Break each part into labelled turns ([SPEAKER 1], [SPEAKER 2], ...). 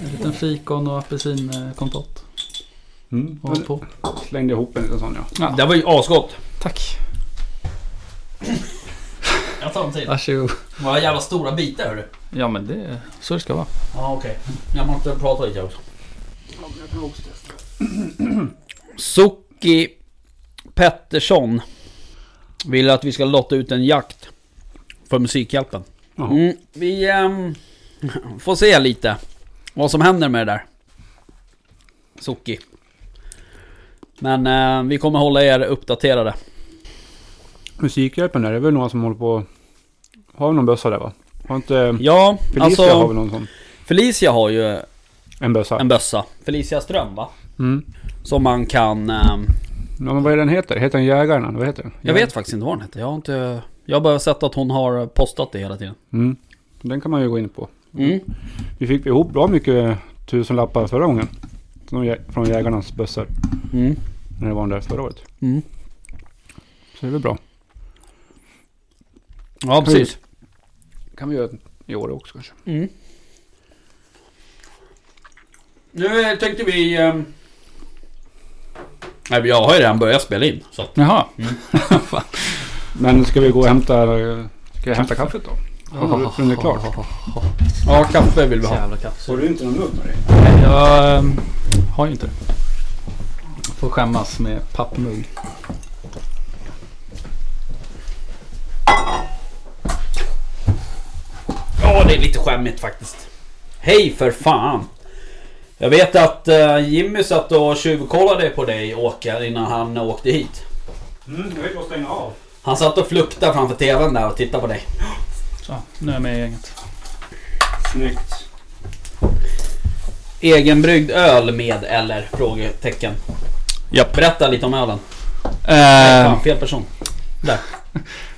[SPEAKER 1] En liten fikon och apelsinkompott.
[SPEAKER 2] Mm.
[SPEAKER 1] Ovanpå.
[SPEAKER 2] Slängde ihop en liten sån ja.
[SPEAKER 1] Ja.
[SPEAKER 3] Det var ju asgott.
[SPEAKER 1] Tack.
[SPEAKER 3] Jag tar en till.
[SPEAKER 1] Varsågod.
[SPEAKER 3] Vad jävla stora bitar hörru.
[SPEAKER 1] Ja men det är så det ska vara.
[SPEAKER 3] Ja okej. Jag måste prata lite också. Suki Pettersson vill att vi ska lotta ut en jakt för Musikhjälpen.
[SPEAKER 2] Jaha.
[SPEAKER 3] Mm, vi ehm, får se lite vad som händer med det där. Suki. Men eh, vi kommer hålla er uppdaterade.
[SPEAKER 2] Musikhjälpen där, det är väl några som håller på... Har vi någon bössa där va? Har inte...
[SPEAKER 3] Ja,
[SPEAKER 2] Felicia har
[SPEAKER 3] alltså
[SPEAKER 2] väl någon sån?
[SPEAKER 3] Felicia har ju
[SPEAKER 2] En bössa?
[SPEAKER 3] en bössa. Felicia Ström va?
[SPEAKER 2] Mm.
[SPEAKER 3] Som man kan... ehm,
[SPEAKER 2] Ja, men vad är den heter? Heter den Jägaren? eller Vad heter den?
[SPEAKER 3] jag vet faktiskt inte vad den heter. Jag har inte... Jag har bara sett att hon har postat det hela tiden.
[SPEAKER 2] Mm. Den kan man ju gå in på.
[SPEAKER 3] Mm.
[SPEAKER 2] Vi fick ihop bra mycket tusenlappar förra gången. Från jä- Från jägarnas bössor.
[SPEAKER 3] Mm.
[SPEAKER 2] När det var den där förra året.
[SPEAKER 3] Mm.
[SPEAKER 2] Så det är väl bra.
[SPEAKER 3] Ja, precis.
[SPEAKER 2] kan vi göra i år också kanske.
[SPEAKER 3] Mm. Nu eh, tänkte vi... ehm, Nej, jag har ju redan börjat spela in. Så att...
[SPEAKER 1] Jaha.
[SPEAKER 2] Men ska vi gå och hämta... Ska jag hämta kaffet då? Har du hunnit klart?
[SPEAKER 3] Ja, kaffe vill vi ha.
[SPEAKER 1] Jävla kaffsug.
[SPEAKER 2] Har du inte någon mugg med dig?
[SPEAKER 1] Jag ehm, har ju inte det. Jag får skämmas med pappmugg.
[SPEAKER 3] Ja, det är lite skämmigt faktiskt. Hej för fan! Jag vet att eh, Jimmy satt och tjuvkollade på dig Åke innan han åkte hit.
[SPEAKER 2] Mm, jag vet vad stänga av.
[SPEAKER 3] Han satt och fluktade framför TVn där och tittade på dig.
[SPEAKER 1] Så, nu är jag med i gänget.
[SPEAKER 2] Snyggt.
[SPEAKER 3] Egenbryggd öl med eller? Frågetecken.
[SPEAKER 1] Japp.
[SPEAKER 3] Berätta lite om ölen. Nej,
[SPEAKER 1] Eh,
[SPEAKER 3] fan, fel person.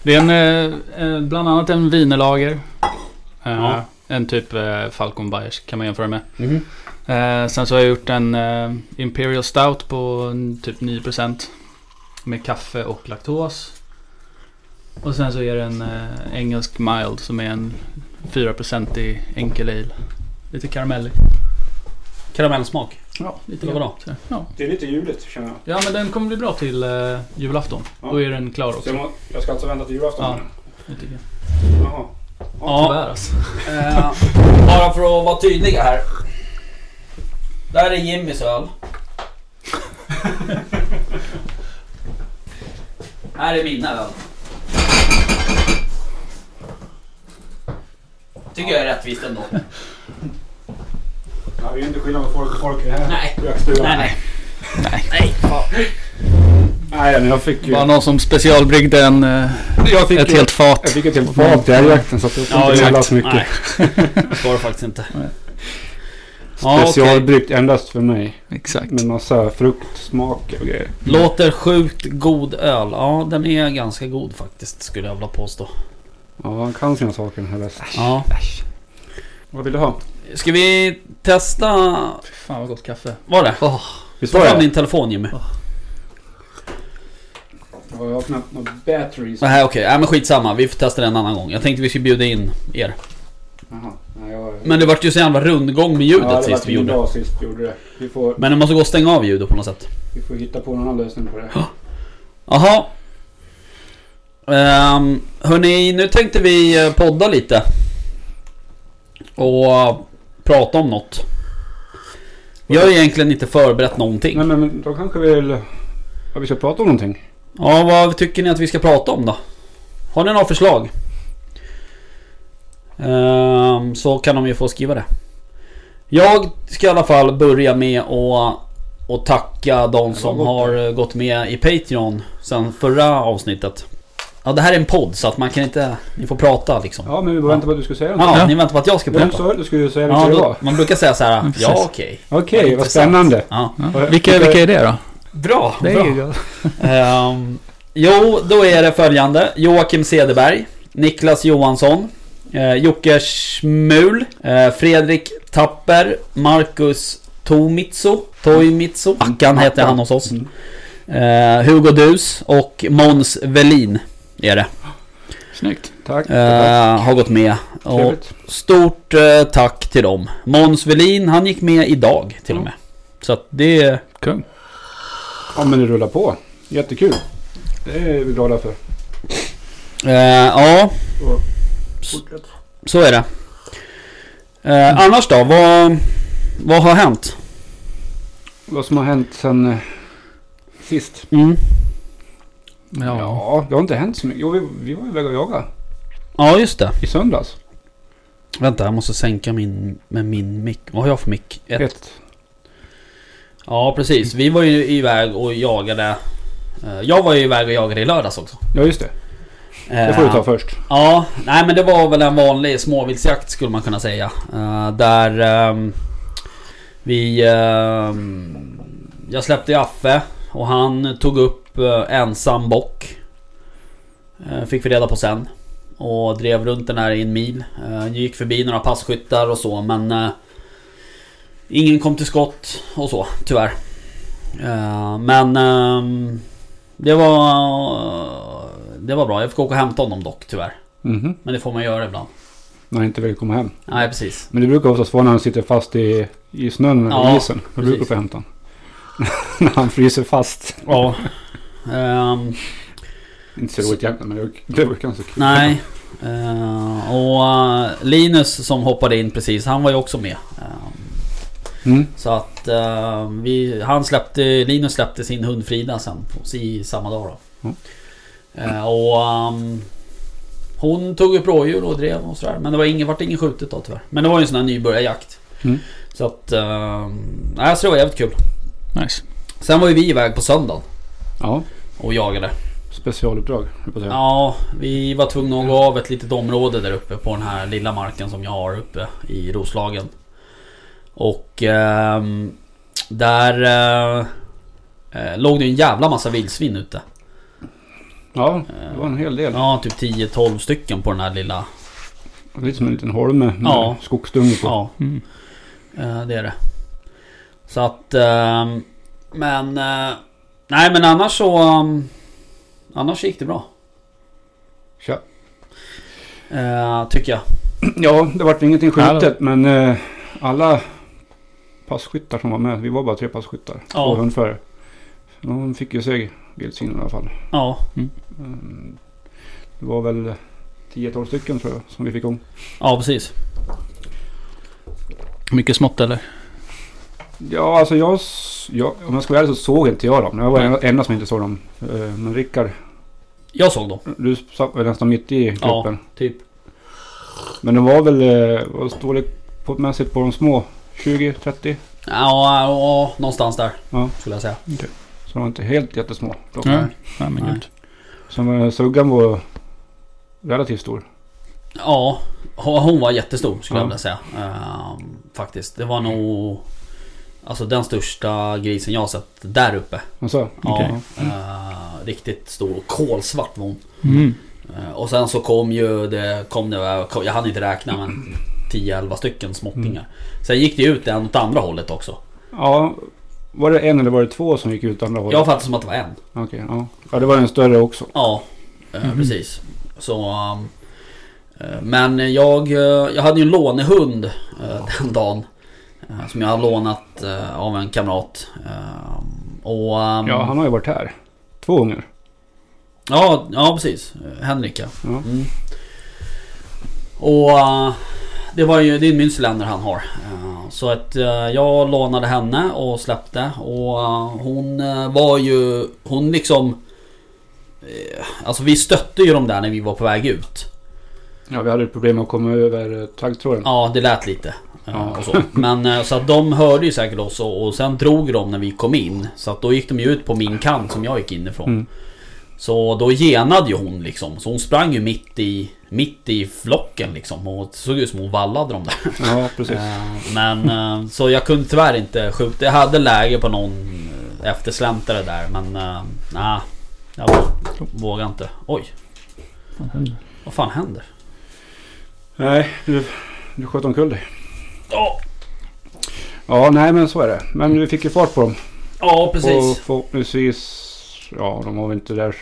[SPEAKER 1] det är en, eh, eh, bland annat en vinelager. Eh,
[SPEAKER 3] Ja.
[SPEAKER 1] En typ eh, Falcon Bayers kan man jämföra med.
[SPEAKER 3] Mhm.
[SPEAKER 1] Eh, sen så har jag gjort en eh, Imperial Stout på en typ 9% Med kaffe och laktos. Och sen så är det en eh, engelsk mild som är en 4% i enkel ale. Lite karamellig.
[SPEAKER 3] Karamellsmak.
[SPEAKER 1] Ja, lite
[SPEAKER 3] Eller
[SPEAKER 1] grann.
[SPEAKER 3] vadå?
[SPEAKER 1] Så, Ja.
[SPEAKER 2] Det är lite juligt känner jag.
[SPEAKER 1] ja, men den kommer bli bra till eh, julafton.
[SPEAKER 2] Ja.
[SPEAKER 1] Då är den klar också.
[SPEAKER 2] jag, ska alltså vänta till julafton?
[SPEAKER 1] Ja. Jag tycker.
[SPEAKER 2] Jaha.
[SPEAKER 3] Ja,
[SPEAKER 1] Tyvärr alltså.
[SPEAKER 3] eh, bara för att vara tydliga här. Där är Jimmys öl. här är mina öl. Tycker jag är rättvist ändå.
[SPEAKER 2] Ja, det är ju inte skillnad på folk och folk i det här
[SPEAKER 3] Nej.
[SPEAKER 2] rökstugan.
[SPEAKER 3] Nej, nej. Nej. fan.
[SPEAKER 2] Nej, men jag fick ju...
[SPEAKER 1] Bara någon som specialbryggde en, eh,
[SPEAKER 2] Jag fick
[SPEAKER 1] ett
[SPEAKER 2] ju,
[SPEAKER 1] helt fat.
[SPEAKER 2] Jag fick ett helt fat i älgjakten så att jag
[SPEAKER 3] Ja,
[SPEAKER 2] får inte
[SPEAKER 3] exakt.
[SPEAKER 2] så mycket.
[SPEAKER 3] Nej. Det ska det faktiskt inte.
[SPEAKER 1] Nej.
[SPEAKER 3] Ja, okej.
[SPEAKER 2] Specialbryggt endast för mig.
[SPEAKER 1] Exakt.
[SPEAKER 2] Med massa fruktsmaker och grejer.
[SPEAKER 3] Låter sjukt god öl. Ja, den är ganska god faktiskt skulle jag vilja påstå.
[SPEAKER 2] Ja, han kan sina saker den här bäst.
[SPEAKER 3] Ja.
[SPEAKER 1] Äsch.
[SPEAKER 2] Vad vill du ha?
[SPEAKER 3] Ska vi testa...
[SPEAKER 1] Fy Fan vad gott kaffe.
[SPEAKER 3] Var det?
[SPEAKER 2] Visst
[SPEAKER 3] Ta
[SPEAKER 2] var
[SPEAKER 3] fram
[SPEAKER 2] det?
[SPEAKER 3] din telefon Jimmy.
[SPEAKER 2] Ja, jag har knappt några batteries.
[SPEAKER 3] Nej okej, Nej men skitsamma. Vi får testa den en annan gång. Jag tänkte vi skulle bjuda in er.
[SPEAKER 2] Jaha. Nej, jag...
[SPEAKER 3] Men det vart ju så jävla rundgång med ljudet sist vi gjorde.
[SPEAKER 2] dag sist vi gjorde det. Vi får,
[SPEAKER 3] Men det måste gå att stänga av ljudet på något sätt.
[SPEAKER 2] vi får hitta på någon annan lösning på det.
[SPEAKER 3] Jaha. Um, hörni, nu tänkte vi eh, podda lite. Och eh, prata om något. Jag har ju egentligen inte förberett någonting.
[SPEAKER 2] Nej, men, men då kanske vi vill... Ja, vi ska prata om någonting.
[SPEAKER 3] Ja, vad tycker ni att vi ska prata om då? Har ni några förslag? Ehm, så kan de ju få skriva det. Jag ska i alla fall börja med att och tacka de som
[SPEAKER 2] gott.
[SPEAKER 3] har gått med i Patreon sen förra avsnittet. Ja, det här är en podd så att man kan inte... Ni får prata liksom. Ja,
[SPEAKER 2] Ja, men vi bara väntar på att du ska säga någonting.
[SPEAKER 1] Ja.
[SPEAKER 3] ni väntar på att jag ska
[SPEAKER 2] Ja. Du
[SPEAKER 3] prata.
[SPEAKER 2] sa du skulle säga vilka
[SPEAKER 3] Ja,
[SPEAKER 2] det
[SPEAKER 3] då,
[SPEAKER 2] var.
[SPEAKER 3] man brukar säga så här.
[SPEAKER 1] precis.
[SPEAKER 3] Ja, okej.
[SPEAKER 2] Okej, vad
[SPEAKER 3] Intressant.
[SPEAKER 2] spännande.
[SPEAKER 3] Ja.
[SPEAKER 1] Ja. Vilka, vilka är det då?
[SPEAKER 3] Bra,
[SPEAKER 1] Det
[SPEAKER 3] bra.
[SPEAKER 1] är ju gott.
[SPEAKER 3] Ehm, jo, då är det följande. Joakim Cederberg, Niklas Johansson, eh, Jocke Schmul, eh, Fredrik Tapper, Marcus Tomitsu, Toimitsu, Ackan heter han hos oss.
[SPEAKER 2] Mm.
[SPEAKER 3] Eh, Hugo Dus och Måns Velin är det.
[SPEAKER 1] Snyggt.
[SPEAKER 2] Tack.
[SPEAKER 3] eh, har gått med. Och
[SPEAKER 2] Trevligt.
[SPEAKER 3] stort eh, tack till dem. Måns Velin, han gick med idag till och med. Så att det...
[SPEAKER 1] Kung.
[SPEAKER 2] Ja men det rullar på. Jättekul. Det är vi glada för.
[SPEAKER 3] Eh, ja, så är det. Eh,
[SPEAKER 2] Mm.
[SPEAKER 3] Annars då? Vad, vad har hänt?
[SPEAKER 2] Vad som har hänt sen eh, sist?
[SPEAKER 3] Mm.
[SPEAKER 1] Ja.
[SPEAKER 2] det har inte hänt så mycket. Jo, vi, vi var iväg och jaga
[SPEAKER 3] Ja, just det.
[SPEAKER 2] i söndags.
[SPEAKER 3] Vänta, jag måste sänka min, med min mick. Vad har jag för mick? Ett.
[SPEAKER 2] Ett.
[SPEAKER 3] Ja, precis. Vi var ju iväg och jagade. eh, Jag var ju iväg och jagade i lördags också.
[SPEAKER 2] Ja, just det. Det får du ta först.
[SPEAKER 3] Ja, nej men det var väl en vanlig småviltsjakt skulle man kunna säga. Eh, där ehm, vi... ehm, jag släppte Affe och han tog upp eh, ensam bock. Eh, fick vi reda på sen. Och drev runt den här i en mil. Eh, gick förbi några passkyttar och så men... eh, ingen kom till skott och så, tyvärr. Eh, men... ehm, det var... Det var bra. Jag fick åka och hämta honom dock tyvärr.
[SPEAKER 2] Mhm.
[SPEAKER 3] Men det får man göra ibland.
[SPEAKER 2] När inte vill komma hem.
[SPEAKER 3] Nej, precis.
[SPEAKER 2] Men det brukar oftast vara när han sitter fast i, i snön eller
[SPEAKER 3] Ja,
[SPEAKER 2] isen. Då
[SPEAKER 3] precis.
[SPEAKER 2] brukar du få hämta honom. när han fryser fast.
[SPEAKER 3] Ja. Ehm,
[SPEAKER 2] Inte så roligt egentligen, men det var- det var ganska kul.
[SPEAKER 3] nej. Ehm, och eh, Linus som hoppade in precis, han var ju också med. Ehm,
[SPEAKER 2] Mm.
[SPEAKER 3] så att eh, vi, han släppte, Linus släppte sin hund Frida sen på, i samma dag då.
[SPEAKER 2] Mm.
[SPEAKER 3] Eh, och ehm, hon tog upp rådjur och drev och sådär. Men det var ingen, vart ingen skjutet då tyvärr. Men det var ju en sån här nybörjarjakt.
[SPEAKER 2] Mm.
[SPEAKER 3] Så att... ehm, nej, så det var jävligt kul.
[SPEAKER 1] Nice.
[SPEAKER 3] Sen var ju vi iväg på söndagen
[SPEAKER 2] Ja,
[SPEAKER 3] och jagade.
[SPEAKER 2] specialuppdrag höll på att säga.
[SPEAKER 3] Ja, vi var tvungna att gå av ett litet område där uppe på den här lilla marken som jag har uppe i Roslagen. Och ehm, där eh, eh, låg det en jävla massa vildsvin ute.
[SPEAKER 2] ja, det var en hel del.
[SPEAKER 3] Ja, typ 10-12 stycken på den här lilla...
[SPEAKER 2] Lite som en liten holme med
[SPEAKER 3] Ja.
[SPEAKER 2] skogsdunge på.
[SPEAKER 3] Ja,
[SPEAKER 1] Mm.
[SPEAKER 3] eh, det är det. Så att... ehm, men... eh, nej, men annars så... ehm, annars gick det bra.
[SPEAKER 2] Tja.
[SPEAKER 3] eh, tycker jag.
[SPEAKER 2] Ja, det vart ingenting
[SPEAKER 1] Ja,
[SPEAKER 2] skjutet men eh, alla passkyttar som var med, vi var bara tre passkyttar.
[SPEAKER 3] Ja.
[SPEAKER 2] Två hundförare. De fick ju sig vildsvin i alla fall.
[SPEAKER 3] Ja,
[SPEAKER 2] Mm, Det var väl 10-12 stycken tror jag som vi fick om.
[SPEAKER 3] ja precis.
[SPEAKER 1] Mycket smått eller?
[SPEAKER 2] Ja, alltså jag, s- jag om jag ska vara ärlig så såg inte jag dem. Jag var den enda som inte såg dem. Eh, Men Rickard,
[SPEAKER 3] Jag såg dem,
[SPEAKER 2] du satt väl nästan mitt i
[SPEAKER 3] Ja.
[SPEAKER 2] gruppen.
[SPEAKER 3] typ.
[SPEAKER 2] Men de var väl eh, vad står det på- mässigt på de små? 20-30?
[SPEAKER 3] Ja, ja, ja, någonstans där.
[SPEAKER 2] Ja.
[SPEAKER 3] Skulle jag säga.
[SPEAKER 2] Så de var inte helt jättesmå. De.
[SPEAKER 1] Nej. Nej men
[SPEAKER 3] Nej.
[SPEAKER 1] gud.
[SPEAKER 2] Så eh, suggan var relativt stor.
[SPEAKER 3] Ja, ho- hon var jättestor skulle jag
[SPEAKER 2] Ja.
[SPEAKER 3] vilja säga. Ehm, faktiskt. Det var nog... Alltså den största grisen jag har sett där uppe.
[SPEAKER 2] Alltså,
[SPEAKER 3] Ja,
[SPEAKER 1] Okej.
[SPEAKER 3] eh, riktigt stor och kolsvart var hon.
[SPEAKER 1] Mm.
[SPEAKER 3] Eh, och sen så kom ju det... Kom det kom, jag hann inte räkna men 10-11 stycken småttingar.
[SPEAKER 2] Mm.
[SPEAKER 3] Sen gick det ut en åt andra hållet också.
[SPEAKER 2] ja, var det en eller var det två som gick ut andra hållet?
[SPEAKER 3] Jag fattade som att det var en.
[SPEAKER 2] Okej, ja. ja, det var en större också.
[SPEAKER 3] Ja, eh, precis. Så, um, eh, men jag, eh, jag hade ju en lånehund eh, den dagen. eh, Som jag hade lånat eh, av en kamrat. Eh, Och, um,
[SPEAKER 2] Ja, han har ju varit här. Två gånger.
[SPEAKER 3] ja, ja, precis. Eh, Henrik ja.
[SPEAKER 2] Ja.
[SPEAKER 3] Mm. Och eh, det var ju det är en Münsterländer han har. Eh, Så att eh, jag lånade henne och släppte och eh, hon eh, var ju, hon liksom eh, Alltså vi stötte ju dem där när vi var på väg ut.
[SPEAKER 2] Ja, vi hade ett problem att komma över eh, taggtråden.
[SPEAKER 3] Ja, det lät lite. eh,
[SPEAKER 2] Ja.
[SPEAKER 3] Och så. Men eh, så att de hörde ju säkert oss och, och sen drog de när vi kom in. Så att då gick de ju ut på min kant som jag gick inifrån.
[SPEAKER 2] Mm.
[SPEAKER 3] Så då genade ju hon liksom. Så hon sprang ju mitt i, mitt i flocken liksom. Och det såg ut som hon vallade dem där.
[SPEAKER 2] Ja, precis.
[SPEAKER 3] Eh, Men eh, så jag kunde tyvärr inte skjuta. Jag hade läge på någon eh, eftersläntrare där men eh, nej. Jag vå- vågade inte. Oj, vad fan händer?
[SPEAKER 2] Nej, du, du sköt omkull dig.
[SPEAKER 3] Ja,
[SPEAKER 2] Ja, nej men så är det. Men vi fick ju fart på dem.
[SPEAKER 3] ja precis.
[SPEAKER 2] Och förhoppningsvis, ja de var väl inte där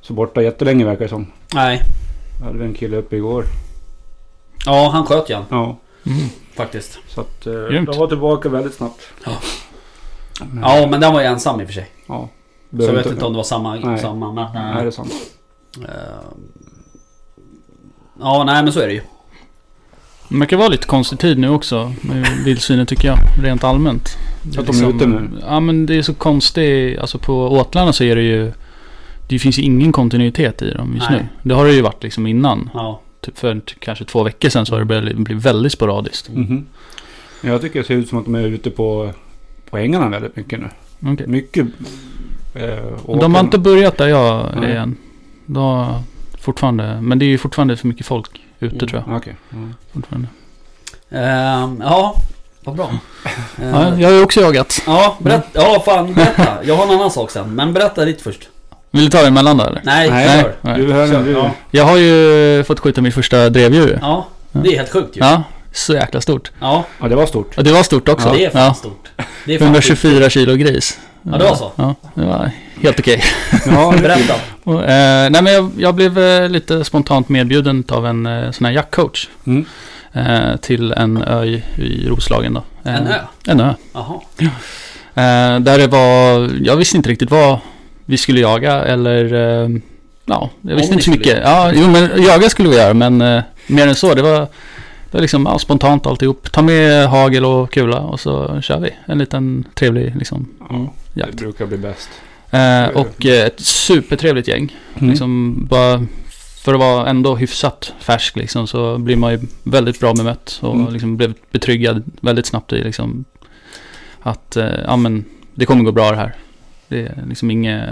[SPEAKER 2] så borta jättelänge verkar det som.
[SPEAKER 3] Nej.
[SPEAKER 2] Hade vi en kille uppe igår.
[SPEAKER 3] Ja, han sköt Jan
[SPEAKER 2] Ja,
[SPEAKER 1] Mm.
[SPEAKER 3] faktiskt.
[SPEAKER 2] så att eh,
[SPEAKER 1] Grymt.
[SPEAKER 2] de var tillbaka väldigt snabbt.
[SPEAKER 3] Ja. Ja, men den var ju ensam i och för sig.
[SPEAKER 2] ja.
[SPEAKER 3] Så jag
[SPEAKER 2] Mm. Behöver
[SPEAKER 3] vet inte om det var samma...
[SPEAKER 2] Nej.
[SPEAKER 3] samma men,
[SPEAKER 2] Nej, det är sant.
[SPEAKER 3] Eh, Ja, nej men så är det ju.
[SPEAKER 1] Det verkar vara lite konstig tid nu också med vildsvinen tycker jag, rent allmänt. Det
[SPEAKER 2] Att de är ute nu?
[SPEAKER 1] Ja men det är så konstigt, alltså på åtlarna så är det ju Det finns ju ingen kontinuitet i dem just
[SPEAKER 3] Nej.
[SPEAKER 1] nu. Det har det ju varit liksom innan.
[SPEAKER 3] Ja.
[SPEAKER 1] Typ för t- kanske två veckor sedan så har det börjat bli väldigt sporadiskt.
[SPEAKER 2] Mhm. Men Jag tycker det ser ut som att de är ute på, på ängarna väldigt mycket nu.
[SPEAKER 1] Okej.
[SPEAKER 2] Mycket... Eh,
[SPEAKER 1] De har
[SPEAKER 2] åker.
[SPEAKER 1] inte börjat där jag
[SPEAKER 2] Nej.
[SPEAKER 1] är än. De har fortfarande, men det är ju fortfarande för mycket folk ute
[SPEAKER 3] Mm.
[SPEAKER 1] tror jag.
[SPEAKER 2] Okej. Mm.
[SPEAKER 1] Fortfarande.
[SPEAKER 3] Ehm, ja, vad bra. Ehm,
[SPEAKER 1] Ja, jag har ju också jagat.
[SPEAKER 3] Ja, berätta. Ja, fan berätta. Jag har en annan sak sen. Men berätta ditt först.
[SPEAKER 1] Vill du ta det emellan där eller?
[SPEAKER 3] Nej,
[SPEAKER 2] Nej.
[SPEAKER 3] kör.
[SPEAKER 1] Nej.
[SPEAKER 2] Du hör
[SPEAKER 3] Kör,
[SPEAKER 2] du.
[SPEAKER 3] ja.
[SPEAKER 1] Jag har ju fått skjuta mitt första drevdjur.
[SPEAKER 3] Ja, det är helt sjukt ju. Ja,
[SPEAKER 1] Ja, så jäkla stort.
[SPEAKER 2] Ja, det var stort.
[SPEAKER 1] Ja, det var stort också.
[SPEAKER 3] så det är fan
[SPEAKER 1] ja.
[SPEAKER 3] stort. Det är fan sjukt.
[SPEAKER 1] 124 kilo gris.
[SPEAKER 3] Ja, det var så.
[SPEAKER 1] Ja, det var helt okej.
[SPEAKER 2] Ja, det är kul.
[SPEAKER 3] Berätta.
[SPEAKER 1] Och, eh, nej, men jag, jag blev eh, lite spontant medbjuden av en eh, sån här jaktcoach.
[SPEAKER 2] Mm.
[SPEAKER 1] Eh, till en ö i, i Roslagen då. Eh,
[SPEAKER 3] En ö?
[SPEAKER 1] En ö.
[SPEAKER 3] Jaha.
[SPEAKER 1] Eh, där det var, jag visste inte riktigt vad vi skulle jaga eller eh, Ja, jag visste
[SPEAKER 3] ni
[SPEAKER 1] inte så
[SPEAKER 3] skulle
[SPEAKER 1] mycket. Ja, jo, men jaga skulle vi göra, men eh, mer än så. Det var, det var liksom ja, spontant alltihop. Ta med hagel och kula och så kör vi. En liten trevlig liksom,
[SPEAKER 3] Mm.
[SPEAKER 2] Ja, det
[SPEAKER 1] jakt.
[SPEAKER 2] brukar bli bäst.
[SPEAKER 1] Eh, och eh, ett supertrevligt gäng.
[SPEAKER 2] Mm.
[SPEAKER 1] Liksom bara för att vara ändå hyfsat färsk liksom, så blir man ju väldigt bra bemött och
[SPEAKER 2] Mm.
[SPEAKER 1] liksom blev betryggad väldigt snabbt i liksom, att eh, ja, men, det kommer gå bra det här. Det är liksom inget...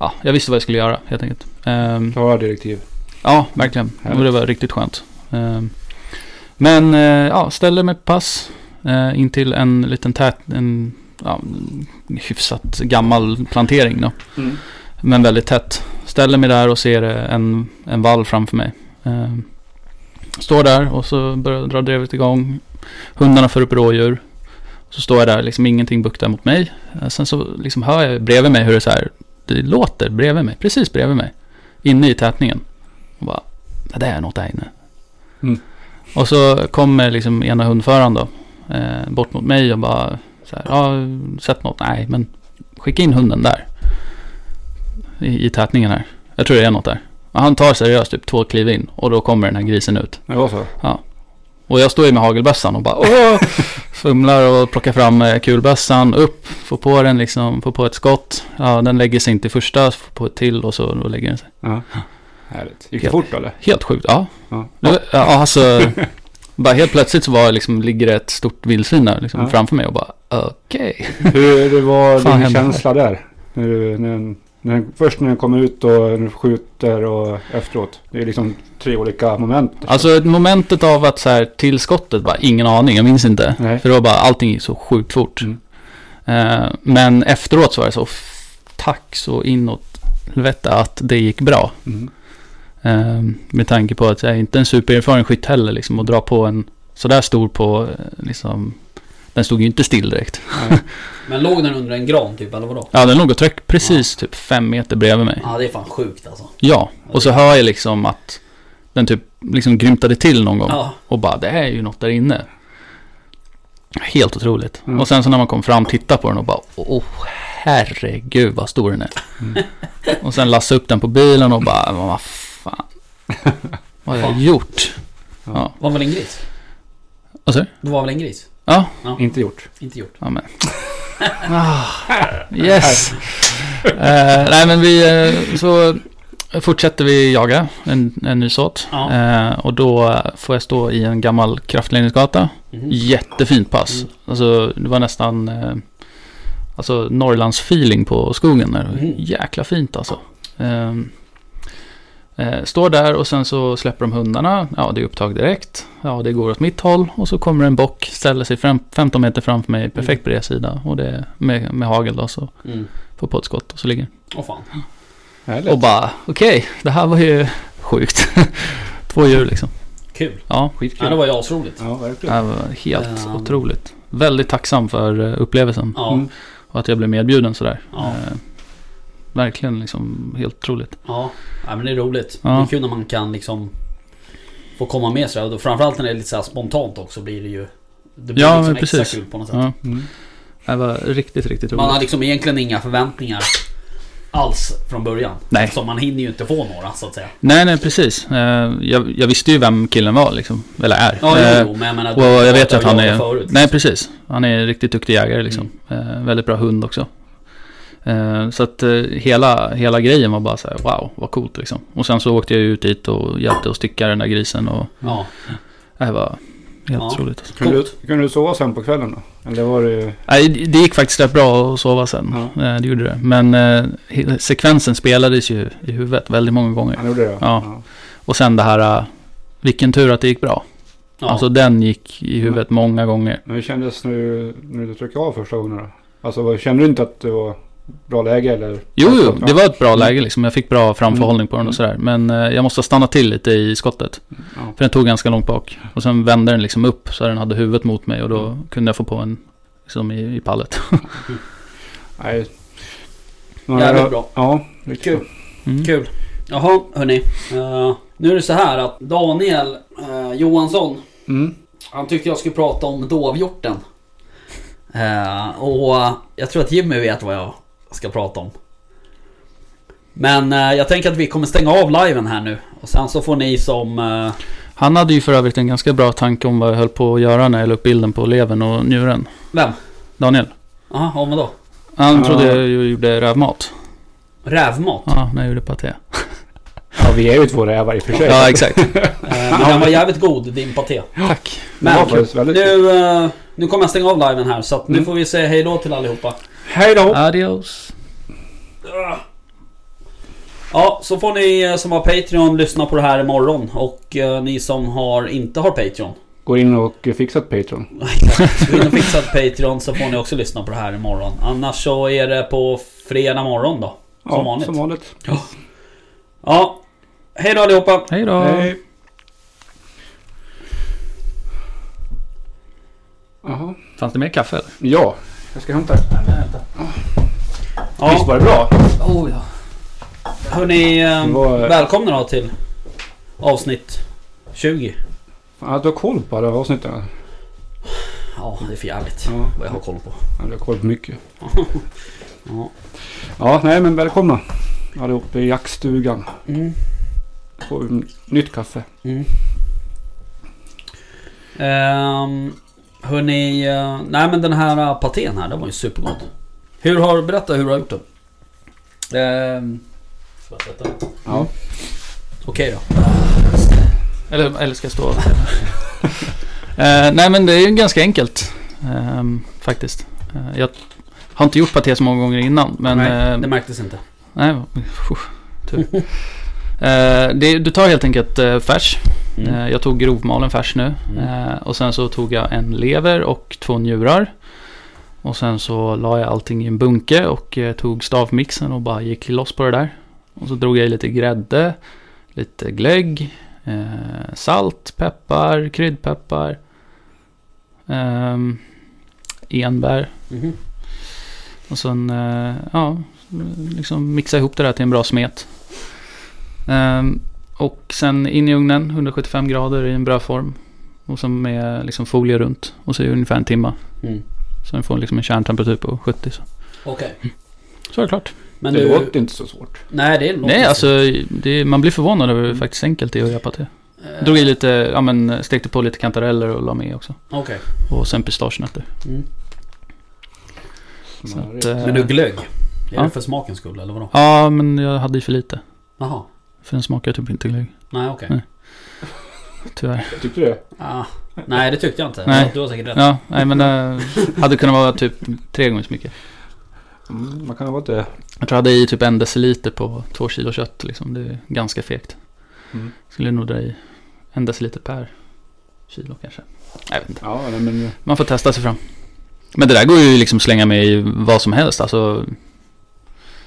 [SPEAKER 1] Ja, jag visste vad jag skulle göra helt enkelt. Ehm,
[SPEAKER 2] Klara direktiv.
[SPEAKER 1] Ja, verkligen.
[SPEAKER 2] Mm, Härligt.
[SPEAKER 1] Och det var riktigt skönt. Ehm, Men eh, ja, ställde mig på pass eh, in till en liten tät, en ja, hyfsat gammal plantering då.
[SPEAKER 2] Mm.
[SPEAKER 1] Men väldigt tätt. Ställer mig där och ser eh, en, en vall framför mig. Ehm, Står där och så börjar dra drevet igång. Hundarna för upp rådjur. Så står jag där, liksom ingenting buktar mot mig. Eh, Sen så liksom hör jag bredvid mig hur det så här, det låter bredvid mig, precis bredvid mig. Inne i tätningen. Och bara, det där är något där inne.
[SPEAKER 2] Mm.
[SPEAKER 1] Och så kommer liksom ena hundföraren då, eh, bort mot mig och bara så här, ja, sett något? Nej, men skicka in hunden där. I, i tätningen här. Jag tror det är något där. Och han tar seriöst typ två kliv in och då kommer den här grisen ut.
[SPEAKER 2] Det var så?
[SPEAKER 1] Och jag står ju med hagelbössan och bara åh! Fumlar och plockar fram eh, kulbössan, upp, får på den liksom, får på ett skott. Ja, den lägger sig inte i första, får på ett till och så då lägger den sig.
[SPEAKER 2] Ja. Härligt. Gick det fort eller?
[SPEAKER 1] Helt sjukt, ja.
[SPEAKER 2] Ja.
[SPEAKER 1] Det var- Ja, alltså. bara helt plötsligt så var det liksom, ligger det ett stort vildsvin där liksom,
[SPEAKER 2] Ja.
[SPEAKER 1] framför mig och bara okej.
[SPEAKER 2] Hur det var
[SPEAKER 1] Fan,
[SPEAKER 2] din
[SPEAKER 1] hände
[SPEAKER 2] känsla där? När du, när, den- när, den- först när den kommer ut och när du skjuter och efteråt. Det är liksom tre olika moment.
[SPEAKER 1] Alltså momentet av att så här tillskottet bara, ingen aning, jag minns inte.
[SPEAKER 2] Nej.
[SPEAKER 1] För det var bara, allting gick så sjukt fort.
[SPEAKER 2] Mm.
[SPEAKER 1] Eh, men efteråt så var det så, "F- tack så inåt helvete att det gick bra.
[SPEAKER 2] Mm.
[SPEAKER 1] Eh, med tanke på att jag är inte en supererfaren skytt heller liksom och dra på en sådär stor på eh, liksom, den stod ju inte still direkt.
[SPEAKER 3] Men låg den under en gran typ, eller vadå?
[SPEAKER 1] Ja, den låg och tryck precis typ fem meter bredvid mig.
[SPEAKER 3] Ja, det är fan sjukt alltså.
[SPEAKER 1] Ja, och så hör jag liksom att den typ liksom grymtade till någon gång.
[SPEAKER 3] Ja.
[SPEAKER 1] Och bara, det här är ju något där inne. Helt otroligt.
[SPEAKER 2] Mm.
[SPEAKER 1] Och sen så när man kom fram, titta på den och bara, åh herregud vad stor den är.
[SPEAKER 2] Mm.
[SPEAKER 1] Och sen lassa upp den på bilen och bara, "Men vad fan. Vad har jag
[SPEAKER 3] Fan.
[SPEAKER 1] gjort?
[SPEAKER 3] Var väl en gris?
[SPEAKER 1] Vad sa du?
[SPEAKER 3] Det var väl en gris?
[SPEAKER 1] Ja,
[SPEAKER 2] Inte gjort.
[SPEAKER 3] Inte gjort.
[SPEAKER 1] ja men. Ah, yes. Eh, nej men vi, eh, så fortsätter vi jaga en, en ny såt.
[SPEAKER 3] Ja.
[SPEAKER 1] Eh, och då får jag stå i en gammal kraftledningsgata.
[SPEAKER 3] Mhm.
[SPEAKER 1] Jättefint pass.
[SPEAKER 3] Mm.
[SPEAKER 1] Alltså det var nästan eh, alltså, Norrlands feeling på skogen. Där.
[SPEAKER 3] Mm.
[SPEAKER 1] Jäkla fint alltså. Ehm, eh, står där och sen så släpper de hundarna. Ja, det är upptag direkt. Ja, det går åt mitt håll. Och så kommer en bock, ställer sig fram, 15 meter framför mig, perfekt bred sida. Och det är med, med hagel då, så
[SPEAKER 3] Mm.
[SPEAKER 1] får på ett skott och så ligger
[SPEAKER 3] Åh fan.
[SPEAKER 2] Härligt.
[SPEAKER 1] den. Och bara, okej, det här var ju sjukt. Två djur liksom.
[SPEAKER 3] Kul.
[SPEAKER 1] Ja,
[SPEAKER 2] Skitkul.
[SPEAKER 3] Ja, det var ju asroligt.
[SPEAKER 2] Ja, verkligen.
[SPEAKER 1] det här var helt
[SPEAKER 3] Ehm.
[SPEAKER 1] otroligt. Väldigt tacksam för eh, upplevelsen.
[SPEAKER 3] Ja.
[SPEAKER 2] Mm.
[SPEAKER 1] Och att jag blev medbjuden sådär.
[SPEAKER 3] Ja.
[SPEAKER 1] Eh, verkligen liksom helt otroligt.
[SPEAKER 3] Ja, ja men det är roligt.
[SPEAKER 1] Ja.
[SPEAKER 3] Det är kul när man kan liksom få komma med sådär. Och då Framförallt när det är lite såhär spontant också blir det ju... Det blir
[SPEAKER 1] Ja,
[SPEAKER 3] liksom
[SPEAKER 1] men
[SPEAKER 3] extra
[SPEAKER 1] precis.
[SPEAKER 3] kul på något sätt.
[SPEAKER 1] Ja,
[SPEAKER 2] Mm.
[SPEAKER 1] det var riktigt, riktigt
[SPEAKER 3] Man har
[SPEAKER 1] roligt.
[SPEAKER 3] liksom egentligen inga förväntningar alls från början.
[SPEAKER 1] Nej.
[SPEAKER 3] Så man hinner ju inte få några så att säga.
[SPEAKER 1] Nej, nej precis. Eh, Jag, jag visste ju vem killen var liksom, eller är.
[SPEAKER 3] Ja,
[SPEAKER 1] Eh,
[SPEAKER 3] jo, jo, men jag menar...
[SPEAKER 1] Och jag vet
[SPEAKER 3] pratar
[SPEAKER 1] att han
[SPEAKER 3] jag
[SPEAKER 1] är...
[SPEAKER 3] Förut, Mm.
[SPEAKER 1] Nej, precis. Han är en riktigt duktig jägare liksom. Eh, väldigt bra hund också. Eh, så att eh, hela, hela grejen var bara så här, wow, vad coolt liksom. Och sen så åkte jag ut dit och hjälpte att sticka den där grisen och äh,
[SPEAKER 3] Ja.
[SPEAKER 1] det var helt
[SPEAKER 3] Ja.
[SPEAKER 1] otroligt. Alltså.
[SPEAKER 2] Kunde,
[SPEAKER 3] Coolt.
[SPEAKER 2] du, kunde du sova sen på kvällen då? Eller var det...
[SPEAKER 1] Nej, det- det gick faktiskt rätt bra att sova sen. Eh, det gjorde det. Men eh, he- sekvensen spelades ju i huvudet väldigt många gånger.
[SPEAKER 2] Han gjorde det?
[SPEAKER 1] Ja. Och sen det här, eh, vilken tur att det gick bra.
[SPEAKER 3] Ja.
[SPEAKER 1] Alltså den gick i huvudet många gånger.
[SPEAKER 2] Men hur kändes det nu när du tryckte av första gången då? Alltså vad- kände du inte att det var bra läge eller?
[SPEAKER 1] Jo, jo,
[SPEAKER 2] Ja.
[SPEAKER 1] det var ett bra läge liksom. Jag fick bra framförhållning på den
[SPEAKER 2] Mm.
[SPEAKER 1] och sådär. Men eh, jag måste ha stannat till lite i skottet.
[SPEAKER 2] Ja.
[SPEAKER 1] För den tog ganska långt bak. Och sen vände den liksom upp så den hade huvudet mot mig och då kunde jag få på en liksom i, i pallet.
[SPEAKER 2] Nej. Men,
[SPEAKER 3] Jävligt bra.
[SPEAKER 2] Ja, riktigt
[SPEAKER 3] Kul.
[SPEAKER 2] bra.
[SPEAKER 1] Mm.
[SPEAKER 3] Kul. Jaha, hörni. Eh, nu är det så här att Daniel eh, Johansson,
[SPEAKER 2] Mm.
[SPEAKER 3] han tyckte jag skulle prata om dovhjorten. Eh, och jag tror att Jimmy vet vad jag ska prata om. Men eh, jag tänker att vi kommer stänga av liven här nu. Och sen så får ni som... eh,
[SPEAKER 1] Han hade ju för övrigt en ganska bra tanke om vad jag höll på att göra när jag la upp bilden på levern och njuren.
[SPEAKER 3] vem?
[SPEAKER 1] Daniel.
[SPEAKER 3] Jaha, vad med då?
[SPEAKER 1] Han
[SPEAKER 2] Ja.
[SPEAKER 1] trodde jag ju gjorde rävmat.
[SPEAKER 3] Rävmat.
[SPEAKER 1] Ja, när jag gjorde paté.
[SPEAKER 2] Ja, vi är ju två rävar i och för sig.
[SPEAKER 1] Ja, exakt.
[SPEAKER 3] Eh, men den var jävligt god, din paté.
[SPEAKER 1] Tack.
[SPEAKER 2] det var
[SPEAKER 3] Men
[SPEAKER 2] faktiskt väldigt kul.
[SPEAKER 3] nu, eh, nu kommer jag stänga av liven här så att nu
[SPEAKER 2] Mm.
[SPEAKER 3] får vi säga hej då till allihopa.
[SPEAKER 2] Hej då!
[SPEAKER 1] Adios.
[SPEAKER 3] Ja, så får ni eh, som har Patreon lyssna på det här imorgon och eh, ni som har, inte har Patreon.
[SPEAKER 2] Går in och fixar ett Patreon.
[SPEAKER 3] Gå in och fixa ett Patreon så får ni också lyssna på det här imorgon. Annars så är det på fredag morgon då. Som
[SPEAKER 2] Ja,
[SPEAKER 3] vanligt.
[SPEAKER 2] Som vanligt.
[SPEAKER 3] Ja, hej då allihopa!
[SPEAKER 1] Hej då.
[SPEAKER 2] Hej. Jaha.
[SPEAKER 1] Fanns det mer kaffe eller?
[SPEAKER 2] Ja, jag ska hämta det. Visst
[SPEAKER 3] Ja,
[SPEAKER 2] var det bra?
[SPEAKER 1] Oh, ja.
[SPEAKER 3] hörni, eh,
[SPEAKER 2] Det var-
[SPEAKER 3] välkomna då till avsnitt 20.
[SPEAKER 2] Fan, att du har koll på alla avsnitten.
[SPEAKER 3] Ja, det är för jävligt
[SPEAKER 2] Ja,
[SPEAKER 3] vad jag har koll på.
[SPEAKER 2] Ja, du har koll på mycket.
[SPEAKER 3] Ja.
[SPEAKER 2] Ja, nej men välkomna allihop i jaktstugan.
[SPEAKER 3] Mm.
[SPEAKER 2] Får vi n- nytt kaffe.
[SPEAKER 3] Mm. Um, hörni, eh, nej men den här eh, patén här, den var ju supergod. Hur har, berätta hur du har gjort den.
[SPEAKER 1] Ehm,
[SPEAKER 2] Ja.
[SPEAKER 3] Okej då.
[SPEAKER 1] Eller, eller ska jag stå? Eh, nej men det är ju ganska enkelt ehm, faktiskt. Eh, jag har inte gjort paté så många gånger innan men...
[SPEAKER 3] nej,
[SPEAKER 1] eh,
[SPEAKER 3] det märktes inte.
[SPEAKER 1] nej, uff, tur. Eh, det, du tar helt enkelt eh, färs.
[SPEAKER 3] Mm.
[SPEAKER 1] Eh, jag tog grovmalen färs nu.
[SPEAKER 3] Mm.
[SPEAKER 1] Eh, och sen så tog jag en lever och två njurar. Och sen så la jag allting i en bunke och eh, tog stavmixen och bara gick loss på det där. Och så drog jag i lite grädde, lite glögg, eh, salt, peppar, kryddpeppar. ehm, enbär.
[SPEAKER 3] Mhm.
[SPEAKER 1] Och sen, eh, ja, liksom mixa ihop det där till en bra smet. Ehm, och sen in i ugnen, 175 grader i en bra form. Och sen med liksom folie runt. Och så i ungefär en timme.
[SPEAKER 3] Mm.
[SPEAKER 1] Så den får liksom en kärntemperatur på 70. Så,
[SPEAKER 3] Okej.
[SPEAKER 1] så är det klart.
[SPEAKER 3] Men
[SPEAKER 2] det
[SPEAKER 3] du...
[SPEAKER 2] låter inte så svårt.
[SPEAKER 3] Nej, det är något
[SPEAKER 1] Nej, alltså det, man blir förvånad över hur faktiskt enkelt det är att göra paté.
[SPEAKER 3] Eh,
[SPEAKER 1] Drog i lite, ja men stekte på lite kantareller och la med också.
[SPEAKER 3] Okej.
[SPEAKER 1] Och sen pistagenötter.
[SPEAKER 3] Mm.
[SPEAKER 1] Så att,
[SPEAKER 2] Smarrigt.
[SPEAKER 1] eh,
[SPEAKER 3] Men du, glögg. Är
[SPEAKER 1] ja.
[SPEAKER 3] det för smakens skull eller vadå?
[SPEAKER 1] Ja, men jag hade ju för lite.
[SPEAKER 3] Jaha.
[SPEAKER 1] För den smakar typ inte glögg.
[SPEAKER 3] Nej, okej.
[SPEAKER 1] Nej. Tyvärr.
[SPEAKER 2] Tyckte du det?
[SPEAKER 3] Ah, nej, det tyckte jag inte.
[SPEAKER 1] Nej.
[SPEAKER 3] Du har säkert rätt.
[SPEAKER 1] Ja, nej men det hade kunnat vara typ tre gånger så mycket.
[SPEAKER 2] Mm, man kan ha varit det.
[SPEAKER 1] Jag tror jag hade i typ en deciliter på två kilo kött liksom. Det är ganska fegt.
[SPEAKER 2] Mm.
[SPEAKER 1] Skulle nog dra i en deciliter per kilo kanske. Jag vet inte.
[SPEAKER 2] Ja, nej, men
[SPEAKER 1] Man får testa sig fram. Men det där går ju liksom slänga med i vad som helst. Alltså,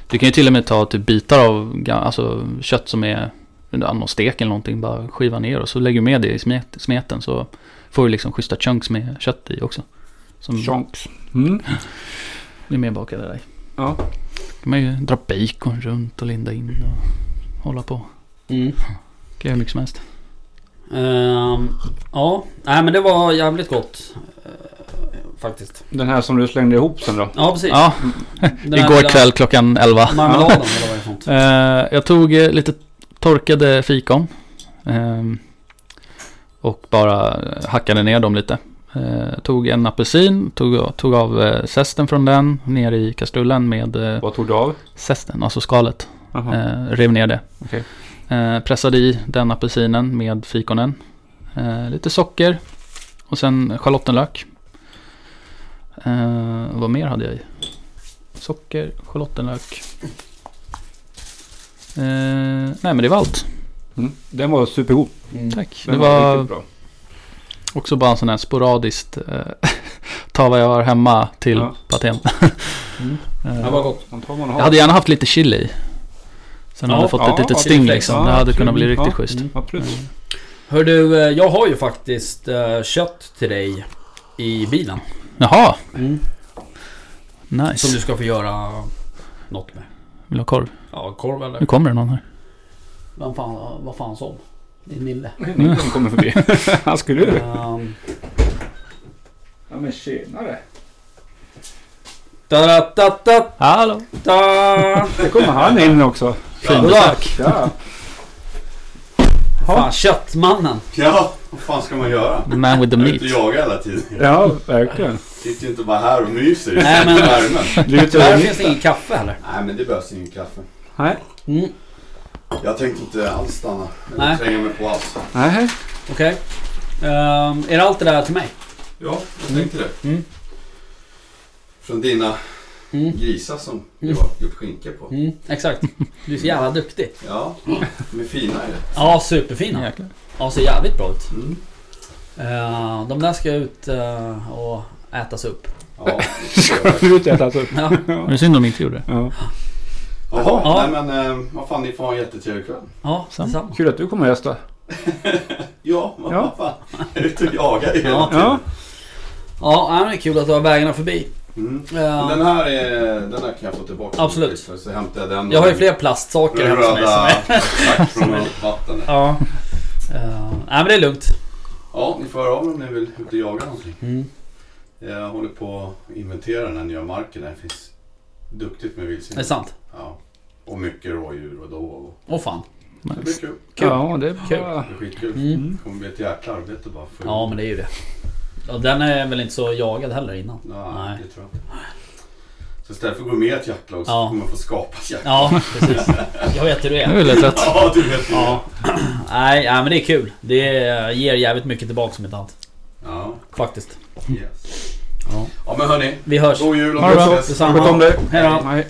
[SPEAKER 1] du kan ju till och med ta typ bitar av ga- alltså, kött som är under någon stek eller någonting. Bara skiva ner och så lägger du med det i smet, smeten. Så får du liksom schyssta chunks med kött i också. Som
[SPEAKER 2] chunks. Mm.
[SPEAKER 1] blir medbakade där.
[SPEAKER 2] Ja.
[SPEAKER 1] kan man ju dra bacon runt och linda in och hålla på.
[SPEAKER 3] Mm.
[SPEAKER 1] Kan göra hur mycket som helst.
[SPEAKER 3] Ehm, ja, nej men det var jävligt gott. eh, faktiskt.
[SPEAKER 2] Den här som du slängde ihop sen då?
[SPEAKER 3] Ja, precis.
[SPEAKER 1] Ja,
[SPEAKER 3] Den här
[SPEAKER 1] igår
[SPEAKER 3] lilla
[SPEAKER 1] kväll klockan 11.
[SPEAKER 3] Marmeladen eller vad det är för något.
[SPEAKER 1] Eh, jag tog eh, lite torkade fikon. ehm, och bara eh, hackade ner dem lite. Eh, tog en apelsin, tog, tog av eh, zesten från den ner i kastrullen med eh,
[SPEAKER 2] Vad tog du av?
[SPEAKER 1] zesten, alltså skalet.
[SPEAKER 2] Jaha.
[SPEAKER 1] Eh, rev ner det.
[SPEAKER 2] Okej.
[SPEAKER 1] Eh, pressade i den apelsinen med fikonen. Eh, lite socker. Och sen schalottenlök. Eh, vad mer hade jag i? Socker, schalottenlök. Eh, nej men det var allt.
[SPEAKER 2] Mm. Den var supergod.
[SPEAKER 3] Mm.
[SPEAKER 1] Tack.
[SPEAKER 2] Den
[SPEAKER 1] det var
[SPEAKER 2] riktigt bra.
[SPEAKER 1] också bara en sån här sporadiskt eh, ta vad jag har hemma till
[SPEAKER 2] Ja.
[SPEAKER 1] patent.
[SPEAKER 2] Mm.
[SPEAKER 3] Det var gott.
[SPEAKER 2] Den tar man och har.
[SPEAKER 1] Jag hade gärna haft lite chili i. Sen
[SPEAKER 3] Ja,
[SPEAKER 1] hade jag fått
[SPEAKER 2] ja,
[SPEAKER 1] ett litet
[SPEAKER 2] ja,
[SPEAKER 1] sting
[SPEAKER 3] precis.
[SPEAKER 1] liksom.
[SPEAKER 2] Ja,
[SPEAKER 1] det hade
[SPEAKER 2] absolut.
[SPEAKER 1] kunnat bli riktigt
[SPEAKER 2] Ja.
[SPEAKER 1] schysst.
[SPEAKER 3] Mm.
[SPEAKER 2] Absolut.
[SPEAKER 3] Hör du, eh, jag har ju faktiskt eh, kött till dig i bilen.
[SPEAKER 1] Jaha,
[SPEAKER 3] Som
[SPEAKER 1] nice.
[SPEAKER 3] du ska få göra något med.
[SPEAKER 1] Vill du ha korv?
[SPEAKER 3] Ja, korv
[SPEAKER 1] Nu
[SPEAKER 3] eller...
[SPEAKER 1] kommer det någon här.
[SPEAKER 3] Vem fan, vad fan som? Din Nille.
[SPEAKER 2] Den kommer förbi. Han skulle ju.
[SPEAKER 3] Ehm,
[SPEAKER 2] Ja men tjenare.
[SPEAKER 3] ta-ra-ta-ta-ta!
[SPEAKER 1] Hallå!
[SPEAKER 2] Där kommer han in också.
[SPEAKER 3] Tack!
[SPEAKER 2] Tja.
[SPEAKER 3] Fan, köttmannen.
[SPEAKER 4] Ja, vad fan ska man göra?
[SPEAKER 1] The man with the
[SPEAKER 4] Jag är ute och
[SPEAKER 1] meat.
[SPEAKER 4] jagar hela tiden.
[SPEAKER 2] Ja, verkligen.
[SPEAKER 4] Sitter ju inte bara här och myser i
[SPEAKER 3] Nej, men-
[SPEAKER 4] värmen.
[SPEAKER 2] Du är ute
[SPEAKER 3] Tyvärr
[SPEAKER 2] och
[SPEAKER 3] finns det ingen kaffe heller.
[SPEAKER 4] Nej men det behövs ingen kaffe.
[SPEAKER 2] Nej.
[SPEAKER 3] Mm,
[SPEAKER 4] Jag tänkte inte alls stanna. Eller
[SPEAKER 3] Nej.
[SPEAKER 4] tränga mig på alls.
[SPEAKER 2] Nej.
[SPEAKER 3] Okej. Ehm, är det allt det där till mig?
[SPEAKER 4] Ja, jag tänkte det.
[SPEAKER 3] Mm.
[SPEAKER 4] Från dina
[SPEAKER 3] Mm.
[SPEAKER 4] grisar som du
[SPEAKER 3] Mm.
[SPEAKER 4] har gjort skinka på.
[SPEAKER 3] Mm, exakt. Du är så jävla duktig.
[SPEAKER 4] Ja, de är fina ju.
[SPEAKER 3] Ja, superfina.
[SPEAKER 1] Jäklar.
[SPEAKER 3] Ja, ser jävligt bra ut.
[SPEAKER 4] Mm.
[SPEAKER 3] Eh, de där ska ut eh, och ätas upp.
[SPEAKER 4] Ja.
[SPEAKER 2] Slutet alltså.
[SPEAKER 3] Ja.
[SPEAKER 1] Men Det är synd om de inte gjorde det.
[SPEAKER 2] Ja.
[SPEAKER 4] Jaha,
[SPEAKER 3] Ja.
[SPEAKER 4] nej men eh, vad fan ni får ha en jättetrevlig kväll.
[SPEAKER 3] Ja,
[SPEAKER 1] Samma.
[SPEAKER 3] detsamma.
[SPEAKER 2] Kul att du kommer och gästa.
[SPEAKER 4] Ja, vad
[SPEAKER 2] Ja.
[SPEAKER 4] fan. Jag är ute och jagar hela
[SPEAKER 3] Ja.
[SPEAKER 4] tiden.
[SPEAKER 2] Ja.
[SPEAKER 3] Ja, nej, men det är kul att du har vägarna förbi.
[SPEAKER 4] Mm.
[SPEAKER 3] Eh,
[SPEAKER 4] Den här, är, den här kan jag få tillbaka.
[SPEAKER 3] Absolut.
[SPEAKER 4] Så hämtar jag den.
[SPEAKER 3] jag har ju
[SPEAKER 4] och-
[SPEAKER 3] fler plastsaker hemma hos mig som
[SPEAKER 4] Röda
[SPEAKER 3] är...
[SPEAKER 4] exakt från vatten.
[SPEAKER 3] Ja. Eh, nej, men det är lugnt.
[SPEAKER 4] Ja, ni får höra av er om ni vill ut och jaga någonting.
[SPEAKER 3] Mm.
[SPEAKER 4] Jag håller på att inventera den här nya marken. Där Det finns duktigt med
[SPEAKER 3] Det är
[SPEAKER 4] vildsvin.
[SPEAKER 3] sant.
[SPEAKER 4] Ja. Och mycket rådjur och då och...
[SPEAKER 3] Åh fan.
[SPEAKER 4] Det blir
[SPEAKER 1] Nice.
[SPEAKER 4] kul.
[SPEAKER 3] Kul.
[SPEAKER 2] Ja, det är
[SPEAKER 3] Kul.
[SPEAKER 2] bra.
[SPEAKER 4] Det är skitkul.
[SPEAKER 3] Mm.
[SPEAKER 4] Det kommer bli ett jäkla arbete bara för...
[SPEAKER 3] Ja, men det är ju det. Och den är väl inte så jagad heller innan.
[SPEAKER 4] Nej,
[SPEAKER 3] Nej.
[SPEAKER 4] det tror jag inte. Så istället för att gå med i ett jaktlag så
[SPEAKER 3] Ja.
[SPEAKER 4] kommer man få skapa ett jaktlag.
[SPEAKER 3] Ja, precis. Jag vet hur det
[SPEAKER 1] Det är
[SPEAKER 3] är.
[SPEAKER 1] väl rätt.
[SPEAKER 4] Ja, du vet
[SPEAKER 3] Ja. Nej, nej, men det är kul. Det eh, ger jävligt mycket tillbaka som ett annat.
[SPEAKER 4] Ja,
[SPEAKER 3] Faktiskt.
[SPEAKER 4] yes.
[SPEAKER 3] Ja.
[SPEAKER 4] Ja, men hörni.
[SPEAKER 3] Vi hörs.
[SPEAKER 4] God jul och
[SPEAKER 1] Ha det bra.
[SPEAKER 4] ses.
[SPEAKER 3] Detsamma.
[SPEAKER 2] Sköt om dig.
[SPEAKER 3] Hej då.
[SPEAKER 2] Nej.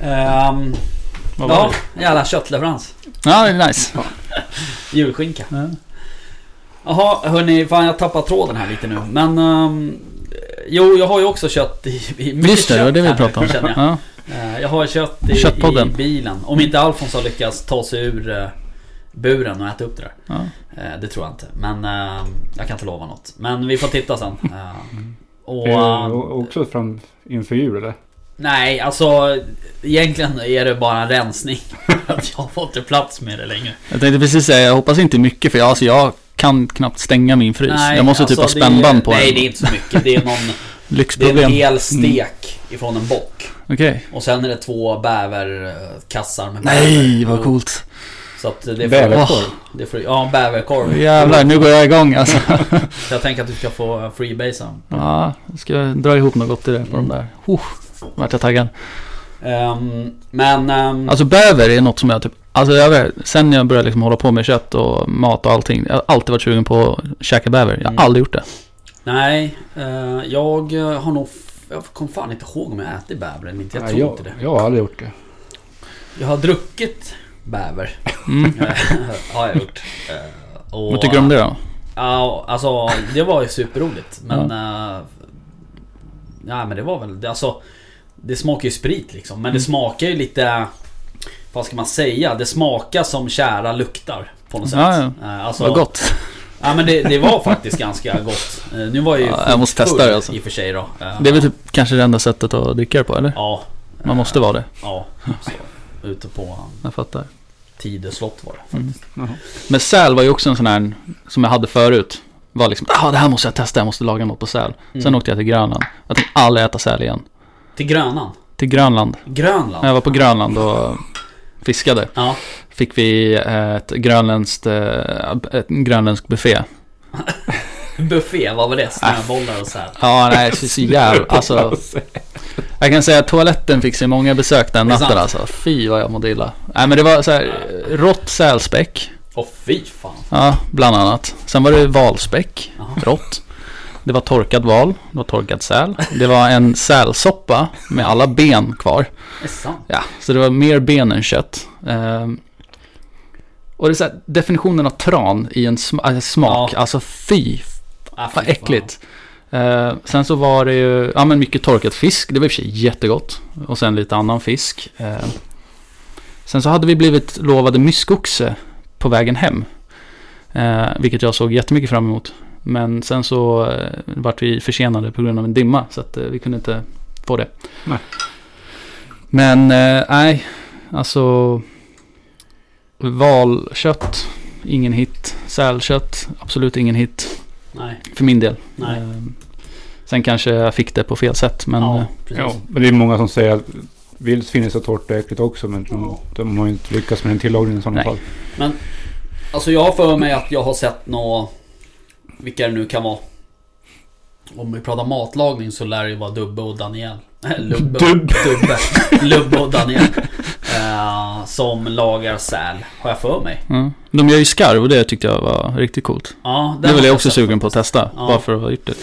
[SPEAKER 3] Ehm,
[SPEAKER 1] Vad var
[SPEAKER 3] ja,
[SPEAKER 1] det?
[SPEAKER 3] jävla köttleverans.
[SPEAKER 1] Ja, det är nice.
[SPEAKER 3] Julskinka.
[SPEAKER 1] Ja.
[SPEAKER 3] Jaha, hörni. Fan, jag tappar tråden här lite nu. Men... ehm, jo, jag har ju också kött i... i mycket
[SPEAKER 1] Just det, det var
[SPEAKER 3] kött
[SPEAKER 1] det vi
[SPEAKER 3] här nu,
[SPEAKER 1] pratade om.
[SPEAKER 3] känner jag.
[SPEAKER 1] Ja.
[SPEAKER 3] Eh, Jag har kött i, i
[SPEAKER 1] Köttpodden.
[SPEAKER 3] bilen. Om inte Alfons har lyckats ta sig ur eh, buren och äta upp det där.
[SPEAKER 1] Ja.
[SPEAKER 3] Eh, Det tror jag inte. Men eh, jag kan inte lova något. Men vi får titta sen. Eh, Och,
[SPEAKER 2] Är du
[SPEAKER 3] eh,
[SPEAKER 2] o- också fram inför jul eller?
[SPEAKER 3] nej, alltså egentligen är det bara en rensning. Att jag får inte plats med det längre.
[SPEAKER 1] Jag tänkte precis säga, jag hoppas inte mycket för jag, alltså, jag kan knappt stänga min frys.
[SPEAKER 3] Nej,
[SPEAKER 1] jag måste typ
[SPEAKER 3] alltså,
[SPEAKER 1] ha
[SPEAKER 3] det är-
[SPEAKER 1] spännband på Mm.
[SPEAKER 3] Nej,
[SPEAKER 1] den.
[SPEAKER 3] det är inte så mycket. Det är, någon, det är en
[SPEAKER 1] Lyxproblem.
[SPEAKER 3] hel stek ifrån en bock.
[SPEAKER 1] Okej.
[SPEAKER 3] Och sen är det två bäverkassar med
[SPEAKER 1] Nej,
[SPEAKER 3] bäver. Mm.
[SPEAKER 1] vad coolt.
[SPEAKER 3] Så att det får,
[SPEAKER 2] Bäverkorv.
[SPEAKER 3] det får, Ja, bäverkorv.
[SPEAKER 1] Jävlar, nu går jag igång alltså.
[SPEAKER 3] Så jag tänker att du ska få freebasea.
[SPEAKER 1] Ja, ska jag dra ihop något gott i det på de där. Oh, vart jag taggad.
[SPEAKER 3] Ehm, men... ehm,
[SPEAKER 1] Alltså bäver är något som jag typ, alltså jag, sen jag började liksom hålla på med kött och mat och allting. Jag har alltid varit sugen på att käka bäver. Jag har
[SPEAKER 3] Mm.
[SPEAKER 1] aldrig gjort det.
[SPEAKER 3] nej, eh, jag har nog... f- Jag kommer fan inte ihåg om jag ätit bäver eller inte. Jag
[SPEAKER 2] Nej,
[SPEAKER 3] tror
[SPEAKER 2] jag,
[SPEAKER 3] inte det.
[SPEAKER 2] Jag har aldrig gjort det.
[SPEAKER 3] Jag har druckit bäver.
[SPEAKER 1] Mm.
[SPEAKER 3] har jag gjort. Eh, och,
[SPEAKER 1] Vad tycker du om det då?
[SPEAKER 3] Ja, alltså det var ju superroligt. Men... eh, nej, men det var väl... det- Alltså, det smakar ju sprit liksom.
[SPEAKER 1] Mm.
[SPEAKER 3] Men det smakar ju lite... Vad ska man säga? Det smakar som kära luktar. På något sätt.
[SPEAKER 1] Ja,
[SPEAKER 3] Eh, alltså,
[SPEAKER 1] Vad gott.
[SPEAKER 3] Ja men det, det var faktiskt ganska gott. Eh, Nu var jag ju
[SPEAKER 1] Ja, jag måste
[SPEAKER 3] full
[SPEAKER 1] testa det, alltså.
[SPEAKER 3] i och för sig då. Eh,
[SPEAKER 1] Det är väl typ kanske det enda sättet att dricka det på eller?
[SPEAKER 3] Ja.
[SPEAKER 1] Man måste vara det.
[SPEAKER 3] Ja. Så, ute på
[SPEAKER 1] Jag fattar.
[SPEAKER 3] Tidö slott var det.
[SPEAKER 1] Men säl var ju också en sån här som jag hade förut. Var liksom, ah, det här måste jag testa, jag måste laga något på säl. Sen
[SPEAKER 3] Mm.
[SPEAKER 1] åkte jag till Grönland. Jag tänkte aldrig äta säl igen.
[SPEAKER 3] Till Grönan.
[SPEAKER 1] Till Grönland. När
[SPEAKER 3] Grönland.
[SPEAKER 1] jag var på Grönland och fiskade.
[SPEAKER 3] Ja.
[SPEAKER 1] Fick vi ett grönländskt, eh, ett grönländsk buffé.
[SPEAKER 3] Buffé, vad var
[SPEAKER 1] Äh.
[SPEAKER 3] det? Snöbollar och så här.
[SPEAKER 1] Ja, nej, så, så jävla, alltså. Jag kan säga att toaletten fick sig många besök den
[SPEAKER 3] Det är sant.
[SPEAKER 1] natten alltså. Fy vad jag mådde illa. Nej men det var så här eh, rått sälspäck.
[SPEAKER 3] Åh fy fan.
[SPEAKER 1] Ja, bland annat. Sen var det valspäck.
[SPEAKER 3] Ja.
[SPEAKER 1] Rått. Det var torkad val. Det var torkad säl. Det var en sälsoppa med alla ben kvar.
[SPEAKER 3] Det är sant.
[SPEAKER 1] Ja, så det var mer ben än kött. Ehm, och det är så här, definitionen av tran i en sma- alltså smak,
[SPEAKER 3] Ja.
[SPEAKER 1] alltså fy
[SPEAKER 3] Ja, Ah, fy fan.
[SPEAKER 1] vad äckligt. Eh, sen så var det ju, ja men mycket torkad fisk, det var i och för sig jättegott. Och sen lite annan fisk. Eh, sen så hade vi blivit lovade myskoxe på vägen hem. Eh, vilket jag såg jättemycket fram emot. Men sen så eh, vart vi försenade på grund av en dimma så att eh, vi kunde inte få det.
[SPEAKER 2] Nej.
[SPEAKER 1] Men eh, nej, alltså valkött, ingen hit. Sälkött, absolut ingen hit.
[SPEAKER 3] Nej,
[SPEAKER 1] För min del.
[SPEAKER 3] Nej.
[SPEAKER 1] Ehm, Sen kanske jag fick det på fel sätt. Men
[SPEAKER 3] ja
[SPEAKER 1] eh,
[SPEAKER 3] precis.
[SPEAKER 2] Ja, men det är många som säger att vilt finns så torrt och äckligt också. Men de, de har ju inte lyckats med den tillagningen i sådana
[SPEAKER 1] Nej.
[SPEAKER 2] fall.
[SPEAKER 3] Alltså jag har för mig att jag har sett nå... Vilka det nu kan vara. Om vi pratar matlagning så lär det ju vara Dubbe och Daniel. Eh, Lubbe och,
[SPEAKER 2] Dubbe.
[SPEAKER 3] Dubbe. Lubbe och Daniel. Eh, som lagar säl, har jag för mig.
[SPEAKER 1] mm. de gör ju skarv och det tyckte jag var riktigt coolt.
[SPEAKER 3] Ja,
[SPEAKER 1] Det
[SPEAKER 3] har
[SPEAKER 1] vill jag
[SPEAKER 3] jag
[SPEAKER 1] också
[SPEAKER 3] sett
[SPEAKER 1] sugen på att testa.
[SPEAKER 3] Ja.
[SPEAKER 1] Bara för att ha gjort det.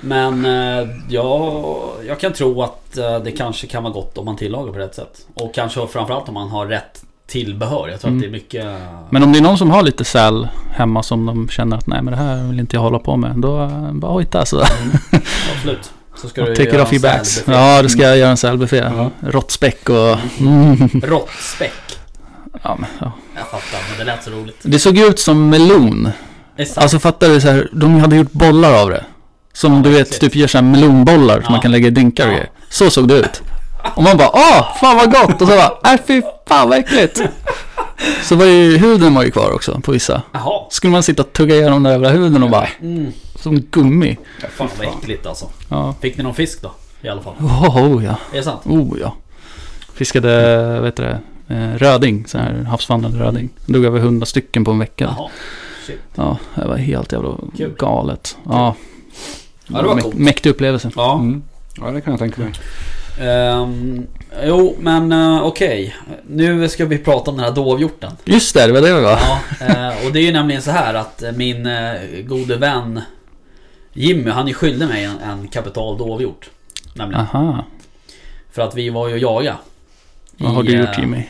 [SPEAKER 3] Men eh, jag, jag kan tro att eh, det kanske kan vara gott om man tillagar på rätt sätt. Och kanske framförallt om man har rätt tillbehör. Jag tror
[SPEAKER 1] Mm.
[SPEAKER 3] att det är mycket...
[SPEAKER 1] Men om det är någon som har lite säl hemma som de känner att nej men det här vill inte jag hålla på med. Då eh, bara hojta så.
[SPEAKER 3] Absolut. Så ska
[SPEAKER 1] Och
[SPEAKER 3] du
[SPEAKER 1] Take it
[SPEAKER 3] göra
[SPEAKER 1] off
[SPEAKER 3] en
[SPEAKER 1] your backs.
[SPEAKER 3] sälbuffé.
[SPEAKER 1] Ja, då ska jag göra en sälbuffé.
[SPEAKER 2] Ja.
[SPEAKER 1] Råttspäck och... Mm.
[SPEAKER 3] Råttspäck.
[SPEAKER 1] Ja, men, ja.
[SPEAKER 3] Jag fattar, men det lät så roligt.
[SPEAKER 1] Det såg ut som melon.
[SPEAKER 3] Det är sant.
[SPEAKER 1] Alltså fattar du så här, de hade gjort bollar av det. Som du vet,
[SPEAKER 3] precis.
[SPEAKER 1] typ gör så här melonbollar som
[SPEAKER 3] Ja.
[SPEAKER 1] man kan lägga i drinkar och
[SPEAKER 3] Ja.
[SPEAKER 1] grejer. Så såg det ut. Och man bara åh, fan vad gott! Och så bara, äh fy fan vad äckligt! Så var ju, huden var ju kvar också på vissa.
[SPEAKER 3] Jaha.
[SPEAKER 1] Skulle man sitta och tugga igenom den där jävla huden och bara,
[SPEAKER 3] Mm.
[SPEAKER 1] som gummi.
[SPEAKER 3] Fan vad äckligt alltså.
[SPEAKER 1] Ja.
[SPEAKER 3] Fick ni någon fisk då? I alla fall.
[SPEAKER 1] Oh, oh ja,
[SPEAKER 3] Är det sant?
[SPEAKER 1] oh ja. Fiskade, vad heter det, eh, röding, sån här havsvandrande röding. Dog över hundra stycken på en vecka.
[SPEAKER 3] Jaha. Shit.
[SPEAKER 1] Ja, det var helt jävla
[SPEAKER 3] Kul.
[SPEAKER 1] galet. Ja.
[SPEAKER 3] Ja, det var
[SPEAKER 1] Mä-
[SPEAKER 3] coolt.
[SPEAKER 1] Mäktig upplevelse.
[SPEAKER 3] Ja.
[SPEAKER 2] Mm. Ja, det kan jag tänka mig.
[SPEAKER 3] Ehm, jo, men uh, okej. Nu ska vi prata om den här dovhjorten.
[SPEAKER 1] Just det, det var det vi var.
[SPEAKER 3] Ja, eh, och det är ju nämligen så här att eh, min eh, gode vän Jimmy, han är skyldig mig en, en kapital dovhjort. Nämligen.
[SPEAKER 1] Aha.
[SPEAKER 3] För att vi var ju och jaga.
[SPEAKER 1] Vad
[SPEAKER 3] I,
[SPEAKER 1] har du
[SPEAKER 3] eh,
[SPEAKER 1] gjort Jimmy?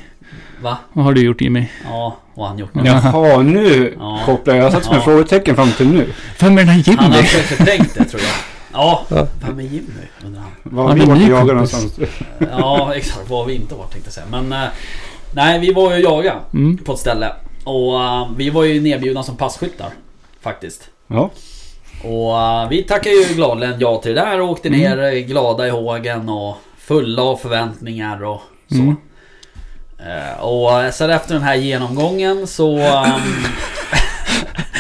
[SPEAKER 3] Va?
[SPEAKER 1] Vad har du gjort Jimmy?
[SPEAKER 3] Ja, vad har han gjort nu?
[SPEAKER 2] Jaha, nu
[SPEAKER 3] Ja.
[SPEAKER 2] kopplar jag. Jag satt som
[SPEAKER 3] Ja.
[SPEAKER 2] ett frågetecken fram till nu.
[SPEAKER 1] Vem är den här
[SPEAKER 3] Han har
[SPEAKER 1] Jimmy?
[SPEAKER 3] kanske förträngt det tror jag. Ja,
[SPEAKER 1] Ja.
[SPEAKER 3] vem är Jimmy? Undrar han.
[SPEAKER 2] Var
[SPEAKER 1] Ja,
[SPEAKER 2] vi
[SPEAKER 1] men
[SPEAKER 2] varit
[SPEAKER 1] ni
[SPEAKER 2] och jagat
[SPEAKER 1] kompis.
[SPEAKER 2] någonstans?
[SPEAKER 3] Ja, exakt. Vad har vi inte varit tänkte jag säga. Men eh, nej, vi var ju och jaga
[SPEAKER 1] Mm.
[SPEAKER 3] på ett ställe. Och eh, vi var ju nedbjudna som passkyttar. Faktiskt.
[SPEAKER 2] Ja.
[SPEAKER 3] Och eh, vi tackade ju gladeligen ja till det där och
[SPEAKER 1] Mm.
[SPEAKER 3] åkte ner eh, glada i hågen och fulla av förväntningar och så.
[SPEAKER 1] Mm.
[SPEAKER 3] Eh, Och eh, sen efter den här genomgången så... ehm,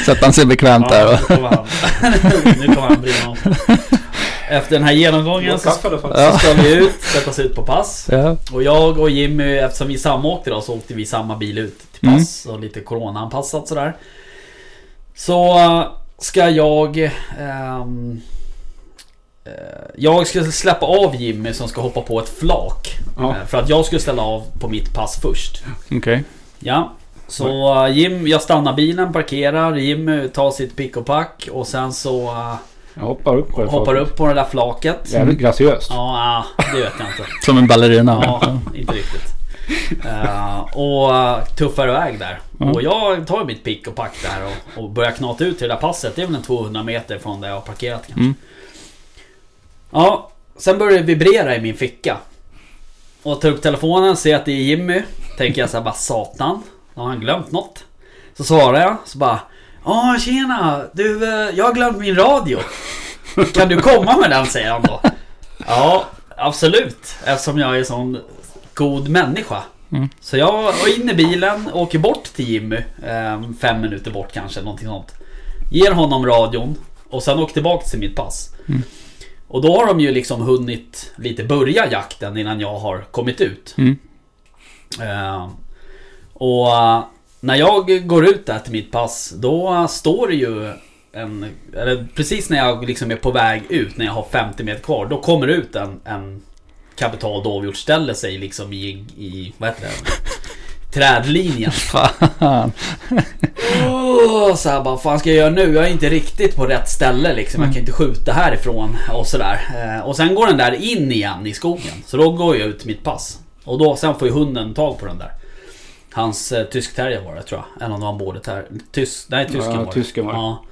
[SPEAKER 1] Så att han ser bekvämt där.
[SPEAKER 3] ja, nu
[SPEAKER 1] Och,
[SPEAKER 3] kommer han. Nu kommer han brinna av. Efter den här genomgången så,
[SPEAKER 2] i alla fall.
[SPEAKER 3] så ska vi ut, sätta oss ut på pass.
[SPEAKER 1] ja.
[SPEAKER 3] Och jag och Jimmy, eftersom vi samåkte då, så åkte vi samma bil ut till
[SPEAKER 1] Mm.
[SPEAKER 3] pass och lite coronaanpassat sådär. Så eh, ska jag... ehm, eh, jag ska släppa av Jimmy som ska hoppa på ett flak.
[SPEAKER 2] Ja.
[SPEAKER 3] Eh, För att jag skulle ställa av på mitt pass först.
[SPEAKER 1] Okej.
[SPEAKER 3] Ja. Så eh, Jim, jag stannar bilen, parkerar, Jimmy tar sitt pick och pack och sen så eh,
[SPEAKER 2] Jag hoppar upp på det.
[SPEAKER 3] hoppar upp på det där flaket. Ja,
[SPEAKER 2] Jävligt graciöst.
[SPEAKER 3] ah, det vet jag inte.
[SPEAKER 1] Som en ballerina.
[SPEAKER 3] Ja, inte riktigt. Eh, och eh, tuffar iväg där.
[SPEAKER 1] Mm.
[SPEAKER 3] Och jag tar mitt pick och pack där och, och börjar knata ut till det där passet. Det är väl en 200 meter från där jag har parkerat kanske.
[SPEAKER 1] Mm.
[SPEAKER 3] Ja, sen börjar det vibrera i min ficka. Och tar upp telefonen, ser att det är Jimmy. Tänker jag så här bara satan, har han glömt något? Så svarar jag, så bara Ja, tjena! Du, eh, jag har glömt min radio. Kan du komma med den? säger han då. Ja, absolut. Eftersom jag är sån god människa.
[SPEAKER 1] Mm.
[SPEAKER 3] Så jag var in i bilen, åker bort till Jimmy. eh, Fem minuter bort kanske, någonting sånt. Ger honom radion och sen åker tillbaka till mitt pass. Och då har de ju liksom hunnit lite börja jakten innan jag har kommit ut.
[SPEAKER 1] Mm.
[SPEAKER 3] Eh, och eh, när jag går ut där till mitt pass, då eh, står det ju en... Eller precis när jag liksom är på väg ut, när jag har 50 meter kvar, då kommer det ut en, en kapital dovhjort ställer sig liksom i, i vad heter det? Trädlinjen.
[SPEAKER 1] Fan.
[SPEAKER 3] Åh, så här bara, fan ska jag göra nu? Jag är inte riktigt på rätt ställe liksom. Jag kan
[SPEAKER 2] Mm.
[SPEAKER 3] inte skjuta härifrån och sådär. Eh, Och sen går den där in igen i skogen. Så då går jag ut mitt pass. Och då, sen får ju hunden tag på den där. Hans eh, tysk terrier var det tror jag. Eller om det var en border terrier. Tysk, nej, tysken
[SPEAKER 2] Ja,
[SPEAKER 3] var det.
[SPEAKER 2] tysken var det.
[SPEAKER 3] Ja.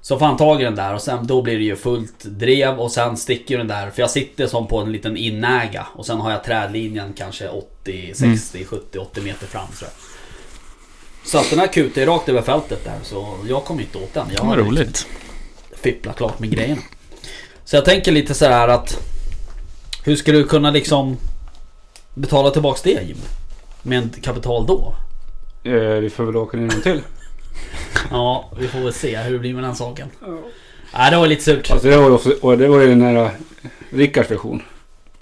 [SPEAKER 3] Så får han tag i den där och sen då blir det ju fullt drev och sen sticker ju den där. För jag sitter som på en liten inäga. Och sen har jag trädlinjen kanske 80,
[SPEAKER 1] Mm.
[SPEAKER 3] 60, 70, 80 meter fram tror jag. Så att den här kutar ju rakt över fältet där så jag kommer inte åt den. Jag
[SPEAKER 1] Vad
[SPEAKER 3] har
[SPEAKER 1] roligt.
[SPEAKER 3] fipplat klart med grejerna. Så jag tänker lite så här att Hur ska du kunna liksom Betala tillbaks det Jim? Med kapital då?
[SPEAKER 2] Eh, vi får väl åka ner en gång till.
[SPEAKER 3] Ja, vi får väl se hur det blir med den saken. Nej, det var lite surt.
[SPEAKER 2] Alltså det var ju, också, och det var ju den där Rickards version.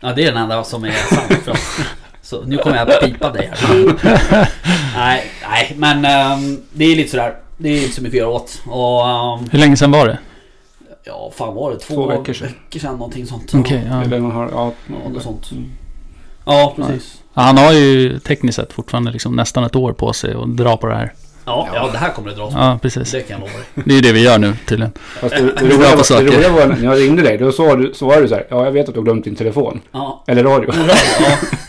[SPEAKER 3] Ja, det är den enda som är sann. För oss. Så nu kommer jag att pipa dig här. Nej, nej men ehm, det är lite sådär. Det är inte så mycket att göra åt. Och ehm,
[SPEAKER 1] Hur länge sedan var det?
[SPEAKER 3] ja, fan var det? Två,
[SPEAKER 2] Två veckor sedan.
[SPEAKER 3] någonting sånt.
[SPEAKER 1] Okej,
[SPEAKER 2] Eller
[SPEAKER 1] ja.
[SPEAKER 2] någon har, ja,
[SPEAKER 3] Ja, något sånt.
[SPEAKER 2] Mm.
[SPEAKER 3] Ja, precis.
[SPEAKER 1] ja. Han har ju tekniskt sett fortfarande liksom nästan ett år på sig att dra på det här.
[SPEAKER 3] Ja, ja, det här kommer det dra åt.
[SPEAKER 1] Ja, precis.
[SPEAKER 3] Det kan jag lova dig.
[SPEAKER 1] Det är ju det vi gör nu tydligen.
[SPEAKER 2] Fast det, det,
[SPEAKER 1] bra
[SPEAKER 2] roliga,
[SPEAKER 1] på
[SPEAKER 2] var-
[SPEAKER 1] saker.
[SPEAKER 2] det roliga var när jag ringde dig. Då sa du, svarade du så här. Ja, jag vet att du har glömt din telefon.
[SPEAKER 3] Ja.
[SPEAKER 2] Eller radio.
[SPEAKER 3] Ja,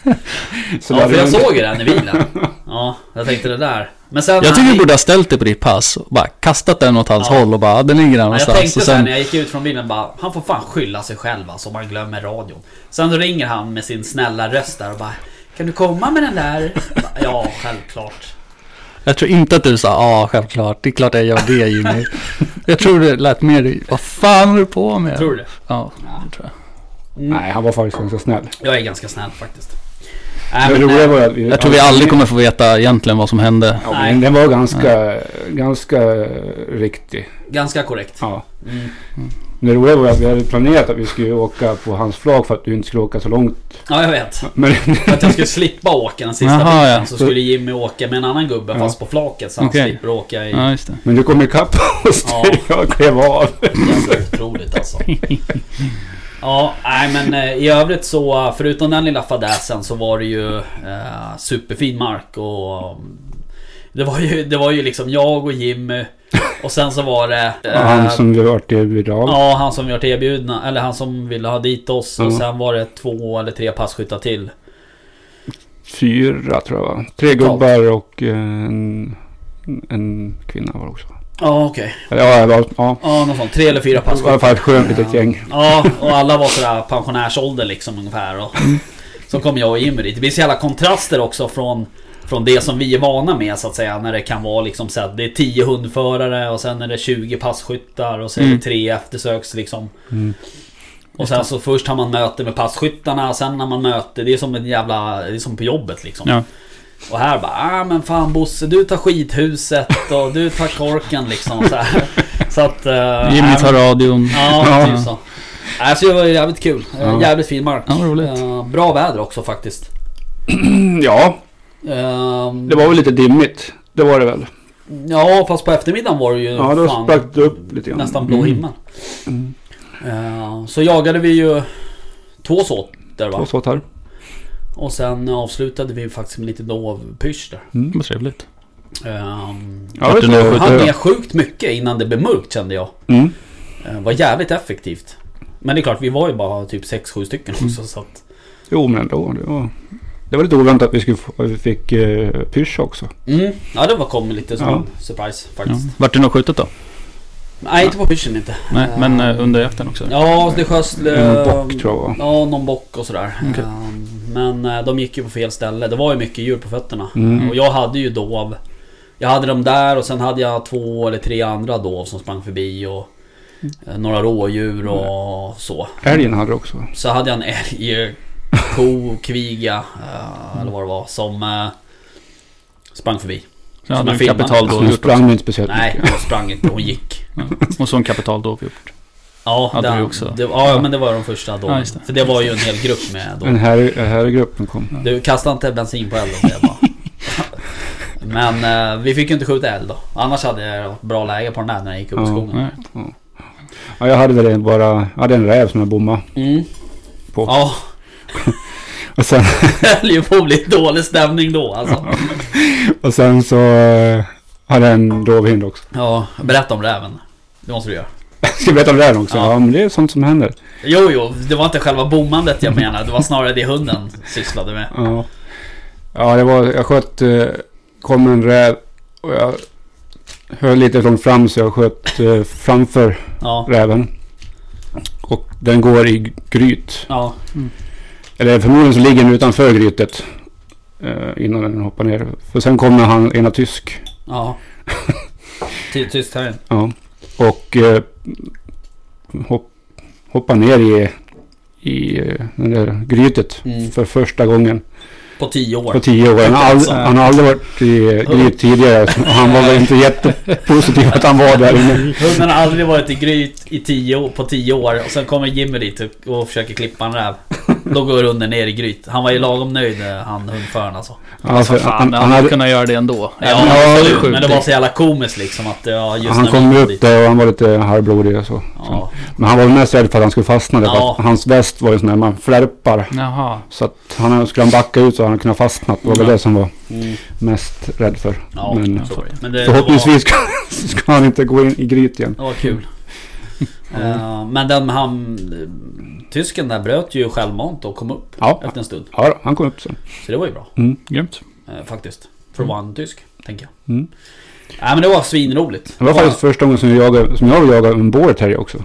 [SPEAKER 3] ja,
[SPEAKER 2] Så
[SPEAKER 3] ja,
[SPEAKER 2] hade
[SPEAKER 3] för
[SPEAKER 2] du
[SPEAKER 3] jag
[SPEAKER 2] en-
[SPEAKER 3] såg ju den i bilen. Ja, jag tänkte det där. Men sen...
[SPEAKER 1] Jag tycker du borde ha ställt dig på ditt pass och bara kastat den åt hans
[SPEAKER 3] Ja.
[SPEAKER 1] håll och bara, "Ah, den ligger där
[SPEAKER 3] Ja,
[SPEAKER 1] någonstans.
[SPEAKER 3] jag tänkte
[SPEAKER 1] och
[SPEAKER 3] sen
[SPEAKER 1] sen,
[SPEAKER 3] när jag gick ut från bilen bara, han får fan skylla sig själv alltså om han glömmer radion. Sen då ringer han med sin snälla röst där och bara, kan du komma med den där? Ja, självklart.
[SPEAKER 1] jag tror inte att du sa ja, självklart. Det är klart jag gör det Jimmy. jag tror det lät mer, vad fan håller du på med?
[SPEAKER 3] Tror du det?
[SPEAKER 1] Ja, det tror jag.
[SPEAKER 3] Mm.
[SPEAKER 2] Nej, han var faktiskt ganska snäll.
[SPEAKER 3] Jag är ganska snäll faktiskt.
[SPEAKER 2] Det
[SPEAKER 3] Nej, men,
[SPEAKER 2] roliga
[SPEAKER 3] nej,
[SPEAKER 2] var att vi,
[SPEAKER 1] Jag tror vi
[SPEAKER 2] ja,
[SPEAKER 1] aldrig kommer få veta egentligen vad som hände.
[SPEAKER 2] Ja, men den var ganska, ganska riktig.
[SPEAKER 3] äh, ganska korrekt.
[SPEAKER 2] Ja.
[SPEAKER 3] Mm.
[SPEAKER 2] Men det roliga var att vi hade planerat att vi skulle åka på hans flagg för att du inte skulle åka så långt.
[SPEAKER 3] Ja, jag vet.
[SPEAKER 2] Men
[SPEAKER 3] För att jag skulle slippa åka den sista
[SPEAKER 1] Jaha,
[SPEAKER 3] biten
[SPEAKER 1] ja.
[SPEAKER 3] så skulle Jimmy åka med en annan gubbe
[SPEAKER 2] Ja.
[SPEAKER 3] fast på flaket så han
[SPEAKER 1] Okej.
[SPEAKER 3] slipper åka i...
[SPEAKER 1] Ja, just det.
[SPEAKER 2] Men du kom ikapp oss
[SPEAKER 3] Ja.
[SPEAKER 2] till jag klev av.
[SPEAKER 3] Jävla otroligt alltså. Ja, nej men eh, i övrigt så eh, förutom den lilla fadäsen så var det ju eh, superfin mark och mm, det var, ju, det var ju liksom jag och Jimmy och sen så var det eh,
[SPEAKER 2] Han som vi varit till idag.
[SPEAKER 3] Ja, han som vi vart erbjudna eller han som ville ha dit oss och
[SPEAKER 2] Mm.
[SPEAKER 3] sen var det två eller tre passkyttar till.
[SPEAKER 2] Fyra tror jag va? Tre
[SPEAKER 3] Totalt.
[SPEAKER 2] gubbar och eh, en, en kvinna var det också.
[SPEAKER 3] Ja, okej.
[SPEAKER 2] Eller, Ja, det var, ja.
[SPEAKER 3] Ja, någon sån. Tre eller fyra
[SPEAKER 2] Det var i
[SPEAKER 3] passkyttar.
[SPEAKER 2] alla fall ett skönt litet gäng.
[SPEAKER 3] Ja, och alla var sådär pensionärsålder liksom ungefär. Och så kom jag och Jimmy dit. Det blir så jävla kontraster också från, från det som vi är vana med så att säga. När det kan vara liksom så här, det är 10 hundförare och sen är det 20 passkyttar och sen är det
[SPEAKER 1] Mm.
[SPEAKER 3] tre eftersöks liksom. Och sen så först har man möte med passkyttarna, sen när man möter, det är som en jävla, det är som på jobbet liksom.
[SPEAKER 1] Ja.
[SPEAKER 3] Och här bara, ah men fan Bosse, du tar skithuset och du tar korken liksom så, här. så att... eh,
[SPEAKER 1] Jimmy
[SPEAKER 3] nej,
[SPEAKER 1] tar radion.
[SPEAKER 3] Ja,
[SPEAKER 2] Ja.
[SPEAKER 3] typ så. Alltså det var ju jävligt kul. Eh,
[SPEAKER 2] Ja.
[SPEAKER 3] Jävligt fin mark.
[SPEAKER 1] Ja, vad roligt.
[SPEAKER 3] Eh, Bra väder också faktiskt.
[SPEAKER 2] Ja,
[SPEAKER 3] Eh,
[SPEAKER 2] det var väl lite dimmigt. Det var det väl.
[SPEAKER 3] Ja, fast på eftermiddagen var det ju
[SPEAKER 2] Ja, då
[SPEAKER 3] fan
[SPEAKER 2] sprack det upp lite grann.
[SPEAKER 3] nästan blå
[SPEAKER 1] Mm.
[SPEAKER 3] himmel. Eh, Så jagade vi ju två såter
[SPEAKER 2] Två
[SPEAKER 3] va?
[SPEAKER 2] såtar.
[SPEAKER 3] Och sen avslutade vi faktiskt med lite dovpysch där.
[SPEAKER 1] Vad trevligt.
[SPEAKER 3] Eh,
[SPEAKER 2] Mm. Ja,
[SPEAKER 1] Vart
[SPEAKER 2] det
[SPEAKER 1] du nu
[SPEAKER 2] var-
[SPEAKER 1] skjuter
[SPEAKER 3] Han
[SPEAKER 1] upp?
[SPEAKER 3] är sjukt mycket innan det blev mörkt kände jag.
[SPEAKER 2] Mm.
[SPEAKER 3] Eh, Var jävligt effektivt. Men det är klart, vi var ju bara typ 6-7 stycken också
[SPEAKER 2] Mm.
[SPEAKER 3] så att...
[SPEAKER 2] Jo, men ändå. Det var, det var lite oväntat att vi, skulle få, att vi fick uh, pysch också.
[SPEAKER 3] Mm. Ja, det var kom lite som
[SPEAKER 2] Ja.
[SPEAKER 3] en surprise
[SPEAKER 1] Ja.
[SPEAKER 3] faktiskt.
[SPEAKER 1] Vart du nu skjutit då?
[SPEAKER 3] Nej, inte på pyschen inte.
[SPEAKER 1] Nej,
[SPEAKER 3] Eh,
[SPEAKER 1] men eh, under jakten också?
[SPEAKER 3] Ja, alltså det sköts...
[SPEAKER 2] En bock tror jag var.
[SPEAKER 3] Ja, någon bock och sådär.
[SPEAKER 1] Mm, Okej.
[SPEAKER 3] Eh, Men eh, de gick ju på fel ställe. Det var ju mycket djur på fötterna.
[SPEAKER 2] Mm.
[SPEAKER 3] Och jag hade ju dov. Jag hade dem där och sen hade jag två eller tre andra dov som sprang förbi och eh, några rådjur och
[SPEAKER 1] Mm.
[SPEAKER 3] så.
[SPEAKER 2] Älgen hade du också.
[SPEAKER 3] Så hade jag en älg, ko, kviga eh, eller vad det var som eh, sprang förbi.
[SPEAKER 1] Sen hade
[SPEAKER 3] en
[SPEAKER 1] du en
[SPEAKER 3] filmare.
[SPEAKER 2] Hon
[SPEAKER 1] kapitaldåvgjort också.
[SPEAKER 2] sprang inte speciellt
[SPEAKER 3] Nej,
[SPEAKER 2] mycket.
[SPEAKER 3] hon sprang inte, hon gick.
[SPEAKER 1] Och så en
[SPEAKER 2] Alltså,
[SPEAKER 1] kapitaldåvgjort.
[SPEAKER 3] Ja,
[SPEAKER 1] Hade
[SPEAKER 3] den,
[SPEAKER 1] du också?
[SPEAKER 3] Det, ja, men det var de första då.
[SPEAKER 1] Ja, just det.
[SPEAKER 3] För det var ju en hel grupp med då.
[SPEAKER 2] Den här, den här gruppen kom.
[SPEAKER 3] Du kastade inte bensin på elden säger jag bara. Men eh, vi fick ju inte skjuta eld då. Annars hade jag ett bra läge på den där när jag gick upp i
[SPEAKER 2] Ja,
[SPEAKER 3] skogen.
[SPEAKER 1] Nej.
[SPEAKER 2] Ja, jag hade väl en bara, jag hade en räv som jag bommade
[SPEAKER 3] Mm.
[SPEAKER 2] på.
[SPEAKER 3] Ja,
[SPEAKER 2] Och, sen,
[SPEAKER 3] det höll ju på att bli dålig stämning då alltså.
[SPEAKER 2] och sen så eh, hade jag en dovhind också.
[SPEAKER 3] Ja, berätta om räven. Det måste du göra.
[SPEAKER 2] Ska jag berätta om räven också?
[SPEAKER 3] Ja.
[SPEAKER 2] Ja. men det är sånt som händer.
[SPEAKER 3] Jo, jo, det var inte själva bommandet jag menade. Det var snarare det hunden sysslade med.
[SPEAKER 2] Ja, ja det var, jag sköt, eh, kom en räv och jag höll lite långt fram så jag sköt eh, framför
[SPEAKER 3] Ja,
[SPEAKER 2] räven. Och den går i gryt.
[SPEAKER 3] ja,
[SPEAKER 2] Eller förmodligen så ligger den utanför grytet. Eh, innan den hoppar ner. För sen kommer han, ena tysk.
[SPEAKER 3] ja. Ty- Tyst här.
[SPEAKER 2] Ja. Och eh, hopp, hoppar ner i, i eh, det där grytet.
[SPEAKER 3] Mm.
[SPEAKER 2] För första gången.
[SPEAKER 3] På tio
[SPEAKER 2] på
[SPEAKER 3] år.
[SPEAKER 2] tio år. Han har, ald- han har aldrig varit i Gryt tidigare. Och han var väl inte jättepositiv att han var där inne.
[SPEAKER 3] Hunden har aldrig varit i gryt i tio, år- på tio år och sen kommer Jimmy dit och- och försöker klippa en räv. Då går hunden ner i gryt. Han var ju lagom nöjd eh, han hundföraren alltså.
[SPEAKER 2] Alltså,
[SPEAKER 1] Fan,
[SPEAKER 2] han,
[SPEAKER 1] men
[SPEAKER 2] han,
[SPEAKER 1] hade
[SPEAKER 2] hade,
[SPEAKER 1] kunnat göra det ändå.
[SPEAKER 3] Ja,
[SPEAKER 1] Även om
[SPEAKER 2] det
[SPEAKER 3] absolut,
[SPEAKER 2] är
[SPEAKER 1] sjukt.
[SPEAKER 3] men det var så jävla komiskt liksom att ja, just
[SPEAKER 2] han
[SPEAKER 3] när vi
[SPEAKER 2] kom
[SPEAKER 3] kom
[SPEAKER 2] ut
[SPEAKER 3] dit.
[SPEAKER 2] där och han var lite halvblodig och så.
[SPEAKER 3] Ja,
[SPEAKER 2] Men han var väl mest rädd för att han skulle fastna där. för
[SPEAKER 3] Ja.
[SPEAKER 2] att Hans väst var ju sån där man flärpar.
[SPEAKER 1] Jaha.
[SPEAKER 2] Så att han skulle han backa ut så hade han kunnat fastna. Det var väl
[SPEAKER 1] Mm.
[SPEAKER 2] det som var
[SPEAKER 3] mm.
[SPEAKER 2] mest rädd för.
[SPEAKER 3] ja
[SPEAKER 2] Men
[SPEAKER 3] sorry. Men det, det, var,
[SPEAKER 2] förhoppningsvis ska, ska han inte gå in i Gryt igen.
[SPEAKER 3] det var kul. Eh, men den han... Tysken där bröt ju självmant och kom upp
[SPEAKER 2] Ja,
[SPEAKER 3] efter en stund.
[SPEAKER 2] ja då, han kom upp sen.
[SPEAKER 3] Så det var ju bra.
[SPEAKER 2] Mm.
[SPEAKER 1] Grymt.
[SPEAKER 3] eh, faktiskt. För att vara en tysk, tänker jag.
[SPEAKER 2] Mm.
[SPEAKER 3] Nej men det var svinroligt.
[SPEAKER 2] Det var
[SPEAKER 3] Bara-
[SPEAKER 2] faktiskt första gången som jag jagade, som jag jagade en bårterrier också.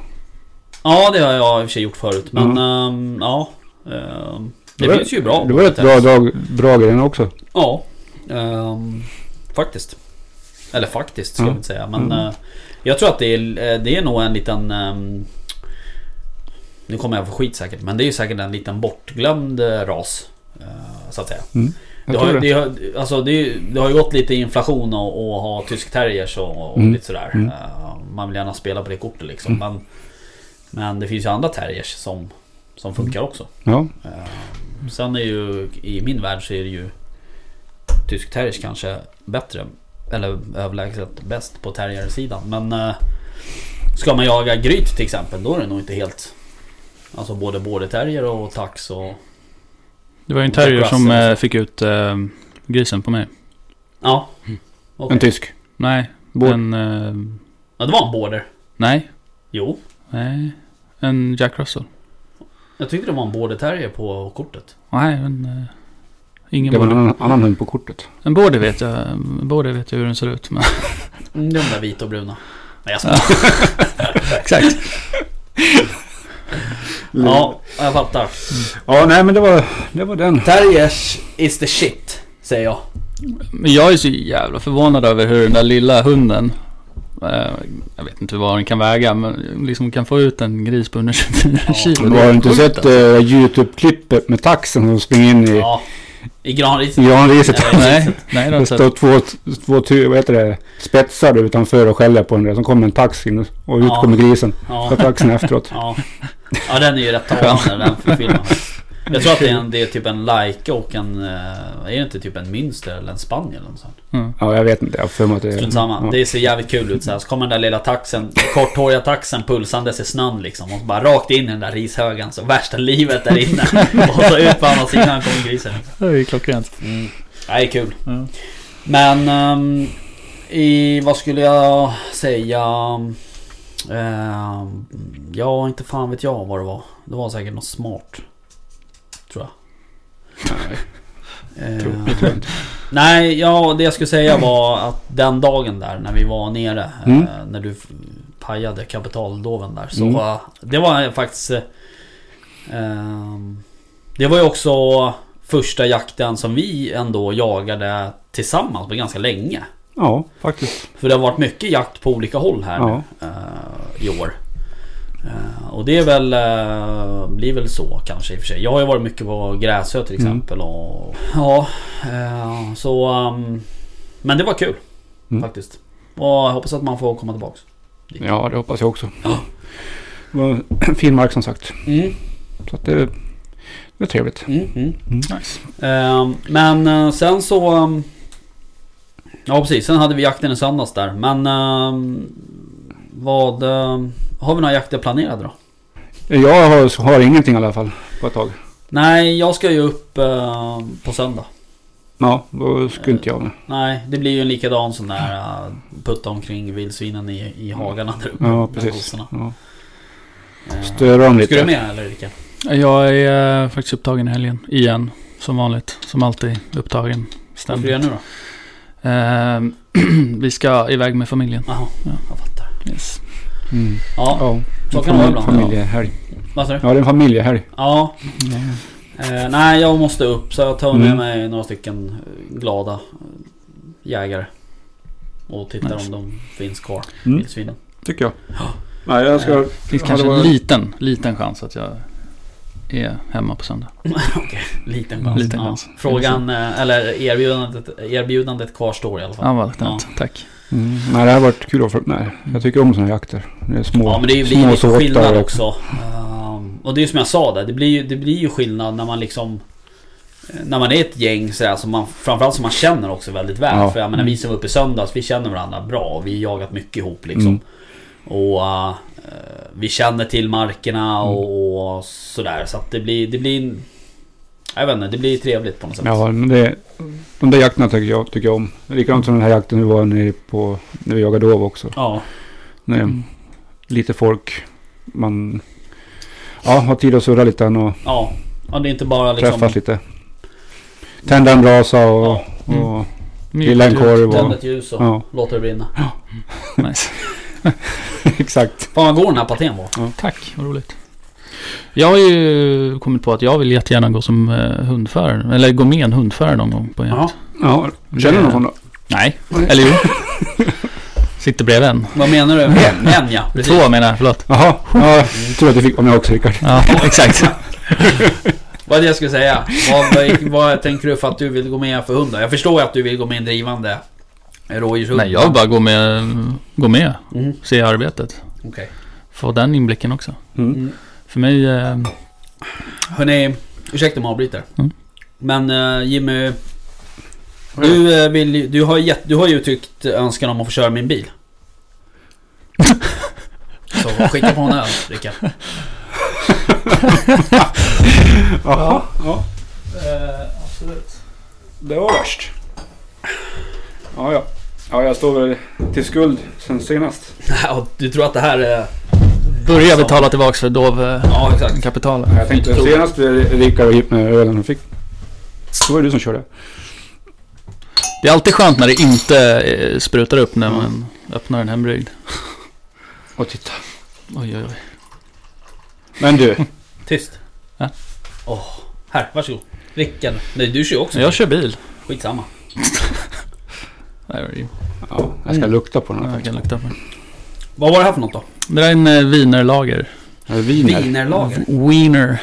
[SPEAKER 3] Ja, det har jag i och för sig gjort förut. Men ehm, ja. ehm, det
[SPEAKER 2] var-
[SPEAKER 3] finns ju bra.
[SPEAKER 2] Mm. Det var ett bra, dag, bra grej den också.
[SPEAKER 3] Ja. ehm, faktiskt. Eller faktiskt ska
[SPEAKER 2] Ja.
[SPEAKER 3] jag inte säga. Men
[SPEAKER 2] Mm.
[SPEAKER 3] eh, jag tror att det är, eh, det är nog en liten... ehm, nu kommer jag få skit säkert. Men det är ju säkert en liten bortglömd eh, ras. eh, så att säga.
[SPEAKER 2] Mm. Jag
[SPEAKER 3] Det
[SPEAKER 2] tror
[SPEAKER 3] har, det, har, alltså det, är- det har ju gått lite inflation och, och ha tysk terriers och, och
[SPEAKER 2] Mm.
[SPEAKER 3] lite sådär.
[SPEAKER 2] Mm.
[SPEAKER 3] Eh, man vill gärna spela på det kortet liksom. Men, men det finns ju andra terriers som, som funkar
[SPEAKER 2] Mm.
[SPEAKER 3] också.
[SPEAKER 2] Ja,
[SPEAKER 3] Eh, sen är ju i min värld så är det ju tysk terriers kanske bättre. Eller överlägset bäst på terriersidan. Men eh, ska man jaga gryt till exempel då är det nog inte helt... Alltså både både terrier och tax och...
[SPEAKER 1] Det var ju en terrier
[SPEAKER 3] Jack
[SPEAKER 1] som
[SPEAKER 3] Russell.
[SPEAKER 1] eh, fick ut eh, grisen på mig.
[SPEAKER 3] Ja. Okej.
[SPEAKER 2] en tysk.
[SPEAKER 1] Nej,
[SPEAKER 2] Bård.
[SPEAKER 1] en... Eh,
[SPEAKER 3] Ja, det var en border.
[SPEAKER 1] nej,
[SPEAKER 3] Jo.
[SPEAKER 1] nej. En Jack Russell.
[SPEAKER 3] Jag tyckte det var en border terrier på kortet.
[SPEAKER 1] Nej, en... Eh, ingen
[SPEAKER 2] Det var en
[SPEAKER 1] border.
[SPEAKER 2] annan, annan hund på kortet.
[SPEAKER 1] En border vet jag. En border vet jag hur den ser ut. Men,
[SPEAKER 3] De Mm, där vita och bruna. Nej jag skojar.
[SPEAKER 1] exakt.
[SPEAKER 3] Ja, jag fattar.
[SPEAKER 2] Ja, nej men det var, det var den.
[SPEAKER 3] Terriers is the shit, säger jag.
[SPEAKER 1] Men jag är så jävla förvånad över hur den där lilla hunden. Eh, jag vet inte vad den kan väga. Men liksom kan få ut en gris på 124
[SPEAKER 3] Ja.
[SPEAKER 1] kilo.
[SPEAKER 2] Du
[SPEAKER 1] Det är
[SPEAKER 2] har inte
[SPEAKER 1] sjukt,
[SPEAKER 2] sett
[SPEAKER 1] alltså.
[SPEAKER 2] uh, YouTube-klippet med taxen som springer in i
[SPEAKER 3] Ja. I granriset.
[SPEAKER 2] i granriset.
[SPEAKER 3] Ja,
[SPEAKER 1] Nej, nej det har jag
[SPEAKER 2] Det
[SPEAKER 1] inte sett.
[SPEAKER 2] står två, två ty, vad heter det, spetsar utanför och skäller på den där. Sen kommer en tax in och ut
[SPEAKER 3] Ja.
[SPEAKER 2] kommer grisen.
[SPEAKER 3] Ja.
[SPEAKER 2] Så taxen efteråt.
[SPEAKER 3] Ja. ja, den är ju rätt talande den för filmen. Jag tror att det är, en, det är typ en Laika och en... eh, Är det inte typ en Münster eller en Spaniel eller något sånt?
[SPEAKER 2] Ja, jag vet inte. Jag har för mig att det
[SPEAKER 3] Strunt samma.
[SPEAKER 2] Mm. ja.
[SPEAKER 3] Det ser jävligt kul ut så här. Så kommer den där lilla taxen, korthåriga taxen pulsandes i snön liksom. Och så bara rakt in i den där rishögen. Så värsta livet där inne. Och så ut på andra sidan kommer grisen.
[SPEAKER 1] Det är ju klockrent.
[SPEAKER 3] Mm. Ja, Det är kul.
[SPEAKER 1] Ja.
[SPEAKER 3] Men ehm, i, vad skulle jag säga? Ehm, ja, inte fan vet jag vad det var. Det var säkert något smart. Tror jag. Ehm, nej, ja, det jag skulle säga var att den dagen där när vi var nere.
[SPEAKER 2] Mm.
[SPEAKER 3] eh, när du f- pajade kapitaldoven där. Så
[SPEAKER 2] Mm.
[SPEAKER 3] var- det var faktiskt... eh, ehm, det var ju också första jakten som vi ändå jagade tillsammans på ganska länge.
[SPEAKER 2] Ja, faktiskt.
[SPEAKER 3] För det har varit mycket jakt på olika håll här
[SPEAKER 2] Ja.
[SPEAKER 3] nu, eh, i år. Eh, och det är väl, eh, blir väl så kanske i och för sig. Jag har ju varit mycket på Gräsö till
[SPEAKER 2] Mm.
[SPEAKER 3] exempel. Och, ja, eh, så... ehm, men det var kul
[SPEAKER 2] Mm.
[SPEAKER 3] faktiskt. Och jag hoppas att man får komma tillbaks.
[SPEAKER 2] Ja, det hoppas jag också.
[SPEAKER 3] Ja.
[SPEAKER 2] Det var en fin mark som sagt.
[SPEAKER 3] Mm,
[SPEAKER 2] Så att det, det var trevligt.
[SPEAKER 3] mm, mm.
[SPEAKER 1] Nice.
[SPEAKER 3] Ehm, men eh, sen så... ehm, ja precis, sen hade vi jakten i söndags där. Men... ehm, vad... ehm, har vi några jakter planerade då?
[SPEAKER 2] Jag har, har ingenting i alla fall på ett tag.
[SPEAKER 3] Nej, jag ska ju upp eh, på söndag.
[SPEAKER 2] Ja, då skulle inte jag med.
[SPEAKER 3] Nej, det blir ju en likadan sån där eh, putta omkring vildsvinen i, i hagarna där uppe.
[SPEAKER 2] Ja,
[SPEAKER 3] med
[SPEAKER 2] precis.
[SPEAKER 3] kossorna.
[SPEAKER 2] Ja.
[SPEAKER 3] Eh,
[SPEAKER 2] Störa dem
[SPEAKER 3] Ska du
[SPEAKER 2] lite.
[SPEAKER 3] med eller Rickard?
[SPEAKER 1] Jag är eh, faktiskt upptagen i helgen. Igen. Som vanligt. Som alltid upptagen.
[SPEAKER 3] Vad
[SPEAKER 2] Mm.
[SPEAKER 3] ska du göra
[SPEAKER 1] Ständigt.
[SPEAKER 3] nu då?
[SPEAKER 1] Ehm, vi ska iväg med familjen.
[SPEAKER 3] Jaha,
[SPEAKER 1] Ja.
[SPEAKER 3] jag fattar.
[SPEAKER 1] Yes.
[SPEAKER 2] Mm.
[SPEAKER 3] Ja,
[SPEAKER 2] Ja,
[SPEAKER 3] Så
[SPEAKER 2] en
[SPEAKER 3] kan det vara ibland,
[SPEAKER 2] familjehelg.
[SPEAKER 3] vad sa du?
[SPEAKER 2] Ja, det är en familjehelg.
[SPEAKER 3] Ja, eh, nej jag måste upp så jag tar med
[SPEAKER 2] Mm.
[SPEAKER 3] mig några stycken eh, glada eh, jägare. Och tittar
[SPEAKER 1] Nice.
[SPEAKER 3] om de finns kvar,
[SPEAKER 2] Mm.
[SPEAKER 3] vildsvinen.
[SPEAKER 2] Tycker jag. Nej, jag ska...
[SPEAKER 1] Det finns
[SPEAKER 2] Ja,
[SPEAKER 1] kanske
[SPEAKER 2] det var-
[SPEAKER 1] en liten, liten chans att jag är hemma på söndag.
[SPEAKER 3] Liten chans.
[SPEAKER 1] Liten
[SPEAKER 3] ja.
[SPEAKER 1] chans.
[SPEAKER 3] Frågan, eh, eller erbjudandet, erbjudandet kvarstår i alla fall.
[SPEAKER 1] Ja, vad ja.
[SPEAKER 3] Ja.
[SPEAKER 1] Tack.
[SPEAKER 2] Mm. Nej, det har varit kul att få... Nej, jag tycker om såna här jakter. Det är små,
[SPEAKER 3] Ja men det blir
[SPEAKER 2] små
[SPEAKER 3] ju lite
[SPEAKER 2] såtar
[SPEAKER 3] skillnad också. Ehm, och det är ju som jag sa där, det blir ju, det blir ju skillnad när man liksom... När man är ett gäng sådär som man framförallt som man känner också väldigt väl.
[SPEAKER 2] Ja.
[SPEAKER 3] För jag menar vi som var uppe i söndags, vi känner varandra bra. Vi har jagat mycket ihop liksom.
[SPEAKER 2] Mm.
[SPEAKER 3] Och eh, vi känner till markerna
[SPEAKER 2] Mm.
[SPEAKER 3] och, och sådär. Så att det blir... Det blir jag vet inte, det blir trevligt på något sätt.
[SPEAKER 2] Ja, men det, de där jakterna tycker jag, tycker jag om. Likadant som den här jakten vi var nere på när vi jagade dov också.
[SPEAKER 3] ja.
[SPEAKER 2] Det är
[SPEAKER 1] Mm.
[SPEAKER 2] Lite folk, man ja, har tid att surra lite grann och
[SPEAKER 3] ja. Ja, det är inte bara liksom...
[SPEAKER 2] träffas lite. Tända en brasa och,
[SPEAKER 3] Ja.
[SPEAKER 1] Mm.
[SPEAKER 2] och grilla en korv.
[SPEAKER 3] Tänd
[SPEAKER 2] Och,
[SPEAKER 3] ett ljus och
[SPEAKER 2] ja,
[SPEAKER 3] låter det brinna.
[SPEAKER 1] Nice.
[SPEAKER 2] exakt.
[SPEAKER 3] Fan vad god den här patén var.
[SPEAKER 1] Tack, vad roligt. Jag har ju kommit på att jag vill jättegärna gå som eh, hundförare. Eller gå med en hundförare någon gång på en
[SPEAKER 3] Ja.
[SPEAKER 1] jakt.
[SPEAKER 2] Ja, känner du någon sån då?
[SPEAKER 1] Nej, eller jo. Sitter bredvid en.
[SPEAKER 3] Vad menar du? En, en ja, precis.
[SPEAKER 1] Två menar jag, förlåt.
[SPEAKER 2] Jaha, ja, tur att du fick vara med också Rickard.
[SPEAKER 1] Ja, exakt.
[SPEAKER 3] Vad är det jag skulle säga? Vad, vad, vad tänker du för att du vill gå med för hund då? Jag förstår ju att du vill gå med en drivande rådjurshund.
[SPEAKER 1] Nej, jag vill bara gå med, gå med.
[SPEAKER 3] Mm.
[SPEAKER 1] Se arbetet.
[SPEAKER 3] Okej.
[SPEAKER 1] Få den inblicken också.
[SPEAKER 2] Mm.
[SPEAKER 3] Mm.
[SPEAKER 1] För mig... Eh,
[SPEAKER 3] Hörrni, ursäkta om jag avbryter.
[SPEAKER 1] Mm.
[SPEAKER 3] Men eh, Jimmy. Du, eh, vill, ju- du, har gett, du har ju uttryckt önskan om att få köra min bil. Så skicka på en öl, Rickard.
[SPEAKER 2] Jaha, ja.
[SPEAKER 1] absolut.
[SPEAKER 2] Det var värst. Ja, ja. Ja, jag står väl till skuld sen senast.
[SPEAKER 3] Ja, Du tror att det här är...
[SPEAKER 1] Börja betala tillbaka för eh, dovkapitalet.
[SPEAKER 3] Ja, exakt.
[SPEAKER 2] Jag tänkte
[SPEAKER 3] Tror-
[SPEAKER 2] senast Rickard var hit med ölen och fick... Då var det du som körde.
[SPEAKER 1] Det är alltid skönt när det inte eh, sprutar upp när man öppnar en hembryggd.
[SPEAKER 2] Och titta.
[SPEAKER 1] Oj, oj, oj.
[SPEAKER 2] Men du.
[SPEAKER 3] Tyst. Åh,
[SPEAKER 1] Ja.
[SPEAKER 3] här, varsågod. Rickard. Nej, du kör ju också.
[SPEAKER 1] Men Jag kör bil.
[SPEAKER 3] Skitsamma.
[SPEAKER 1] Nej, det är ju-
[SPEAKER 2] Ja, jag ska lukta på den här.
[SPEAKER 1] Jag kan lukta på det.
[SPEAKER 3] Vad var det här för något då?
[SPEAKER 1] Det där är en eh, wienerlager.
[SPEAKER 2] Är det Viner.
[SPEAKER 3] Wienerlager.
[SPEAKER 1] Wiener.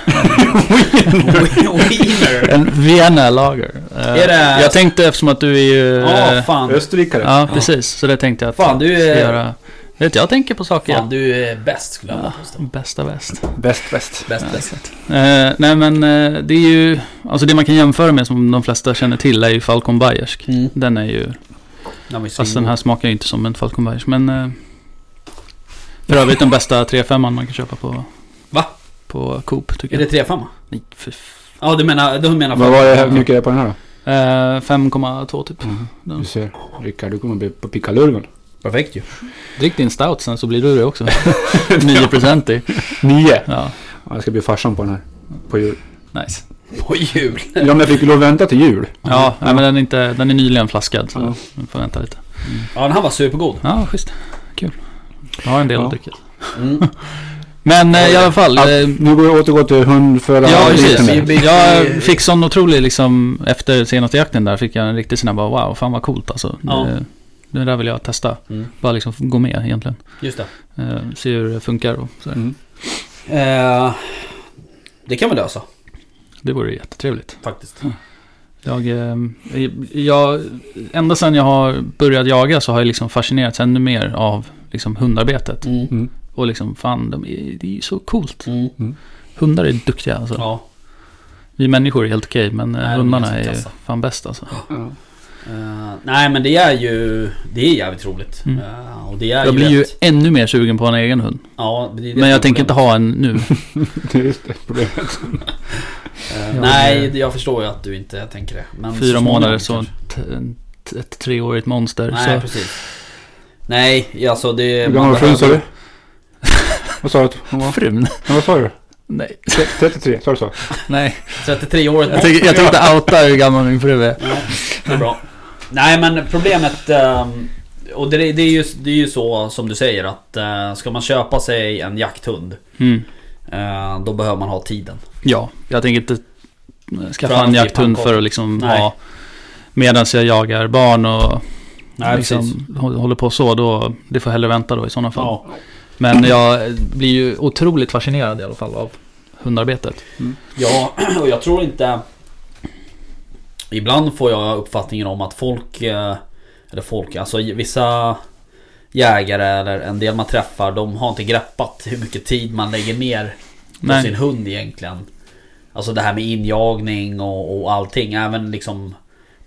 [SPEAKER 3] Wiener.
[SPEAKER 1] En Vienna-lager.
[SPEAKER 3] Är det-
[SPEAKER 1] Jag tänkte eftersom att du är ju...
[SPEAKER 3] Ja,
[SPEAKER 1] eh,
[SPEAKER 3] fan.
[SPEAKER 2] Österrikare.
[SPEAKER 1] ja, precis. Så det tänkte jag att
[SPEAKER 3] Fan, du
[SPEAKER 1] jag
[SPEAKER 3] är-
[SPEAKER 1] ska göra. Vet du, jag tänker på saker.
[SPEAKER 3] Fan, du är bäst skulle jag vilja påstå.
[SPEAKER 1] Bästa väst.
[SPEAKER 2] Bäst, bäst.
[SPEAKER 3] Bäst,
[SPEAKER 1] Ja,
[SPEAKER 3] bäst.
[SPEAKER 1] Eh, nej men eh, det är ju, alltså det man kan jämföra med som de flesta känner till är ju Falcon Bayersk.
[SPEAKER 3] Mm.
[SPEAKER 1] Den är ju,
[SPEAKER 3] Den var ju
[SPEAKER 1] fast den
[SPEAKER 3] svingod.
[SPEAKER 1] här smakar ju inte som en Falcon Bayersk men eh, För övrigt den bästa 3.5 man kan köpa på
[SPEAKER 3] Va?
[SPEAKER 1] På Coop tycker
[SPEAKER 3] Är
[SPEAKER 1] jag.
[SPEAKER 3] det 3,5?
[SPEAKER 1] Nej, fy f-
[SPEAKER 3] Ja, du menar... Du menar
[SPEAKER 2] Vad var det här, hur mycket är det på den här då?
[SPEAKER 1] eh, 5,2 typ.
[SPEAKER 2] Du ser. Rickard, du kommer bli på pickalurven.
[SPEAKER 3] Perfekt ju.
[SPEAKER 1] Drick din stout sen så blir du det också. 9% i.
[SPEAKER 2] Nio.
[SPEAKER 1] Ja,
[SPEAKER 2] Ja, jag ska bli farsan på den här. På jul.
[SPEAKER 1] nice.
[SPEAKER 3] På jul.
[SPEAKER 2] Ja, men jag fick ju lov att vänta till jul.
[SPEAKER 1] Ja, nej, men den är, inte, den är nyligen flaskad så
[SPEAKER 2] Ja.
[SPEAKER 1] vi får vänta lite.
[SPEAKER 3] Ja, den här var supergod.
[SPEAKER 1] Ja, schysst. Kul. Jag har en del
[SPEAKER 2] Ja.
[SPEAKER 1] att dricka.
[SPEAKER 3] Mm.
[SPEAKER 1] Men eh, i alla fall. eh,
[SPEAKER 2] Nu går jag återgå till hundföraren.
[SPEAKER 1] Ja,
[SPEAKER 3] precis.
[SPEAKER 2] Där.
[SPEAKER 3] Vi-
[SPEAKER 1] precis. Jag fick sån otrolig liksom, efter senaste jakten där fick jag en riktig sån här bara wow, fan vad coolt alltså.
[SPEAKER 3] Ja.
[SPEAKER 1] Det, det där vill jag testa.
[SPEAKER 3] Mm.
[SPEAKER 1] Bara liksom gå med egentligen.
[SPEAKER 3] Just det.
[SPEAKER 1] Eh, se hur det funkar och sådär.
[SPEAKER 2] Mm.
[SPEAKER 3] Eh, det kan vi lösa
[SPEAKER 1] Det vore jättetrevligt.
[SPEAKER 3] faktiskt.
[SPEAKER 1] Jag, eh, jag, ända sedan jag har börjat jaga så har jag liksom fascinerats ännu mer av liksom hundarbetet.
[SPEAKER 3] Mm.
[SPEAKER 2] Mm.
[SPEAKER 1] Och liksom fan, de är, det är ju så coolt.
[SPEAKER 3] Mm.
[SPEAKER 1] Hundar är duktiga alltså.
[SPEAKER 3] Ja.
[SPEAKER 1] Vi människor är helt okej, men
[SPEAKER 3] Nej,
[SPEAKER 1] eh,
[SPEAKER 3] de är
[SPEAKER 1] hundarna
[SPEAKER 3] ganska
[SPEAKER 1] är
[SPEAKER 3] kassa.
[SPEAKER 1] fan bäst alltså.
[SPEAKER 2] Ja.
[SPEAKER 3] Eh, nej men det är ju Det är jävligt roligt.
[SPEAKER 1] Mm.
[SPEAKER 3] Eh, och det är
[SPEAKER 1] Jag blir ju
[SPEAKER 3] ett-
[SPEAKER 1] ännu mer sugen på en egen hund.
[SPEAKER 3] ja, det är det
[SPEAKER 1] Men jag
[SPEAKER 3] som
[SPEAKER 1] tänker
[SPEAKER 3] är
[SPEAKER 1] inte ha en nu.
[SPEAKER 2] Det är just det problemet.
[SPEAKER 3] problemet. Eh,
[SPEAKER 1] Ja,
[SPEAKER 3] nej,
[SPEAKER 1] men-
[SPEAKER 3] jag förstår ju att du inte tänker det. Men så
[SPEAKER 1] Fyra
[SPEAKER 3] småningom
[SPEAKER 1] månader så
[SPEAKER 3] kanske.
[SPEAKER 1] ett- ett- ett treårigt monster.
[SPEAKER 3] Nej,
[SPEAKER 1] så.
[SPEAKER 3] precis. Nej, alltså det...
[SPEAKER 2] Hur gammal
[SPEAKER 3] man
[SPEAKER 2] var frun sa
[SPEAKER 3] behöver-
[SPEAKER 2] du? Vad sa du att hon var?
[SPEAKER 1] Frun?
[SPEAKER 2] Ja, vad sa du?
[SPEAKER 1] Nej.
[SPEAKER 2] Tre- 33, sa du så?
[SPEAKER 1] Nej.
[SPEAKER 3] 33 år
[SPEAKER 1] Jag tänkte, jag tänkte outa hur gammal min fru är.
[SPEAKER 3] Ja, det är bra. Nej men problemet... ehm, Och det, det, är ju, det är ju så som du säger att eh, ska man köpa sig en jakthund
[SPEAKER 1] Mm.
[SPEAKER 3] eh, Då behöver man ha tiden.
[SPEAKER 1] Ja, jag tänker inte skaffa
[SPEAKER 3] Fram
[SPEAKER 1] en
[SPEAKER 3] till
[SPEAKER 1] jakthund
[SPEAKER 3] pannkakor.
[SPEAKER 1] för att liksom
[SPEAKER 3] Nej.
[SPEAKER 1] ha... Medan jag jagar barn och
[SPEAKER 3] Nej,
[SPEAKER 1] liksom hå- håller på så, då, det får hellre vänta då i sådana fall.
[SPEAKER 3] Ja.
[SPEAKER 1] Men jag blir ju otroligt fascinerad i alla fall av hundarbetet.
[SPEAKER 3] ja, och jag tror inte... Ibland får jag uppfattningen om att folk... eh, Eller folk, alltså vissa jägare eller en del man träffar de har inte greppat hur mycket tid man lägger ner på
[SPEAKER 1] Nej.
[SPEAKER 3] sin hund egentligen. Alltså det här med injagning och, och allting. Även liksom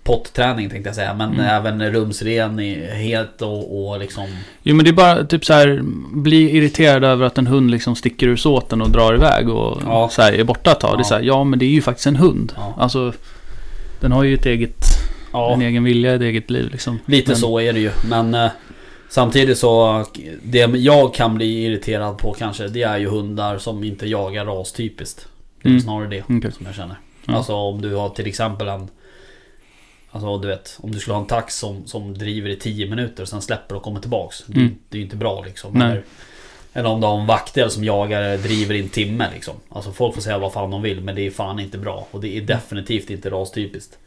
[SPEAKER 3] potträning tänkte jag säga. Men även rumsrenhet och, och liksom...
[SPEAKER 1] Jo men det är bara typ så här, bli irriterad över att en hund liksom sticker ur såten och drar iväg och
[SPEAKER 3] Ja.
[SPEAKER 1] så här, är borta ett tag. Det
[SPEAKER 3] Ja.
[SPEAKER 1] är så här, ja men det är ju faktiskt en hund.
[SPEAKER 3] Ja.
[SPEAKER 1] Alltså, den har ju ett eget, en egen vilja, ett eget liv liksom.
[SPEAKER 3] Lite
[SPEAKER 1] Men-
[SPEAKER 3] så är det ju men eh, Samtidigt så Det jag kan bli irriterad på kanske Det är ju hundar som inte jagar rastypiskt Det är
[SPEAKER 1] Mm.
[SPEAKER 3] snarare det
[SPEAKER 1] Okej.
[SPEAKER 3] som jag känner
[SPEAKER 1] Ja.
[SPEAKER 3] Alltså om du har till exempel en Alltså du vet Om du skulle ha en tax som, som driver i 10 minuter Sen släpper och kommer tillbaks det,
[SPEAKER 1] Mm.
[SPEAKER 3] det är ju inte bra liksom
[SPEAKER 1] Nej.
[SPEAKER 3] eller, eller om du har en vaktel som jagar Driver i en timme liksom Alltså folk får säga vad fan de vill Men det är fan inte bra Och det är definitivt inte rastypiskt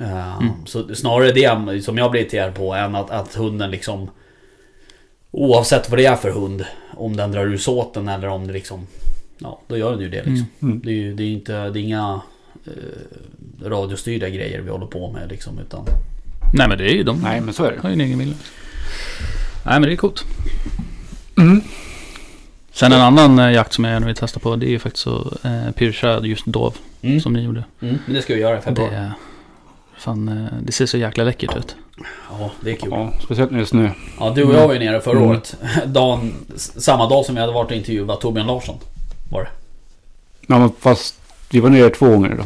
[SPEAKER 3] Eh, Så snarare det som jag blir irriterad på än att, att hunden liksom Oavsett vad det är för hund Om den drar ur såten eller om det liksom Ja, då gör den ju det liksom
[SPEAKER 2] Mm.
[SPEAKER 3] Det är ju det är ju inte, det är inga eh, Radiostyrda grejer vi håller på med liksom utan
[SPEAKER 1] Nej men det är ju de.
[SPEAKER 2] Nej, men så är det.
[SPEAKER 1] har ju en egen vilja. Nej men det är coolt.
[SPEAKER 2] Mm.
[SPEAKER 1] Sen en annan eh, jakt som jag gärna vill testa på det är ju faktiskt att eh, pyrscha just dov
[SPEAKER 3] Mm.
[SPEAKER 1] som ni gjorde.
[SPEAKER 3] Mm. Men det ska vi göra i
[SPEAKER 1] Det,
[SPEAKER 3] februari
[SPEAKER 1] är- fan, eh, det ser så jäkla läckert ut.
[SPEAKER 3] Ja, det är kul
[SPEAKER 2] Ja, speciellt när det är snö.
[SPEAKER 3] Ja, du och jag var ju nere förra
[SPEAKER 2] Mm.
[SPEAKER 3] året dagen, s- Samma dag som vi hade varit och intervjuat Torbjörn Larsson Var det
[SPEAKER 2] Ja, men fast vi var nere två gånger då.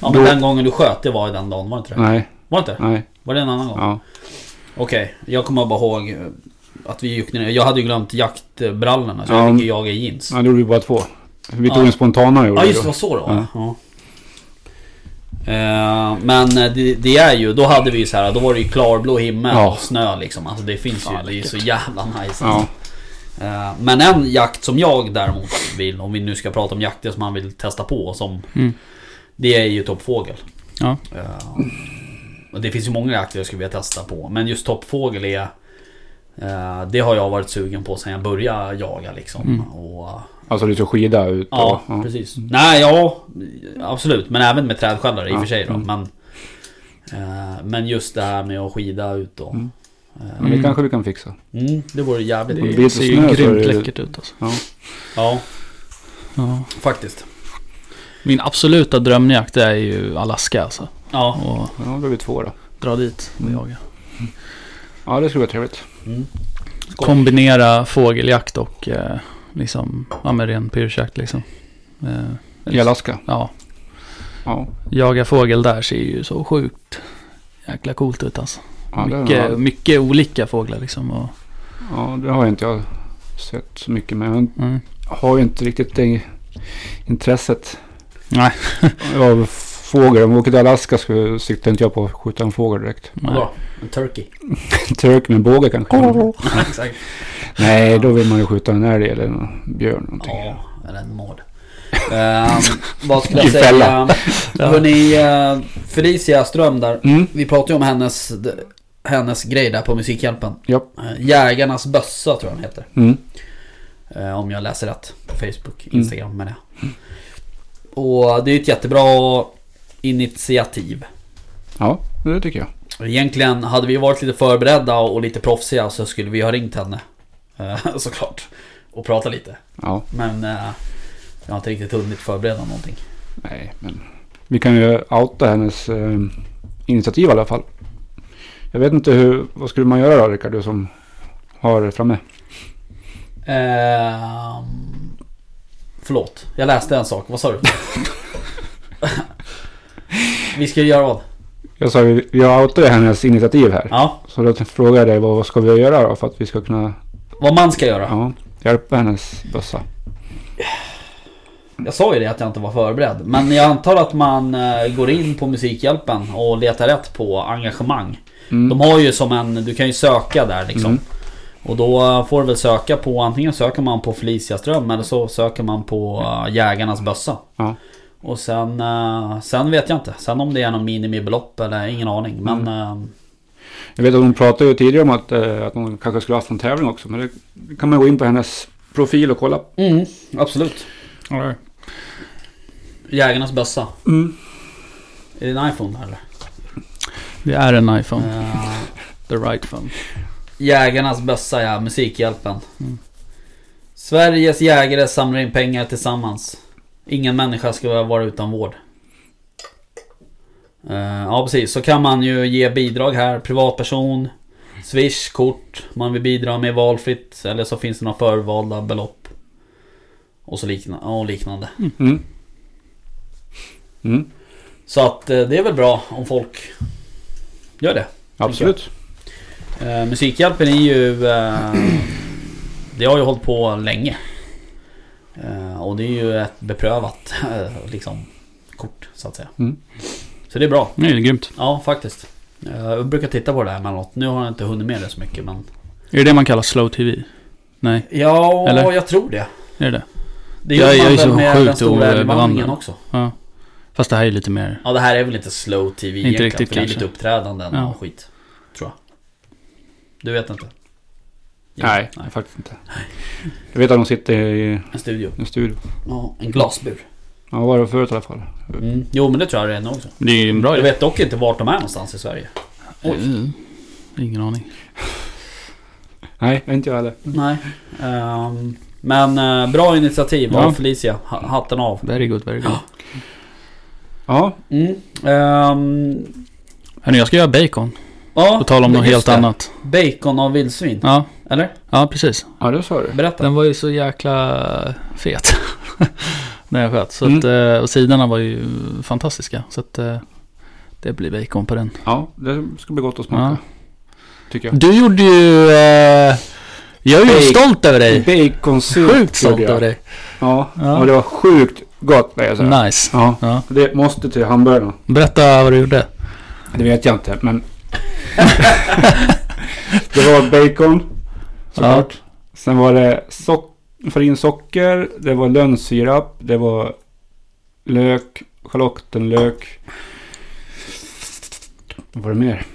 [SPEAKER 3] Ja men
[SPEAKER 2] Då-
[SPEAKER 3] den gången du sköt, det var ju den dagen, var det inte det?
[SPEAKER 2] Nej,
[SPEAKER 3] Var det inte?
[SPEAKER 2] nej.
[SPEAKER 3] Var det en annan gång?
[SPEAKER 2] Mm. Ja.
[SPEAKER 3] Okej, jag kommer bara ihåg eh, att vi gick ner. Jag hade ju glömt jaktbrallorna så
[SPEAKER 2] Ja.
[SPEAKER 3] jag fick ju jaga i jeans.
[SPEAKER 2] ja, då gjorde vi bara två. Vi tog
[SPEAKER 3] Ja.
[SPEAKER 2] en spontana gjorde
[SPEAKER 3] Ja
[SPEAKER 2] vi
[SPEAKER 3] just det,
[SPEAKER 2] då.
[SPEAKER 3] var så det var.
[SPEAKER 2] Ja.
[SPEAKER 3] Ja. Eh, men eh, det, det är ju, då hade vi ju så här, då var det ju klarblå himmel
[SPEAKER 2] Ja.
[SPEAKER 3] och snö liksom. Alltså det finns ju,
[SPEAKER 1] Ja,
[SPEAKER 3] det är ju så
[SPEAKER 1] läckert.
[SPEAKER 3] jävla nice.
[SPEAKER 2] Ja.
[SPEAKER 3] Alltså. Eh, men en jakt som jag däremot vill, om vi nu ska prata om jakter som man vill testa på som
[SPEAKER 1] Mm.
[SPEAKER 3] Det är ju toppfågel.
[SPEAKER 1] Ja.
[SPEAKER 3] Eh, och det finns ju många jakter jag skulle vilja testa på. Men just toppfågel är... eh, det har jag varit sugen på sedan jag började jaga liksom.
[SPEAKER 2] Mm.
[SPEAKER 3] Och,
[SPEAKER 2] Alltså du ska skida ut och...
[SPEAKER 3] ja,
[SPEAKER 2] ja.
[SPEAKER 3] precis. Nej, ja. Absolut. Men även med trädskällare i och för sig då.
[SPEAKER 2] Mm.
[SPEAKER 3] Men, eh, men just det här med att skida ut då.
[SPEAKER 2] Mm.
[SPEAKER 3] Eh,
[SPEAKER 2] Men det kanske vi kan fixa.
[SPEAKER 3] mm, det vore jävligt
[SPEAKER 2] Det
[SPEAKER 3] kul.
[SPEAKER 2] blir
[SPEAKER 1] Det
[SPEAKER 2] inte
[SPEAKER 1] ser ju
[SPEAKER 2] snö så
[SPEAKER 1] grymt
[SPEAKER 2] är det-
[SPEAKER 1] läckert ut alltså.
[SPEAKER 2] Ja.
[SPEAKER 3] Ja,
[SPEAKER 1] Ja.
[SPEAKER 3] faktiskt.
[SPEAKER 1] Min absoluta drömjakt är ju Alaska alltså.
[SPEAKER 3] Ja.
[SPEAKER 1] Och
[SPEAKER 2] ja, då är vi två då.
[SPEAKER 1] dra dit och jaga.
[SPEAKER 2] Ja, det skulle vara trevligt.
[SPEAKER 3] Mm. Skoj.
[SPEAKER 1] Kombinera fågeljakt och eh, liksom, ja men ren pyrschjakt liksom. Eh,
[SPEAKER 2] I Alaska.
[SPEAKER 1] Ja,
[SPEAKER 2] Ja,
[SPEAKER 1] jaga fågel där ser ju så sjukt jäkla coolt ut alltså.
[SPEAKER 2] ja, det,
[SPEAKER 1] mycket, mycket olika fåglar liksom. Och,
[SPEAKER 2] ja det har inte jag sett så mycket men jag
[SPEAKER 1] mm.
[SPEAKER 2] har ju inte riktigt det intresset.
[SPEAKER 1] Nej.
[SPEAKER 2] Av fågel. Om vi åker till Alaska så siktar inte jag på att skjuta en fågel direkt.
[SPEAKER 3] Bra. En turkey.
[SPEAKER 2] Turk med båge kanske.
[SPEAKER 3] Exakt.
[SPEAKER 2] Nej, då vill man ju skjuta en älg eller en björn någonting.
[SPEAKER 3] Ja, eller en mård. Ehm, vad skulle
[SPEAKER 2] I
[SPEAKER 3] jag säga?
[SPEAKER 2] fälla.
[SPEAKER 3] Hörni, eh, Felicia Ström där.
[SPEAKER 2] Mm.
[SPEAKER 3] Vi pratade ju om hennes... d- hennes grej där på Musikhjälpen.
[SPEAKER 2] Japp.
[SPEAKER 3] Eh, Jägarnas bössa tror jag den heter.
[SPEAKER 2] Mm.
[SPEAKER 3] Eh, Om jag läser rätt på Facebook, Instagram med det. Och det är ju ett jättebra initiativ.
[SPEAKER 2] Ja, det tycker jag.
[SPEAKER 3] Egentligen hade vi varit lite förberedda och lite proffsiga så skulle vi ha ringt henne. Eh, Såklart. Och pratat lite.
[SPEAKER 2] Ja,
[SPEAKER 3] Men eh, jag har inte riktigt hunnit förbereda någonting.
[SPEAKER 2] nej, men vi kan ju outa hennes eh, initiativ i alla fall. Jag vet inte hur, vad skulle man göra då Rickard, du som har det framme?
[SPEAKER 3] Ehm, förlåt, jag läste en sak. Vad sa du? vi ska göra vad?
[SPEAKER 2] Jag sa ju, jag outade hennes initiativ här.
[SPEAKER 3] Ja,
[SPEAKER 2] Så då frågade jag dig, vad vad ska vi göra då för att vi ska kunna
[SPEAKER 3] vad man ska göra.
[SPEAKER 2] ja, hjälpa hennes bössa?
[SPEAKER 3] Jag sa ju det att jag inte var förberedd. Men jag antar att man eh, går in på Musikhjälpen och letar rätt på engagemang.
[SPEAKER 2] Mm.
[SPEAKER 3] De har ju som en, du kan ju söka där liksom.
[SPEAKER 2] Mm.
[SPEAKER 3] Och då får du väl söka på, antingen söker man på Feliciaström eller så söker man på eh, Jägarnas bössa.
[SPEAKER 2] Ja.
[SPEAKER 3] Och sen, eh, sen vet jag inte. Sen om det är någon minimibelopp eller ingen aning. Men eh,
[SPEAKER 2] Mm. Jag vet att hon pratade ju tidigare om att, eh, att hon kanske skulle ha haft en tävling också. Men det kan man gå in på hennes profil och kolla.
[SPEAKER 3] Mm, absolut.
[SPEAKER 1] Alright.
[SPEAKER 3] Jägarnas bössa.
[SPEAKER 2] Mm.
[SPEAKER 3] Är det en iPhone där eller?
[SPEAKER 1] Det är en iPhone.
[SPEAKER 3] Eh,
[SPEAKER 1] The right phone.
[SPEAKER 3] Jägarnas bössa ja, Musikhjälpen.
[SPEAKER 1] Mm.
[SPEAKER 3] Sveriges jägare samlar in pengar tillsammans. Ingen människa ska behöva vara utan vård. Eh, ja precis, så kan man ju ge bidrag här. Privatperson, Swish, kort. Man vill bidra med valfritt. Eller så finns det några förvalda belopp. Och så likna- och liknande.
[SPEAKER 2] Mm. Mm.
[SPEAKER 3] Så att eh, det är väl bra om folk gör det.
[SPEAKER 2] Absolut.
[SPEAKER 3] Eh, Musikhjälpen är ju... Eh, det har ju hållit på länge. Eh, och det är ju ett beprövat eh, liksom, kort så att säga.
[SPEAKER 2] Mm.
[SPEAKER 3] Så det är bra.
[SPEAKER 1] Nej, det är grymt.
[SPEAKER 3] Ja, faktiskt. Eh, Jag brukar titta på det här emellanåt. Nu har jag inte hunnit med det så mycket men...
[SPEAKER 1] Är det det man kallar slow TV? Nej,
[SPEAKER 3] Ja,
[SPEAKER 1] Eller?
[SPEAKER 3] jag tror det.
[SPEAKER 1] är det det?
[SPEAKER 3] Det
[SPEAKER 1] Jag-
[SPEAKER 3] gör
[SPEAKER 1] jag
[SPEAKER 3] man
[SPEAKER 1] är
[SPEAKER 3] väl
[SPEAKER 1] så
[SPEAKER 3] med
[SPEAKER 1] sjukt
[SPEAKER 3] den stora
[SPEAKER 1] obevandrad.
[SPEAKER 3] älgvandringen också.
[SPEAKER 1] Ja. Fast det här är lite mer...
[SPEAKER 3] Ja, det här är väl inte slow TV
[SPEAKER 1] Inte
[SPEAKER 3] egentligen.
[SPEAKER 1] riktigt
[SPEAKER 3] för det är
[SPEAKER 1] kanske.
[SPEAKER 3] lite uppträdanden
[SPEAKER 1] Ja.
[SPEAKER 3] och skit. Tror jag. Du vet inte?
[SPEAKER 2] Nej,
[SPEAKER 3] nej.
[SPEAKER 2] faktiskt inte. Jag vet att de sitter i
[SPEAKER 3] En studio.
[SPEAKER 2] en studio.
[SPEAKER 3] Ja, en glasbur.
[SPEAKER 2] Ja, vad var det förut i alla fall?
[SPEAKER 3] Mm. Jo men det tror jag det är nog också.
[SPEAKER 1] Det är ju en bra
[SPEAKER 3] Jag
[SPEAKER 1] idé.
[SPEAKER 3] vet dock inte vart de är någonstans i Sverige. Oj.
[SPEAKER 1] Mm. Ingen aning.
[SPEAKER 2] Nej, inte jag heller.
[SPEAKER 3] Nej. Ehm, men eh, bra initiativ av
[SPEAKER 1] Ja.
[SPEAKER 3] Felicia. Ha- Hatten av.
[SPEAKER 1] Very good, very good.
[SPEAKER 2] Ja,
[SPEAKER 3] Mm. Ehm,
[SPEAKER 1] Hörni, jag ska göra bacon.
[SPEAKER 3] ja,
[SPEAKER 1] På tal om
[SPEAKER 3] men
[SPEAKER 1] något
[SPEAKER 3] just
[SPEAKER 1] helt
[SPEAKER 3] det.
[SPEAKER 1] annat.
[SPEAKER 3] Bacon av vildsvin.
[SPEAKER 1] Ja,
[SPEAKER 3] Eller?
[SPEAKER 1] ja, precis.
[SPEAKER 2] ja det sa du.
[SPEAKER 3] Berätta.
[SPEAKER 1] Den var ju så jäkla fet. När jag sköt. Så
[SPEAKER 2] Mm.
[SPEAKER 1] att, eh, och sidorna var ju fantastiska. Så att eh, det blir bacon på den.
[SPEAKER 2] Ja, det ska bli gott att smaka. Tycker jag.
[SPEAKER 1] Du gjorde ju... Eh, jag är ju
[SPEAKER 2] Bacon.
[SPEAKER 1] stolt över dig.
[SPEAKER 2] Baconsup
[SPEAKER 1] Sjukt stolt
[SPEAKER 2] gjorde jag.
[SPEAKER 1] över dig.
[SPEAKER 2] Ja,
[SPEAKER 1] Ja.
[SPEAKER 2] ja. det var sjukt gott. vill Jag säga.
[SPEAKER 1] Nice.
[SPEAKER 2] Ja,
[SPEAKER 1] Ja.
[SPEAKER 2] det måste till hamburgarna.
[SPEAKER 1] Berätta vad du gjorde.
[SPEAKER 2] Det vet jag inte, men... det var bacon, såklart. Sen var det sock... för in socker, det var lönnsirap, det var lök, schalottenlök. Vad var det mer?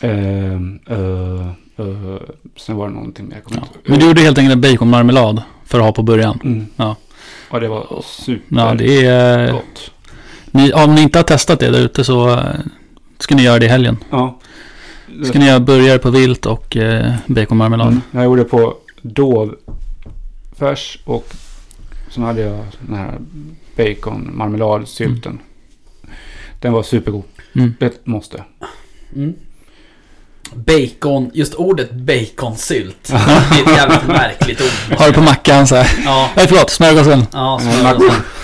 [SPEAKER 2] Ehm, eh, eh, sen var det någonting mer. jag kommer
[SPEAKER 1] Ja.
[SPEAKER 2] inte
[SPEAKER 1] Men
[SPEAKER 2] ihåg.
[SPEAKER 1] du gjorde helt enkelt en baconmarmelad för att ha på början.
[SPEAKER 2] Mm.
[SPEAKER 1] Ja.
[SPEAKER 2] Och det var super
[SPEAKER 1] Ja, det är... eh,
[SPEAKER 2] gott.
[SPEAKER 1] Ni, om ni inte har testat det där ute så eh, ska ni göra det i helgen.
[SPEAKER 2] Ja.
[SPEAKER 1] Ska ni göra burgare på vilt och eh, baconmarmelad.
[SPEAKER 2] Mm. Jag gjorde på dov färs och sen hade jag den här bacon marmeladsylten. Den var supergod.
[SPEAKER 1] Mm.
[SPEAKER 2] Det måste.
[SPEAKER 3] Mm. Bacon, just ordet baconsylt. Det är ett jävligt märkligt ord.
[SPEAKER 1] Har du på mackan så här.
[SPEAKER 3] Ja.
[SPEAKER 1] Nej förlåt, smörgåsen.
[SPEAKER 3] Ja,
[SPEAKER 2] Eh,
[SPEAKER 3] smör.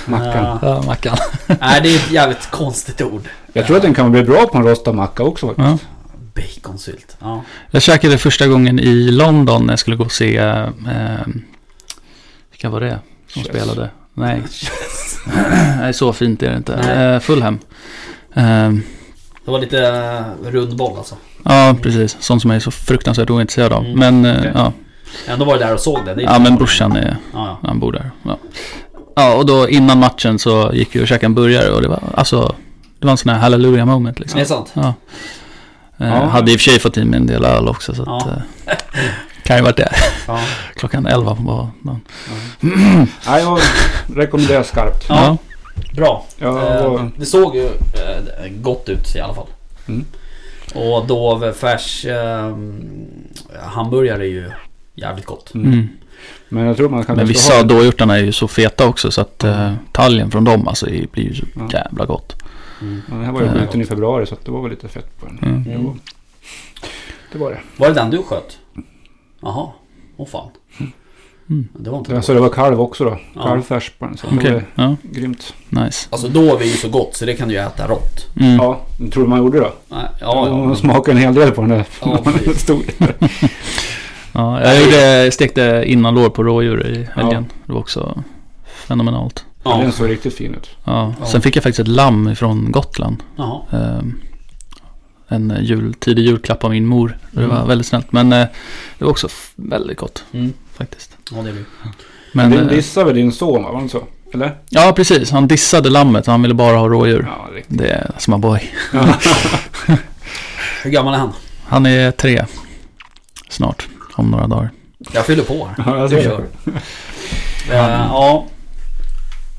[SPEAKER 2] Mackan.
[SPEAKER 3] Ja.
[SPEAKER 1] Ja, mackan.
[SPEAKER 3] Nej, det är ett jävligt konstigt ord.
[SPEAKER 2] Jag tror att den kan bli bra på en rostad macka också faktiskt.
[SPEAKER 1] Ja.
[SPEAKER 3] Baconsylt. Ja.
[SPEAKER 1] Jag käkade första gången i London när jag skulle gå och se... Eh, vilka var det som
[SPEAKER 2] Chess.
[SPEAKER 1] spelade? Nej. Nej, så fint är det inte.
[SPEAKER 3] Nej.
[SPEAKER 1] Eh, Fulham. Eh,
[SPEAKER 3] Det var lite eh, rund boll alltså.
[SPEAKER 1] ja, precis. Sånt som jag är så fruktansvärt ointresserad av.
[SPEAKER 3] Mm.
[SPEAKER 1] Men eh,
[SPEAKER 2] Okej.
[SPEAKER 1] ja.
[SPEAKER 3] Ändå var jag där och såg det. det är
[SPEAKER 1] ja, men brorsan är...
[SPEAKER 3] Ja, ja.
[SPEAKER 1] Han bor där. Ja. ja, och då innan matchen så gick vi och käkade en burgare och det var alltså... Det var en sån här hallelujah moment liksom.
[SPEAKER 3] Det är sant.
[SPEAKER 1] Ja. Eh,
[SPEAKER 2] Ja.
[SPEAKER 1] Hade i och för sig fått i mig en del öl också så att,
[SPEAKER 3] Ja.
[SPEAKER 1] eh, Kan ju varit det.
[SPEAKER 2] Ja.
[SPEAKER 1] Klockan 11 på morgonen.
[SPEAKER 2] Nej, jag rekommenderar skarpt.
[SPEAKER 3] Ja. Bra.
[SPEAKER 2] Jag
[SPEAKER 3] Eh,
[SPEAKER 1] Mm.
[SPEAKER 2] var,
[SPEAKER 3] det såg ju eh, gott ut i alla fall.
[SPEAKER 2] Mm.
[SPEAKER 3] Och Dove färs eh, hamburgare är ju jävligt gott.
[SPEAKER 1] Mm. Mm.
[SPEAKER 2] men jag tror man kan
[SPEAKER 1] Men vissa av dåhjortarna är ju så feta också så att eh, talgen från dem alltså är- blir ju så
[SPEAKER 2] Ja.
[SPEAKER 1] jävla gott. Mm.
[SPEAKER 2] Ja, Den här var ju
[SPEAKER 1] Ja.
[SPEAKER 2] skjuten i februari så att det var väl lite fett på den.
[SPEAKER 1] Mm.
[SPEAKER 3] Mm.
[SPEAKER 2] Jo. Det var det.
[SPEAKER 3] Var det den du sköt? Jaha. Åh fan.
[SPEAKER 1] Mm.
[SPEAKER 3] Det var inte
[SPEAKER 2] Så det var kalv också då.
[SPEAKER 3] Ja.
[SPEAKER 2] Kalvfärs på den. Så
[SPEAKER 1] Okej,
[SPEAKER 2] det var
[SPEAKER 1] ja,
[SPEAKER 2] grymt.
[SPEAKER 1] nice.
[SPEAKER 3] Alltså dov är ju så gott så det kan du ju äta rått.
[SPEAKER 1] Mm.
[SPEAKER 2] Ja, det tror du man gjorde då.
[SPEAKER 3] Nej,
[SPEAKER 2] Ja,
[SPEAKER 3] ja, ja.
[SPEAKER 2] De smakade en hel del på den där.
[SPEAKER 3] Ja, precis.
[SPEAKER 2] Stor.
[SPEAKER 1] Ja, jag gjorde, stekte innanlår på rådjur i helgen. Det var också fenomenalt.
[SPEAKER 2] Ja. Den
[SPEAKER 3] ja.
[SPEAKER 2] såg riktigt fin ut.
[SPEAKER 1] Ja.
[SPEAKER 3] Ja.
[SPEAKER 1] Sen fick jag faktiskt ett lamm från Gotland.
[SPEAKER 3] Jaha.
[SPEAKER 1] Eh, en jul, tidig julklapp av min mor. Det var
[SPEAKER 2] Mm.
[SPEAKER 1] väldigt snällt. Men eh, det var också f- väldigt gott
[SPEAKER 3] Mm.
[SPEAKER 1] faktiskt.
[SPEAKER 3] Ja, det blir.
[SPEAKER 1] Men,
[SPEAKER 2] Din
[SPEAKER 1] eh,
[SPEAKER 2] dissade väl din son va? Var det inte så? Eller?
[SPEAKER 1] ja, precis. Han dissade lammet. Han ville bara ha rådjur.
[SPEAKER 2] Ja, riktigt.
[SPEAKER 1] Det är som en boy.
[SPEAKER 3] Hur gammal är han?
[SPEAKER 1] Han är tre. Snart. Om några dagar.
[SPEAKER 3] Jag fyller på här.
[SPEAKER 2] Ja, jag
[SPEAKER 3] Du
[SPEAKER 2] ser
[SPEAKER 3] kör.
[SPEAKER 2] det.
[SPEAKER 3] Eh, ja.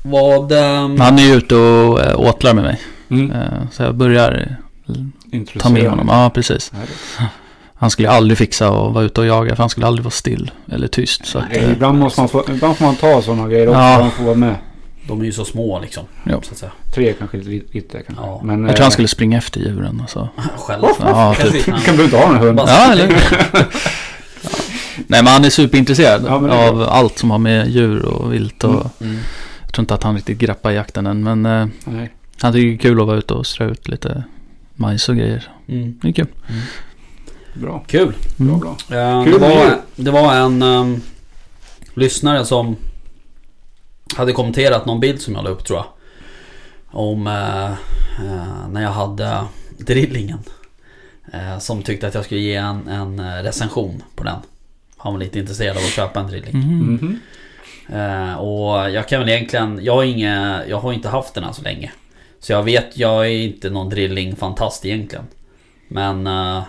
[SPEAKER 3] Vad... ehm,
[SPEAKER 1] Han är ju ute och eh, åtlar med mig.
[SPEAKER 2] Mm.
[SPEAKER 1] Eh, Så jag börjar ta med honom. Ja, precis.
[SPEAKER 2] Härligt.
[SPEAKER 1] Han skulle aldrig fixa och vara ute och jaga för han skulle aldrig vara still eller tyst. Så att,
[SPEAKER 2] Nej,
[SPEAKER 1] eh,
[SPEAKER 2] Ibland, måste man få, ibland får man ta sådana grejer också.
[SPEAKER 1] Ja.
[SPEAKER 2] Man får vara med.
[SPEAKER 3] De är ju så små liksom.
[SPEAKER 1] Ja.
[SPEAKER 3] Så att säga.
[SPEAKER 2] Tre kanske lite, lite kanske.
[SPEAKER 3] Ja.
[SPEAKER 2] Men,
[SPEAKER 1] jag tror han skulle springa efter djuren. Alltså.
[SPEAKER 3] Själv.
[SPEAKER 1] Ja, typ.
[SPEAKER 2] eh, kan du inte ha en hund?
[SPEAKER 3] Bara-
[SPEAKER 1] Ja, eller? Ja. Nej, men han är superintresserad
[SPEAKER 2] Ja, men det är
[SPEAKER 1] av allt som har med djur och vilt och...
[SPEAKER 2] Mm.
[SPEAKER 3] Mm.
[SPEAKER 1] Jag tror inte att han riktigt greppar jakten än, men eh,
[SPEAKER 2] Nej.
[SPEAKER 1] han tycker det är kul att vara ute och strö ut lite majs och grejer.
[SPEAKER 3] Mm.
[SPEAKER 1] Det är kul.
[SPEAKER 2] Bra.
[SPEAKER 3] Kul.
[SPEAKER 2] Bra,
[SPEAKER 1] Mm.
[SPEAKER 2] bra.
[SPEAKER 3] Eh,
[SPEAKER 2] Kul
[SPEAKER 3] det,
[SPEAKER 2] med
[SPEAKER 3] var,
[SPEAKER 2] djur.
[SPEAKER 3] det var en ehm, lyssnare som hade kommenterat någon bild som jag la upp tror jag. Om eh, eh, när jag hade drillingen. Eh, som tyckte att jag skulle ge en, en eh, recension på den. Han var lite intresserad av att köpa en drilling.
[SPEAKER 1] Mhm.
[SPEAKER 2] Mhm.
[SPEAKER 3] Eh, och jag kan väl egentligen, jag har, inga, jag har inte haft den än så länge. Så jag vet, jag är inte någon drilling-fantast egentligen. Men eh,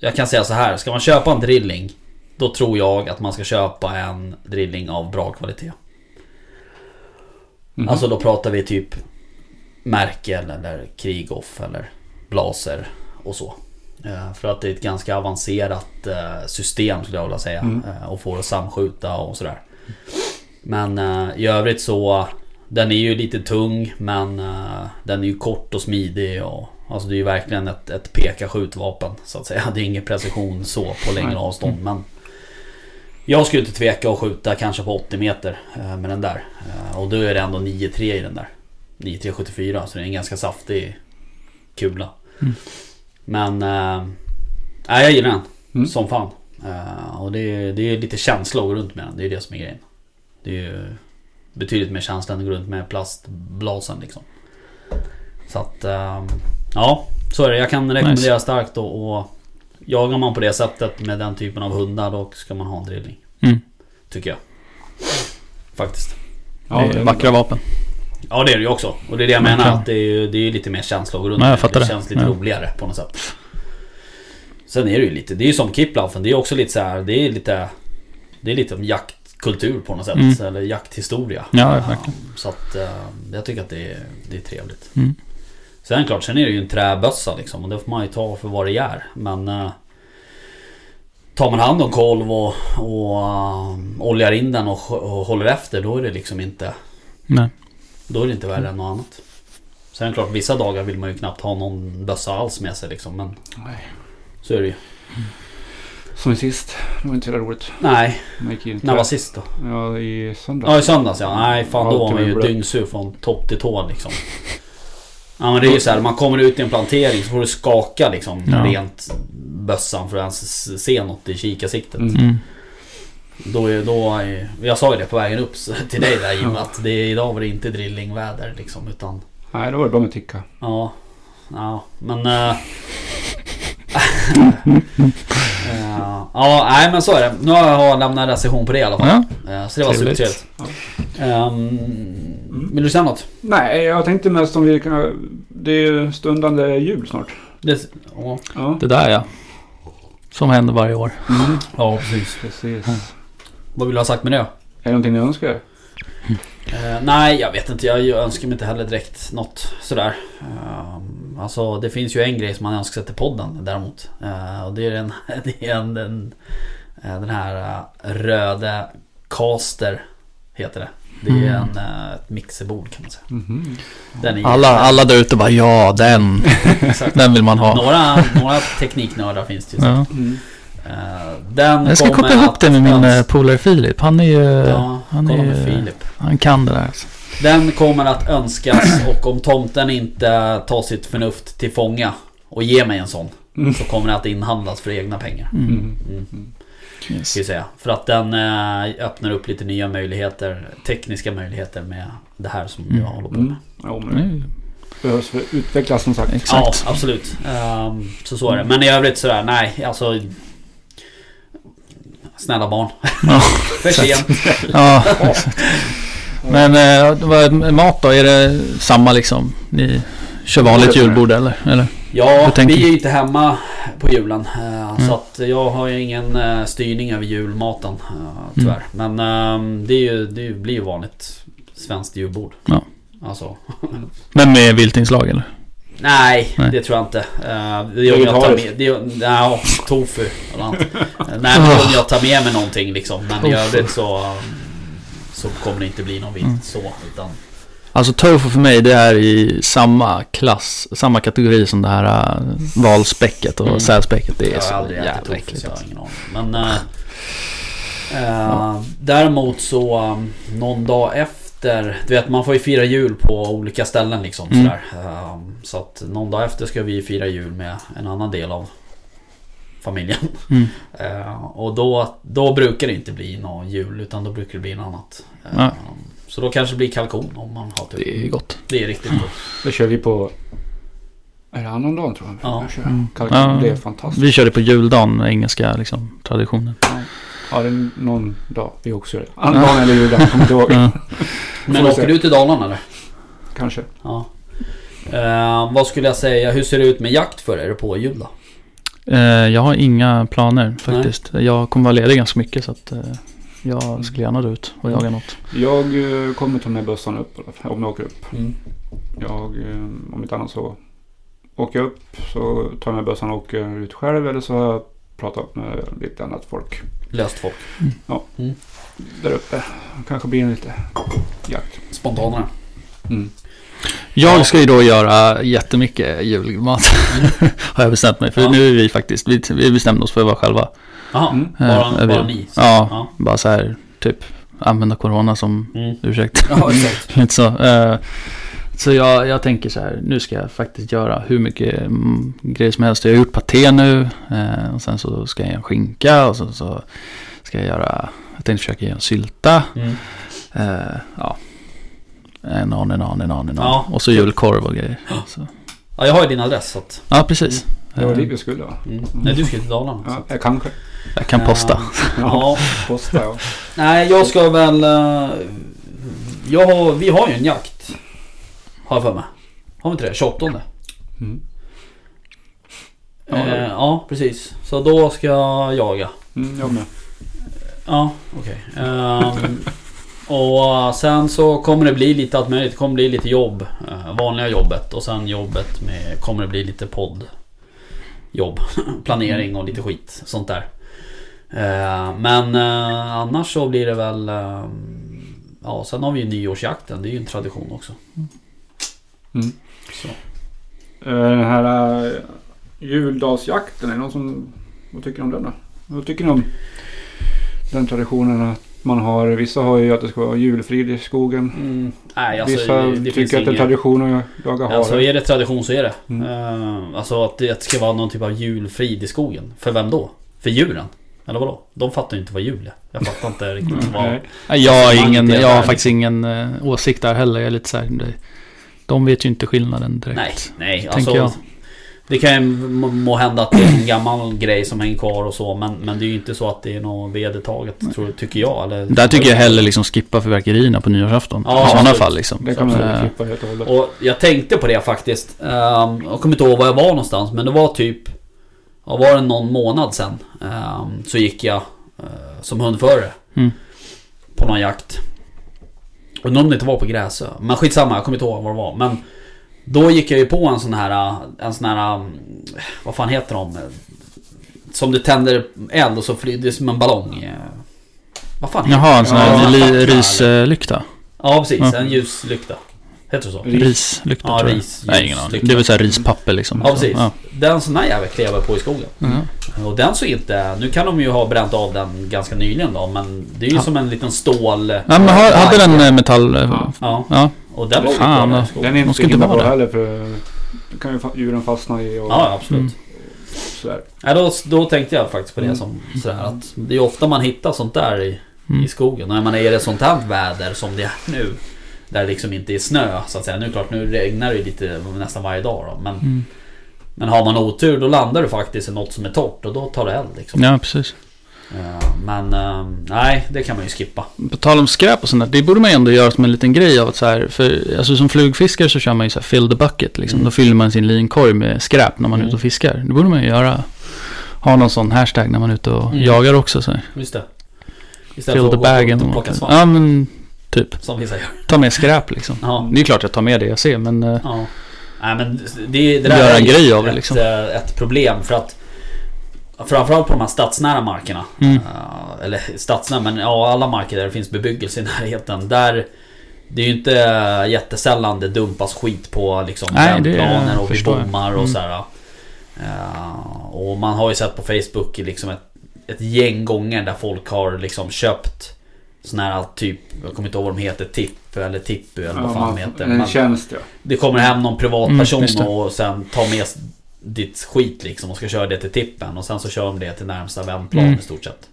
[SPEAKER 3] jag kan säga så här, ska man köpa en drilling då tror jag att man ska köpa en drilling av bra kvalitet.
[SPEAKER 2] Mhm.
[SPEAKER 3] Alltså då pratar vi typ Merkel eller Krieghoff eller Blaser och så. Eh, För att det är ett ganska avancerat eh, system skulle jag vilja säga.
[SPEAKER 2] Mm.
[SPEAKER 3] eh, Och får att samskjuta och sådär. Men eh, i övrigt så Den är ju lite tung men eh, Den är ju kort och smidig och Alltså det är ju verkligen ett, ett peka-skjutvapen så att säga. Det är ingen precision så på längre
[SPEAKER 2] Nej.
[SPEAKER 3] avstånd men Jag skulle inte tveka att skjuta kanske på 80 meter eh, med den där. Eh, Och då är det ändå 9-3 i den där. 9-3-74 så det är en ganska saftig kula.
[SPEAKER 1] Mm.
[SPEAKER 3] Men eh, Nej jag gillar den
[SPEAKER 2] Mm.
[SPEAKER 3] som fan. Eh, och det är, det är lite känsla att gå runt med den. Det är ju det som är grejen. Det är ju betydligt mer känsla än att gå runt med plastblasen liksom. Så att eh, ja, så är det. Jag kan rekommendera starkt och, och jagar man på det sättet med den typen av hundar då ska man ha en drilling.
[SPEAKER 1] Mm.
[SPEAKER 3] Tycker jag. Faktiskt.
[SPEAKER 2] Ja,
[SPEAKER 1] Det är
[SPEAKER 2] det är
[SPEAKER 1] vackra vapen.
[SPEAKER 3] Ja det är det ju också. Och det är det jag
[SPEAKER 1] Mm,
[SPEAKER 3] menar.
[SPEAKER 1] klar.
[SPEAKER 3] Att det, är ju, det är ju lite mer känsla att gå runt
[SPEAKER 1] Nej, jag
[SPEAKER 3] med.
[SPEAKER 1] fattar
[SPEAKER 3] Det
[SPEAKER 1] det.
[SPEAKER 3] känns lite
[SPEAKER 1] Ja.
[SPEAKER 3] roligare på något sätt. Sen är det ju lite, det är ju som Kiplaufen. Det är också lite så här, det är lite... Det är lite om jaktkultur på något sätt.
[SPEAKER 1] Mm.
[SPEAKER 3] Eller jakthistoria.
[SPEAKER 1] Ja,
[SPEAKER 3] Eh,
[SPEAKER 1] verkligen.
[SPEAKER 3] Så att eh, jag tycker att det är, det är trevligt.
[SPEAKER 1] Mm.
[SPEAKER 3] Sen klart, sen är det ju en träbössa liksom. Och det får man ju ta för vad det är. Men... eh, Tar man hand om kolv och, och eh, oljar in den och, och håller efter då är det liksom inte...
[SPEAKER 1] Nej.
[SPEAKER 3] Då är det inte värre än något annat. Sen är det klart, vissa dagar vill man ju knappt ha någon bössa alls med sig liksom. Men
[SPEAKER 2] Nej.
[SPEAKER 3] så är det ju.
[SPEAKER 2] Som sist. Det var inte så jävla roligt.
[SPEAKER 3] Nej,
[SPEAKER 2] Man gick in.
[SPEAKER 3] när var sist då?
[SPEAKER 2] Ja, i söndag.
[SPEAKER 3] Ja, i söndags ja. Nej, fan då
[SPEAKER 2] Ja,
[SPEAKER 3] var man ju
[SPEAKER 2] typ.
[SPEAKER 3] dyngsur från topp till tå liksom. Ja men det är ju så här, man kommer ut i en plantering så får du skaka liksom
[SPEAKER 1] Ja.
[SPEAKER 3] rent bössan för att ens se något i kikarsiktet.
[SPEAKER 2] Mm.
[SPEAKER 1] Mm.
[SPEAKER 3] Då är, då är, jag sa ju det på vägen upp så- till dig där Jim att det, idag var det inte drillingväder liksom utan
[SPEAKER 2] Nej, då var det bra med Ticka.
[SPEAKER 3] Ja, ja men... eh, eh, ja, nej men så är det. Nu har jag lämnat en recension på det i alla fall.
[SPEAKER 1] Ja.
[SPEAKER 3] Eh, så det var
[SPEAKER 1] Trevligt.
[SPEAKER 3] supertrevligt. Ehm, vill du säga något?
[SPEAKER 2] Nej, jag tänkte mest om vi kan... Det är ju stundande jul snart.
[SPEAKER 3] Det, ja.
[SPEAKER 2] Ja,
[SPEAKER 1] Det där ja. Som händer varje år.
[SPEAKER 2] mm,
[SPEAKER 3] ja, precis.
[SPEAKER 2] precis.
[SPEAKER 3] Vad vill du ha sagt med det?
[SPEAKER 2] Är det någonting ni önskar?
[SPEAKER 3] Eh, nej, jag vet inte. Jag önskar mig inte heller direkt något sådär. Eh, alltså, det finns ju en grej som man önskar sig till podden däremot. Eh, och det är, den, det är en, den, eh, den här eh, röda caster, heter det. Det är en, eh, ett mixerbord kan man säga.
[SPEAKER 2] Mhm.
[SPEAKER 3] Den är
[SPEAKER 1] Mm. Alla, alla där ute bara ja den.
[SPEAKER 3] Exakt.
[SPEAKER 1] Den vill man ha.
[SPEAKER 3] Några, några tekniknördar finns det ju.
[SPEAKER 1] Ja.
[SPEAKER 2] Mm.
[SPEAKER 3] Eh, den
[SPEAKER 1] Jag ska
[SPEAKER 3] kommer
[SPEAKER 1] koppla ihop
[SPEAKER 3] att
[SPEAKER 1] det med min
[SPEAKER 3] öns-
[SPEAKER 1] eh, polare Filip. Han är ju...
[SPEAKER 3] Ja,
[SPEAKER 1] han
[SPEAKER 3] kolla
[SPEAKER 1] är
[SPEAKER 3] med
[SPEAKER 1] ju-
[SPEAKER 3] Filip.
[SPEAKER 1] Han kan det där. Alltså.
[SPEAKER 3] Den kommer att önskas och om tomten inte tar sitt förnuft till fånga och ger mig en sån så kommer det att inhandlas för egna pengar.
[SPEAKER 1] Mm.
[SPEAKER 3] Mm, ska
[SPEAKER 1] Yes.
[SPEAKER 3] vi säga. För att den eh, öppnar upp lite nya möjligheter, tekniska möjligheter med det här som
[SPEAKER 1] Mm.
[SPEAKER 3] jag håller på med.
[SPEAKER 2] Mm. Ja, men det
[SPEAKER 1] Mm,
[SPEAKER 2] behövs för att utvecklas som sagt.
[SPEAKER 1] Exakt.
[SPEAKER 3] Ja, absolut. Ehm, så så är det. Men i övrigt sådär, nej alltså... Snälla barn.
[SPEAKER 1] Ja,
[SPEAKER 3] för sent.
[SPEAKER 1] Ja. Men eh, vad- mat då? Är det samma liksom? Ni kör vanligt julbord eller? eller?
[SPEAKER 3] Ja,
[SPEAKER 1] Vad tänker
[SPEAKER 3] vi är
[SPEAKER 1] du?
[SPEAKER 3] ju inte hemma på julen. eh,
[SPEAKER 1] Mm.
[SPEAKER 3] Så att jag har ju ingen eh, styrning över julmaten eh, tyvärr.
[SPEAKER 1] Mm.
[SPEAKER 3] Men ehm, det, är ju, det är ju- blir ju vanligt svenskt julbord.
[SPEAKER 1] Ja.
[SPEAKER 3] Alltså,
[SPEAKER 1] Men med viltinslag eller?
[SPEAKER 3] nej,
[SPEAKER 1] Nej.
[SPEAKER 3] det tror jag inte. Eh, Det är om jag tar med...
[SPEAKER 2] Vegetariskt.
[SPEAKER 3] Det är, nej, tofu eller annat. Eh, nej, men det är om jag tar med mig någonting liksom. Men i
[SPEAKER 1] Tofu.
[SPEAKER 3] övrigt så, eh, så kommer det inte bli någon
[SPEAKER 1] Mm.
[SPEAKER 3] vilt så. Utan,
[SPEAKER 1] Alltså tofu för mig det är i samma klass, samma kategori som det här äh, valspäcket och
[SPEAKER 3] Mm.
[SPEAKER 1] sälspäcket. Det är
[SPEAKER 3] jag har
[SPEAKER 1] så
[SPEAKER 3] aldrig ätit
[SPEAKER 1] jävla
[SPEAKER 3] tofu
[SPEAKER 1] äckligt.
[SPEAKER 3] så jag har
[SPEAKER 1] Alltså.
[SPEAKER 3] ingen aning. Men eh, eh, däremot så um, någon dag efter. Du vet man får ju fira jul på olika ställen liksom.
[SPEAKER 1] Mm.
[SPEAKER 3] Sådär. Ehm, så att någon dag efter ska vi fira jul med en annan del av familjen.
[SPEAKER 1] Mm.
[SPEAKER 3] Eh, och då, då brukar det inte bli någon jul utan då brukar det bli något annat. Ehm,
[SPEAKER 1] Nej.
[SPEAKER 3] så då kanske det blir kalkon om man har tur.
[SPEAKER 1] Det är gott.
[SPEAKER 3] Det är riktigt gott.
[SPEAKER 2] Det kör vi på... Är det annan dag tror jag?
[SPEAKER 3] Ja.
[SPEAKER 2] Jag kör.
[SPEAKER 1] Mm.
[SPEAKER 2] Kalkon,
[SPEAKER 1] Ja.
[SPEAKER 2] Det är fantastiskt.
[SPEAKER 1] Vi körde på juldagen, den engelska liksom, traditionen.
[SPEAKER 2] Ja, det är någon dag vi också gör det. Annan dag eller juldagen, kommer inte ihåg.
[SPEAKER 1] Ja.
[SPEAKER 3] Men
[SPEAKER 2] Får vi
[SPEAKER 3] åker
[SPEAKER 2] se.
[SPEAKER 3] du till Dalarna eller?
[SPEAKER 2] Kanske.
[SPEAKER 3] Ja. Eh, vad skulle jag säga? Hur ser det ut med jakt för er på jul då?
[SPEAKER 1] Eh, jag har inga planer faktiskt. Jag kommer vara ledig ganska mycket så att eh,
[SPEAKER 3] Mm.
[SPEAKER 1] jag skulle gärna dra ut och jaga något.
[SPEAKER 2] Jag eh, kommer ta med bössan upp i alla fall, om jag åker upp. Jag, eh, om inte annat så åker jag upp så tar jag med bössan och åker ut själv eller så har jag pratat med lite annat folk
[SPEAKER 3] Löst folk.
[SPEAKER 2] där uppe. Kanske blir en lite jakt.
[SPEAKER 3] Spontanare.
[SPEAKER 2] Mm.
[SPEAKER 1] Jag ska ju då göra jättemycket julmat. har jag bestämt mig för.
[SPEAKER 3] Mm. Ja.
[SPEAKER 1] Nu är vi faktiskt, vi, vi bestämde oss för att vara själva.
[SPEAKER 3] Jaha,
[SPEAKER 2] Mm.
[SPEAKER 1] Eh,
[SPEAKER 3] bara,
[SPEAKER 1] jag
[SPEAKER 3] bara
[SPEAKER 1] vill.
[SPEAKER 3] ni?
[SPEAKER 1] Ja,
[SPEAKER 3] Ja.
[SPEAKER 1] bara så här typ använda corona som
[SPEAKER 3] Mm.
[SPEAKER 1] ursäkt.
[SPEAKER 3] Ja, exakt.
[SPEAKER 1] Lite så. Eh, så jag, jag tänker så här, nu ska jag faktiskt göra hur mycket mm, grejer som helst. Jag har gjort paté nu eh, och sen så ska jag göra en skinka och sen så ska jag göra, jag tänkte försöka göra en sylta.
[SPEAKER 3] Mm.
[SPEAKER 1] Eh, ja. En on, en on, en on, en on.
[SPEAKER 3] Ja. typ.
[SPEAKER 1] Och så julkorv och grejer. Så.
[SPEAKER 3] Ja, jag har ju din adress så att...
[SPEAKER 1] Ja, precis.
[SPEAKER 2] Det var
[SPEAKER 1] Eh,
[SPEAKER 2] dit vi skulle va?
[SPEAKER 3] Mm. Nej, du ska ju till Dalarna. Så.
[SPEAKER 2] Ja, jag kanske.
[SPEAKER 1] jag kan posta.
[SPEAKER 3] Eh, ja.
[SPEAKER 2] Posta ja.
[SPEAKER 3] Nej, jag ska väl... eh, Jag har, vi har ju en jakt. Har jag för mig. Har vi inte det? 28?
[SPEAKER 2] Mm.
[SPEAKER 3] Ja,
[SPEAKER 2] Ja, det har vi.
[SPEAKER 3] eh, ja precis. Så då ska jag jaga.
[SPEAKER 2] Mm, jag med.
[SPEAKER 3] Ja, okej. Ehm, och eh, sen så kommer det bli lite allt möjligt. Det kommer bli lite jobb. eh, Vanliga jobbet och sen jobbet med kommer det bli lite podd. Jobb, planering och lite skit. Sånt där. Eh, Men eh, annars så blir det väl... eh, Ja, sen har vi ju nyårsjakten. Det är ju en tradition också.
[SPEAKER 2] Mm.
[SPEAKER 3] Så.
[SPEAKER 2] Eh, Den här eh, juldagsjakten, är det någon som... Vad tycker ni om den då? Vad tycker ni om den traditionen att man har... Vissa har ju att det ska vara julfrid i skogen.
[SPEAKER 3] Mm, nej, alltså,
[SPEAKER 2] vissa
[SPEAKER 3] det, det finns
[SPEAKER 2] tycker att det är
[SPEAKER 3] inget-
[SPEAKER 2] tradition att jaga hare.
[SPEAKER 3] Alltså är det tradition så är det.
[SPEAKER 2] Mm.
[SPEAKER 3] Eh, alltså att det ska vara någon typ av julfrid i skogen. För vem då? För djuren? Eller vadå? De fattar ju inte vad jul är. Jag fattar inte riktigt vad...
[SPEAKER 2] Nej.
[SPEAKER 1] Nej, Jag
[SPEAKER 3] Alltså,
[SPEAKER 1] har,
[SPEAKER 3] man
[SPEAKER 1] ingen,
[SPEAKER 3] inte
[SPEAKER 1] jag har
[SPEAKER 3] är-
[SPEAKER 1] faktiskt ingen eh, åsikt där heller. Jag är lite så här, det- de vet ju inte skillnaden direkt.
[SPEAKER 3] Nej, nej.
[SPEAKER 1] Tänker
[SPEAKER 3] Alltså,
[SPEAKER 1] jag.
[SPEAKER 3] Det kan ju må- må hända att det är en gammal grej som hänger kvar och så men, men det är ju inte så att det är något vedertaget tror, tycker jag. Eller,
[SPEAKER 1] Där tycker jag hellre liksom skippa fyrverkerierna på nyårsafton.
[SPEAKER 3] Ja,
[SPEAKER 1] I sådana
[SPEAKER 3] absolut.
[SPEAKER 1] fall liksom.
[SPEAKER 2] Det kan man
[SPEAKER 1] Eh,
[SPEAKER 2] väl klippa helt och hållet.
[SPEAKER 3] Och jag tänkte på det faktiskt. Ehm, jag kommer inte ihåg var jag var någonstans men det var typ... Ja, var det någon månad sen ehm, så gick jag eh, som hundförare.
[SPEAKER 1] Mm.
[SPEAKER 3] På någon jakt. Undrar om det inte var på Gräsö. Men skitsamma, jag kommer inte ihåg var det var. Men då gick jag ju på en sån här... eh, En sån här... mm, Vad fan heter de? Som du tänder eld och så flyger det som en ballong. eh. Vad fan heter
[SPEAKER 1] Jaha, en sån
[SPEAKER 3] Ja,
[SPEAKER 1] här
[SPEAKER 3] en
[SPEAKER 1] li-
[SPEAKER 3] fackla,
[SPEAKER 1] rislykta.
[SPEAKER 3] Ja precis,
[SPEAKER 1] Ja.
[SPEAKER 3] en ljuslykta. Heter det så?
[SPEAKER 2] Ris.
[SPEAKER 1] Rislykta
[SPEAKER 3] Ja,
[SPEAKER 1] tror jag.
[SPEAKER 3] ris,
[SPEAKER 1] Nej, ingen aning.
[SPEAKER 3] ljuslykta.
[SPEAKER 1] Det är väl såhär rispapper liksom.
[SPEAKER 3] Ja precis.
[SPEAKER 1] Ja.
[SPEAKER 3] Den sån här jävel klev jag på i skogen.
[SPEAKER 1] Mm.
[SPEAKER 3] Och den såg inte... Nu kan de ju ha bränt av den ganska nyligen då men det är ju
[SPEAKER 1] Ja.
[SPEAKER 3] som en liten stål...
[SPEAKER 1] Ja, men har- hade den eh, metall... Ja.
[SPEAKER 2] Ja.
[SPEAKER 3] Ja,
[SPEAKER 1] ja.
[SPEAKER 3] och den
[SPEAKER 1] Fan,
[SPEAKER 3] låg kvar där i
[SPEAKER 1] då.
[SPEAKER 3] skogen.
[SPEAKER 2] Den är
[SPEAKER 1] de
[SPEAKER 2] inte
[SPEAKER 1] ska inte
[SPEAKER 2] så himla
[SPEAKER 1] vara
[SPEAKER 2] bra
[SPEAKER 1] där.
[SPEAKER 2] heller för då kan ju fa- djuren fastna i och
[SPEAKER 3] Ja, absolut.
[SPEAKER 1] Mm.
[SPEAKER 2] sådär.
[SPEAKER 3] Ja, då, då tänkte jag faktiskt på det
[SPEAKER 2] Mm.
[SPEAKER 3] som sådär att det är ofta man hittar sånt där i,
[SPEAKER 1] Mm.
[SPEAKER 3] i skogen. Och jag menar, är det sånt här väder som det är nu. Där det liksom inte är snö så att säga. Nu är det klart, nu regnar det ju lite nästan varje dag då. Men,
[SPEAKER 1] Mm.
[SPEAKER 3] men har man otur då landar du faktiskt i något som är torrt och då tar det eld liksom.
[SPEAKER 1] ja, precis.
[SPEAKER 3] Eh, Men eh, nej, det kan man ju skippa.
[SPEAKER 1] På tal om skräp och sånt där, det borde man ju ändå göra som en liten grej av att så här, för alltså som flugfiskare så kör man ju så här fill the bucket liksom.
[SPEAKER 3] Mm.
[SPEAKER 1] Då fyller man sin linkorg med skräp när man är
[SPEAKER 3] Mm.
[SPEAKER 1] ute och fiskar. Det borde man ju göra. Ha någon sån hashtag när man är ute och
[SPEAKER 3] Mm.
[SPEAKER 1] jagar också så här.
[SPEAKER 3] Just det. Istället
[SPEAKER 1] Fill
[SPEAKER 3] för
[SPEAKER 1] the
[SPEAKER 3] att gå
[SPEAKER 1] bag
[SPEAKER 3] ut
[SPEAKER 1] eller
[SPEAKER 3] och plocka
[SPEAKER 1] något.
[SPEAKER 3] svamp.
[SPEAKER 1] Ja men typ.
[SPEAKER 3] Som vissa gör.
[SPEAKER 1] Ta med skräp liksom.
[SPEAKER 3] Ja.
[SPEAKER 1] Det är klart jag tar med det jag ser men eh,
[SPEAKER 3] ja. Nej men det, det där
[SPEAKER 1] Göra
[SPEAKER 3] är
[SPEAKER 1] en
[SPEAKER 3] ju
[SPEAKER 1] grej av det,
[SPEAKER 3] ett,
[SPEAKER 1] liksom.
[SPEAKER 3] eh, ett problem för att Framförallt på de här stadsnära markerna.
[SPEAKER 1] Mm.
[SPEAKER 3] Eh, Eller stadsnära, men ja, alla marker där det finns bebyggelse i närheten. Där det är ju inte jättesällan det dumpas skit på liksom
[SPEAKER 1] Nej, det
[SPEAKER 3] vändplaner och vid
[SPEAKER 1] förstår jag.
[SPEAKER 3] bommar och
[SPEAKER 1] Mm.
[SPEAKER 3] sådär. Eh, Och man har ju sett på Facebook liksom ett, ett gäng gånger där folk har liksom köpt sådana här typ, jag kommer inte ihåg vad de heter, tipp eller tippu eller vad
[SPEAKER 2] Ja,
[SPEAKER 3] fan
[SPEAKER 2] man-
[SPEAKER 3] de heter.
[SPEAKER 2] En
[SPEAKER 3] Man-
[SPEAKER 2] tjänst ja.
[SPEAKER 3] det kommer hem någon
[SPEAKER 1] Mm,
[SPEAKER 3] privatperson
[SPEAKER 1] just det.
[SPEAKER 3] och sen tar med s- ditt skit liksom och ska köra det till tippen och sen så kör de det till närmsta vändplan
[SPEAKER 1] Mm.
[SPEAKER 3] i stort sett.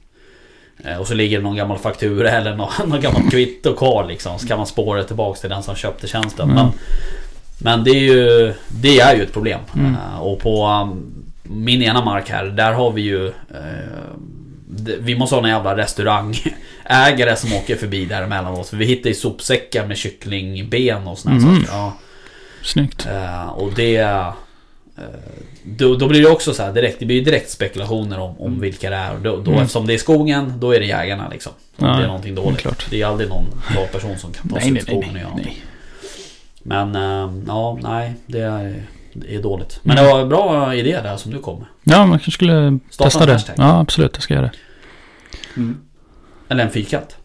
[SPEAKER 3] Eh, Och så ligger det någon gammal faktura eller någon, någon gammal kvitto kvar liksom. Så kan man spåra det tillbaks till den som köpte tjänsten.
[SPEAKER 1] Mm.
[SPEAKER 3] Men, men det är ju Det är ju ett problem.
[SPEAKER 1] Mm.
[SPEAKER 3] Eh, Och på um, min ena mark här, där har vi ju eh, det- vi måste ha någon jävla restaurangägare som åker förbi där emellanåt. För vi hittar ju sopsäckar med kycklingben och såna här
[SPEAKER 1] Mm.
[SPEAKER 3] saker. Ja.
[SPEAKER 1] snyggt.
[SPEAKER 3] Eh, och det... eh, då, då blir det också så här direkt, det blir ju direkt spekulationer om, om vilka det är. Och då, då,
[SPEAKER 1] Mm.
[SPEAKER 3] Eftersom det är skogen, då är det jägarna liksom. Om
[SPEAKER 1] Ja,
[SPEAKER 3] det är någonting
[SPEAKER 1] Det är
[SPEAKER 3] dåligt.
[SPEAKER 1] klart.
[SPEAKER 3] Det är aldrig någon bra person som kan ta sig
[SPEAKER 1] Nej
[SPEAKER 3] ut i
[SPEAKER 1] nej nej.
[SPEAKER 3] skogen och
[SPEAKER 1] nej,
[SPEAKER 3] göra någonting.
[SPEAKER 1] nej.
[SPEAKER 3] Men eh, ja, nej, det är, det är dåligt. Men
[SPEAKER 1] Mm.
[SPEAKER 3] det var en bra idé där som du kom med.
[SPEAKER 1] Ja man kanske skulle
[SPEAKER 3] Starta
[SPEAKER 1] testa
[SPEAKER 3] en
[SPEAKER 1] det.
[SPEAKER 3] hashtag.
[SPEAKER 1] Ja absolut jag ska göra det.
[SPEAKER 2] Mm.
[SPEAKER 3] Eller en fyrkant.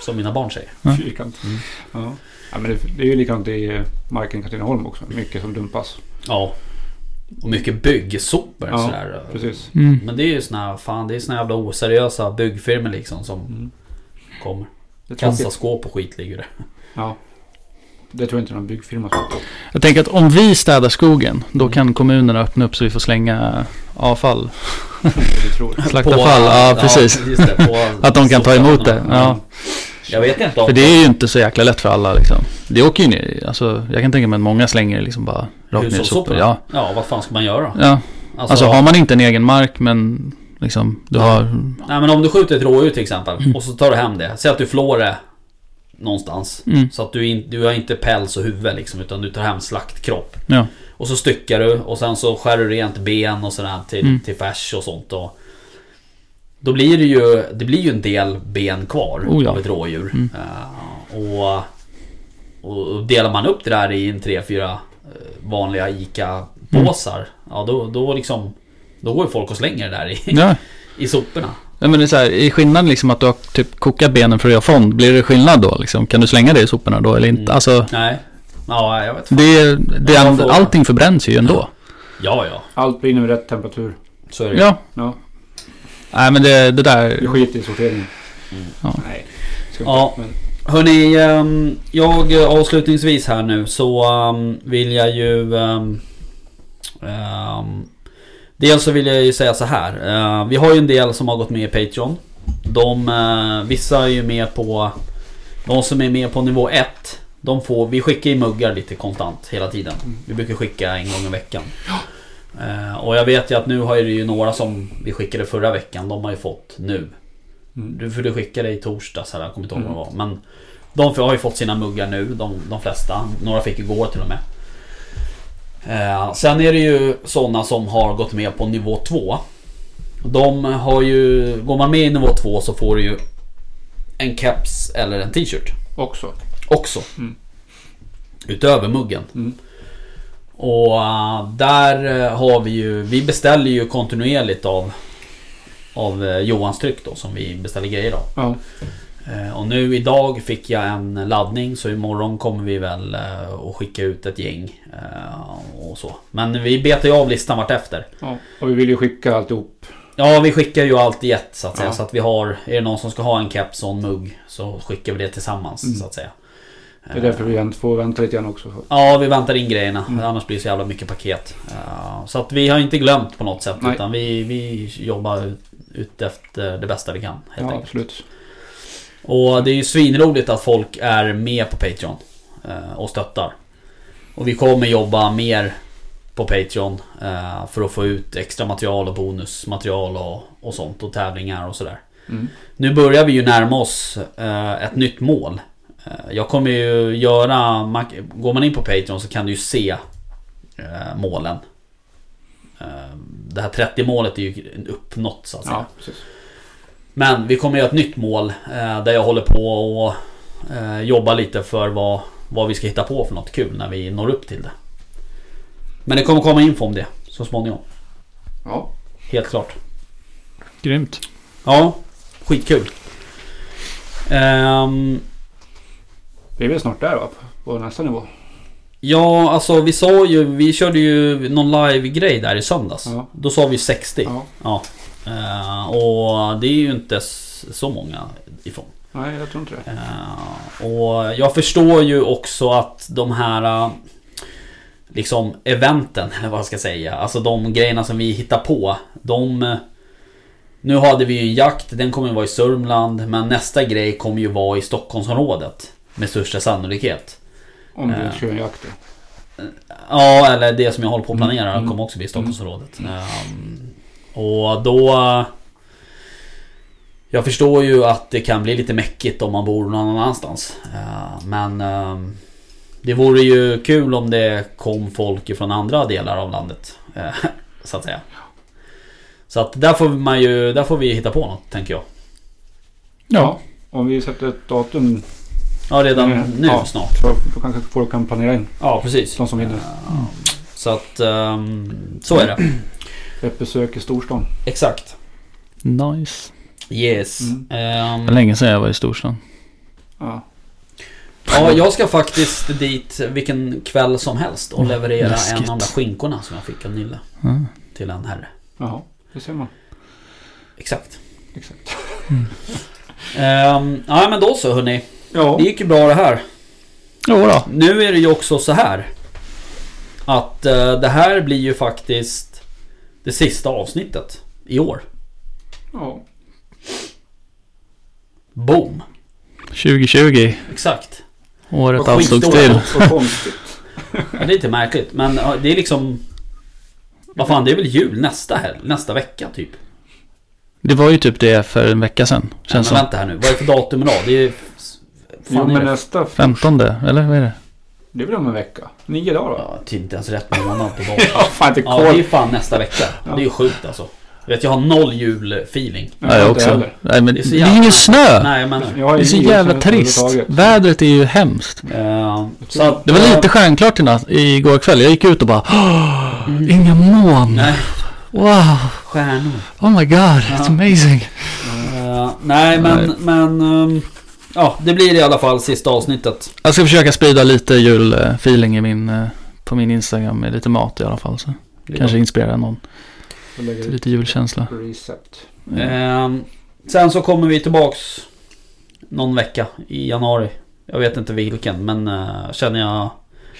[SPEAKER 3] Som mina barn säger.
[SPEAKER 1] Ja.
[SPEAKER 2] Fyrkant.
[SPEAKER 3] Mm.
[SPEAKER 2] Ja. Ja, men det, det är ju likadant i eh, marken i Katrineholm också. Mycket som dumpas.
[SPEAKER 3] Ja. Och mycket byggsopor
[SPEAKER 2] Ja,
[SPEAKER 3] sådär.
[SPEAKER 2] Precis.
[SPEAKER 1] Mm.
[SPEAKER 3] Men det är ju såna här, fan det är såna jävla oseriösa byggfirmor liksom som
[SPEAKER 2] Mm.
[SPEAKER 3] kommer.
[SPEAKER 2] Det är tråkigt.
[SPEAKER 3] Kassaskåp och skit ligger det.
[SPEAKER 2] Ja. Det tror jag inte någon byggfirma ska ta.
[SPEAKER 1] Jag tänker att om vi städar skogen då kan kommunerna öppna upp så vi får slänga avfall.
[SPEAKER 2] Det tror jag.
[SPEAKER 1] Slaktavfall, ja precis.
[SPEAKER 3] det, på-
[SPEAKER 1] Att de kan ta emot det. Ja.
[SPEAKER 3] Jag vet inte om...
[SPEAKER 1] För det är ju inte så jäkla lätt för alla liksom. Det åker ju ner, alltså jag kan tänka mig att många slänger det liksom bara rakt ner i sopor.
[SPEAKER 3] Hushållssoporna?
[SPEAKER 1] Ja.
[SPEAKER 3] ja, vad fan ska man göra?
[SPEAKER 1] ja, alltså har man inte en egen mark men liksom du
[SPEAKER 3] Nej.
[SPEAKER 1] har...
[SPEAKER 3] Nej men om du skjuter ett rådjur till
[SPEAKER 1] Mm.
[SPEAKER 3] exempel och så tar du hem det. Säg att du flår det någonstans.
[SPEAKER 1] Mm,
[SPEAKER 3] Så att du, in, du har inte päls och huvud liksom utan du tar hem slaktkropp.
[SPEAKER 1] ja.
[SPEAKER 3] Och så styckar du och sen så skär du rent ben och sådär till,
[SPEAKER 1] Mm.
[SPEAKER 3] till färs och sånt. Och då blir det ju, det blir ju en del ben kvar
[SPEAKER 1] Oh ja.
[SPEAKER 3] av ett rådjur.
[SPEAKER 1] Mm.
[SPEAKER 3] Eh, och, och delar man upp det där i en 3-4 vanliga ICA-påsar.
[SPEAKER 1] Mm.
[SPEAKER 3] Ja då, då liksom Då går ju folk och slänger det där i,
[SPEAKER 1] ja.
[SPEAKER 3] i soporna.
[SPEAKER 1] Ja, men det är så här, i skillnaden liksom att du har typ kokat benen för att göra fond, blir det skillnad då liksom? Kan du slänga det i soporna då eller inte?
[SPEAKER 3] Mm.
[SPEAKER 1] Alltså,
[SPEAKER 3] Nej. Ja, jag vet.
[SPEAKER 1] det, det,
[SPEAKER 3] Ja, frågan.
[SPEAKER 1] allting förbränns ju ändå.
[SPEAKER 3] Ja, ja.
[SPEAKER 2] Allt brinner vid rätt temperatur.
[SPEAKER 3] Så är det ju.
[SPEAKER 1] Ja,
[SPEAKER 2] Ja.
[SPEAKER 1] nej men det, det där...
[SPEAKER 2] Vi skiter i sorteringen.
[SPEAKER 1] Ja.
[SPEAKER 2] Nej. Ska vi
[SPEAKER 3] Mm. Ja.
[SPEAKER 2] inte, men-
[SPEAKER 3] Hörni, ehm, jag eh, avslutningsvis här nu så ehm, vill jag ju... ehm, ehm, Dels så vill jag ju säga så här. eh, Vi har ju en del som har gått med i Patreon. De, eh, vissa är ju med på... De som är med på nivå 1. De får, vi skickar ju muggar lite konstant hela tiden. Vi brukar skicka en gång i veckan. Eh, Och jag vet ju att nu har ju det ju några som vi skickade förra veckan, de har ju fått nu.
[SPEAKER 2] Mm.
[SPEAKER 3] Du, för du skickade i torsdags, eller jag kommer inte ihåg vad det
[SPEAKER 2] Mm.
[SPEAKER 3] var. Men de har ju fått sina muggar nu, de, de flesta. Några fick igår till och med. Eh, sen är det ju sådana som har gått med på nivå 2. De har ju, går man med i nivå 2 så får du ju en keps eller en t-shirt
[SPEAKER 2] Också.
[SPEAKER 3] också.
[SPEAKER 2] Mm.
[SPEAKER 3] Utöver muggen.
[SPEAKER 2] Mm.
[SPEAKER 3] Och eh, där eh, har vi ju, vi beställer ju kontinuerligt av, av eh, Johans tryck då som vi beställer grejer av.
[SPEAKER 2] Ja.
[SPEAKER 3] Eh, Och nu idag fick jag en laddning så imorgon kommer vi väl eh, att skicka ut ett gäng. eh, Och så. Men vi betar ju av listan vartefter.
[SPEAKER 2] ja. Och vi vill ju skicka alltihop.
[SPEAKER 3] Ja, vi skickar ju allt i ett så att säga.
[SPEAKER 2] Ja.
[SPEAKER 3] Så att vi har, är det någon som ska ha en keps och en mugg så skickar vi det tillsammans
[SPEAKER 2] Mm.
[SPEAKER 3] så att säga. Eh,
[SPEAKER 2] Det är därför vi vänt- får vänta lite grann också. Så.
[SPEAKER 3] Ja, vi väntar in grejerna.
[SPEAKER 2] Mm.
[SPEAKER 3] Annars blir det så jävla mycket paket. Eh, Så att vi har inte glömt på något sätt.
[SPEAKER 2] Nej.
[SPEAKER 3] Utan vi, vi jobbar ut, ut efter det bästa vi kan. Helt
[SPEAKER 2] Ja,
[SPEAKER 3] enkelt.
[SPEAKER 2] absolut.
[SPEAKER 3] Och det är ju svinroligt att folk är med på Patreon eh, och stöttar. Och vi kommer jobba mer på Patreon eh, för att få ut extra material och bonusmaterial och, och sånt och tävlingar och sådär.
[SPEAKER 2] Mm.
[SPEAKER 3] Nu börjar vi ju närma oss eh, ett nytt mål. Eh, jag kommer ju göra... Man, går man in på Patreon så kan du ju se eh, målen. Eh, det här 30 målet är ju uppnått så att säga.
[SPEAKER 2] Ja, precis.
[SPEAKER 3] Men vi kommer göra ett nytt mål eh, där jag håller på och eh, jobbar lite för vad, vad vi ska hitta på för något kul när vi når upp till det. Men det kommer komma info om det så småningom.
[SPEAKER 2] Ja.
[SPEAKER 3] Helt klart.
[SPEAKER 1] Grymt.
[SPEAKER 3] Ja, skitkul. Ehm,
[SPEAKER 2] Vi är väl snart där va? På nästa nivå.
[SPEAKER 3] ja, alltså vi sa ju, vi körde ju någon live-grej där i söndags.
[SPEAKER 2] Ja.
[SPEAKER 3] Då sa vi 60.
[SPEAKER 2] Ja.
[SPEAKER 3] Ja. Eh, och det är ju inte s- så många ifrån.
[SPEAKER 2] Nej, jag tror inte det.
[SPEAKER 3] Eh, och jag förstår ju också att de här eh, liksom eventen, eller vad jag ska säga, alltså de grejerna som vi hittar på, de... eh, Nu hade vi ju en jakt, den kommer ju vara i Sörmland, men nästa grej kommer ju vara i Stockholmsområdet. Med största sannolikhet.
[SPEAKER 2] Om du
[SPEAKER 3] Eh.
[SPEAKER 2] kör en jakt. då.
[SPEAKER 3] Ja, eller det som jag håller på att planera
[SPEAKER 2] Mm.
[SPEAKER 3] kommer också bli i Stockholmsrådet. Ehm, och då... Jag förstår ju att det kan bli lite mäckigt om man bor någon annanstans. Ehm, men... ehm, det vore ju kul om det kom folk från andra delar av landet. eh, så att säga. Så att där får man ju... Där får vi hitta på något, tänker jag.
[SPEAKER 1] Ja.
[SPEAKER 2] Om vi sätter ett datum
[SPEAKER 3] Ja, redan
[SPEAKER 2] Mm,
[SPEAKER 3] nu
[SPEAKER 2] ja.
[SPEAKER 3] snart.
[SPEAKER 2] så då kanske folk kan planera in.
[SPEAKER 3] Ja, precis.
[SPEAKER 2] De som hinner.
[SPEAKER 3] Ehm, så att... ehm, så är det.
[SPEAKER 2] Mm. Ett besök i storstan.
[SPEAKER 3] Exakt.
[SPEAKER 1] Nice.
[SPEAKER 3] Yes.
[SPEAKER 2] Mm.
[SPEAKER 3] Ehm,
[SPEAKER 1] Det var länge sedan jag var i storstan.
[SPEAKER 2] Ja.
[SPEAKER 3] Ja, jag ska faktiskt dit vilken kväll som helst och leverera en
[SPEAKER 1] Läskigt.
[SPEAKER 3] av de där skinkorna som jag fick av Nille
[SPEAKER 1] Mm.
[SPEAKER 3] till en herre.
[SPEAKER 2] Jaha, det ser man.
[SPEAKER 3] Exakt.
[SPEAKER 2] Exakt.
[SPEAKER 3] Ehm, ja, men då så hörni.
[SPEAKER 2] Ja.
[SPEAKER 3] Det gick ju bra det här.
[SPEAKER 1] Jo då.
[SPEAKER 3] Nu är det ju också så här. Att eh, det här blir ju faktiskt det sista avsnittet i år.
[SPEAKER 2] Ja.
[SPEAKER 3] Boom!
[SPEAKER 1] 2020.
[SPEAKER 3] Exakt.
[SPEAKER 1] Året
[SPEAKER 3] Vad
[SPEAKER 1] avslogs
[SPEAKER 3] skitår.
[SPEAKER 1] till.
[SPEAKER 2] Så konstigt.
[SPEAKER 3] Ja, det är lite märkligt men ja, det är liksom... Vad fan, det är väl jul nästa helg? Nästa vecka typ?
[SPEAKER 1] Det var ju typ det för en vecka sedan.
[SPEAKER 3] Nej,
[SPEAKER 1] Känns
[SPEAKER 3] men
[SPEAKER 1] som.
[SPEAKER 3] vänta här nu. Vad är det för datum idag? Det är ju...
[SPEAKER 2] Jo,
[SPEAKER 3] är
[SPEAKER 2] men
[SPEAKER 3] det-
[SPEAKER 2] nästa...
[SPEAKER 1] 15 eller vad är det?
[SPEAKER 2] Det är väl om en vecka? Nio dagar då?
[SPEAKER 3] Ja, det är inte ens rätt månad på dagen.
[SPEAKER 2] Ja, fan inte
[SPEAKER 3] Ja, det är
[SPEAKER 2] koll.
[SPEAKER 3] fan nästa vecka. Det är ju sjukt alltså. Du vet, jag har noll julfeeling.
[SPEAKER 2] Ja,
[SPEAKER 1] Nej, jag
[SPEAKER 2] inte
[SPEAKER 1] också.
[SPEAKER 2] heller.
[SPEAKER 1] Nej men
[SPEAKER 3] Det
[SPEAKER 1] det
[SPEAKER 3] är så
[SPEAKER 1] är
[SPEAKER 3] jävla-
[SPEAKER 1] ingen snö.
[SPEAKER 3] Nej, men...
[SPEAKER 2] Jag har
[SPEAKER 1] Det är så
[SPEAKER 2] ingen
[SPEAKER 1] jävla
[SPEAKER 2] som
[SPEAKER 1] trist.
[SPEAKER 2] överhuvudtaget.
[SPEAKER 1] Vädret är ju hemskt.
[SPEAKER 3] eh, så att,
[SPEAKER 1] Det var lite stjärnklart i natt- igår kväll. Jag gick ut och bara "Åh, Mm. Inga moln.
[SPEAKER 3] Mm. Nej,
[SPEAKER 1] Wow.
[SPEAKER 3] stjärnor.
[SPEAKER 1] Oh my god. It's amazing.
[SPEAKER 3] Eh, nej, men...
[SPEAKER 1] Nej.
[SPEAKER 3] men ehm, ja, det blir i alla fall sista avsnittet.
[SPEAKER 1] Jag ska försöka sprida lite julfeeling i min, eh, på min Instagram med lite mat i alla fall. Så kanske inspirera någon
[SPEAKER 2] Jag lägger
[SPEAKER 1] till
[SPEAKER 2] ut
[SPEAKER 1] lite julkänsla.
[SPEAKER 2] Recept.
[SPEAKER 3] Ehm, sen så kommer vi tillbaks någon vecka i januari. Jag vet inte vilken, men eh, känner, jag,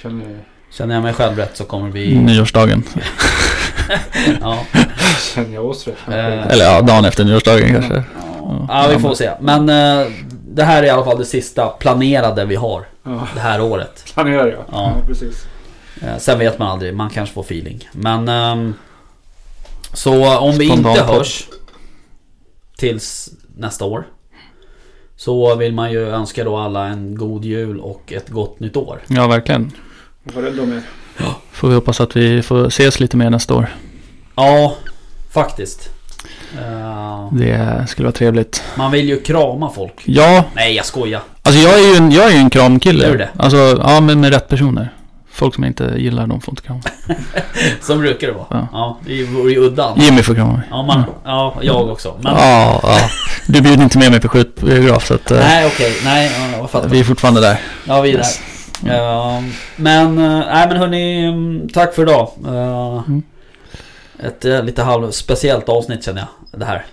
[SPEAKER 2] Känner,
[SPEAKER 3] känner jag mig själv rätt så kommer det bli...
[SPEAKER 1] Eh, Nyårsdagen.
[SPEAKER 3] Ja.
[SPEAKER 2] känner jag oss rätt?
[SPEAKER 3] Eh,
[SPEAKER 1] Eller ja, dagen efter nyårsdagen kanske.
[SPEAKER 3] Ja, vi får se. Men eh, det här är i alla fall det sista planerade vi har
[SPEAKER 2] Ja,
[SPEAKER 3] det här året.
[SPEAKER 2] planerar jag.
[SPEAKER 3] Ja.
[SPEAKER 2] Ja, precis.
[SPEAKER 3] Eh, Sen vet man aldrig, man kanske får feeling. Men... ehm, så om vi
[SPEAKER 1] Spontan
[SPEAKER 3] inte
[SPEAKER 1] podd.
[SPEAKER 3] hörs tills nästa år. Så vill man ju önska då alla en god jul och ett gott nytt år.
[SPEAKER 1] Ja, verkligen.
[SPEAKER 2] Var rädd om er.
[SPEAKER 1] Får vi hoppas att vi får ses lite mer nästa år.
[SPEAKER 3] Ja, faktiskt. Eh,
[SPEAKER 1] Det skulle vara trevligt.
[SPEAKER 3] man vill ju krama folk.
[SPEAKER 1] Ja,
[SPEAKER 3] Nej, jag skojar.
[SPEAKER 1] Alltså jag är ju en, jag är ju en kramkille.
[SPEAKER 3] Är du det?
[SPEAKER 1] Alltså, ja men med rätt personer. Folk som jag inte gillar, de får inte krama.
[SPEAKER 3] Så brukar det vara.
[SPEAKER 1] Ja.
[SPEAKER 3] Ja, det vore ju udda.
[SPEAKER 1] Jimmy får krama mig.
[SPEAKER 3] Ja, man, ja, jag också. Men,
[SPEAKER 1] Ja, ja. Du bjuder inte med mig på skjutbiograf så att eh,
[SPEAKER 3] Nej, okej. Nej, ja, jag fattar.
[SPEAKER 1] vi är fortfarande där.
[SPEAKER 3] Ja, vi är där.
[SPEAKER 1] Yes.
[SPEAKER 3] Ja, men, eh, nej men hörni, mm, tack för idag. Eh,
[SPEAKER 1] Mm.
[SPEAKER 3] Ett eh, lite halvspeciellt avsnitt känner jag. Det här.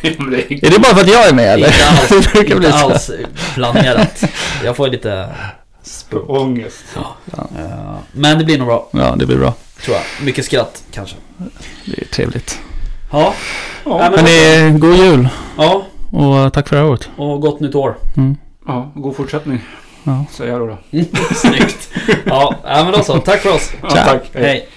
[SPEAKER 1] Är det bara för att jag är med eller?
[SPEAKER 3] Inte alls,
[SPEAKER 1] det brukar bli
[SPEAKER 3] inte
[SPEAKER 1] så.
[SPEAKER 3] alls planerat. Jag får ju lite språk.
[SPEAKER 2] Ångest.
[SPEAKER 3] Eh, Men det blir nog bra,
[SPEAKER 1] Ja, det blir bra.
[SPEAKER 3] tror jag. Mycket skratt kanske.
[SPEAKER 1] Det är trevligt.
[SPEAKER 3] Ja,
[SPEAKER 2] Ja.
[SPEAKER 3] men-
[SPEAKER 1] Men det är god jul
[SPEAKER 3] ja
[SPEAKER 1] och tack för det här året.
[SPEAKER 3] och gott nytt år.
[SPEAKER 2] ja, god fortsättning.
[SPEAKER 1] Ja.
[SPEAKER 2] Säger jag då. då.
[SPEAKER 3] Snyggt. Ja, nej, men då så. Tack för oss.
[SPEAKER 2] Ja,
[SPEAKER 1] Tja.
[SPEAKER 2] tack.
[SPEAKER 3] Hej.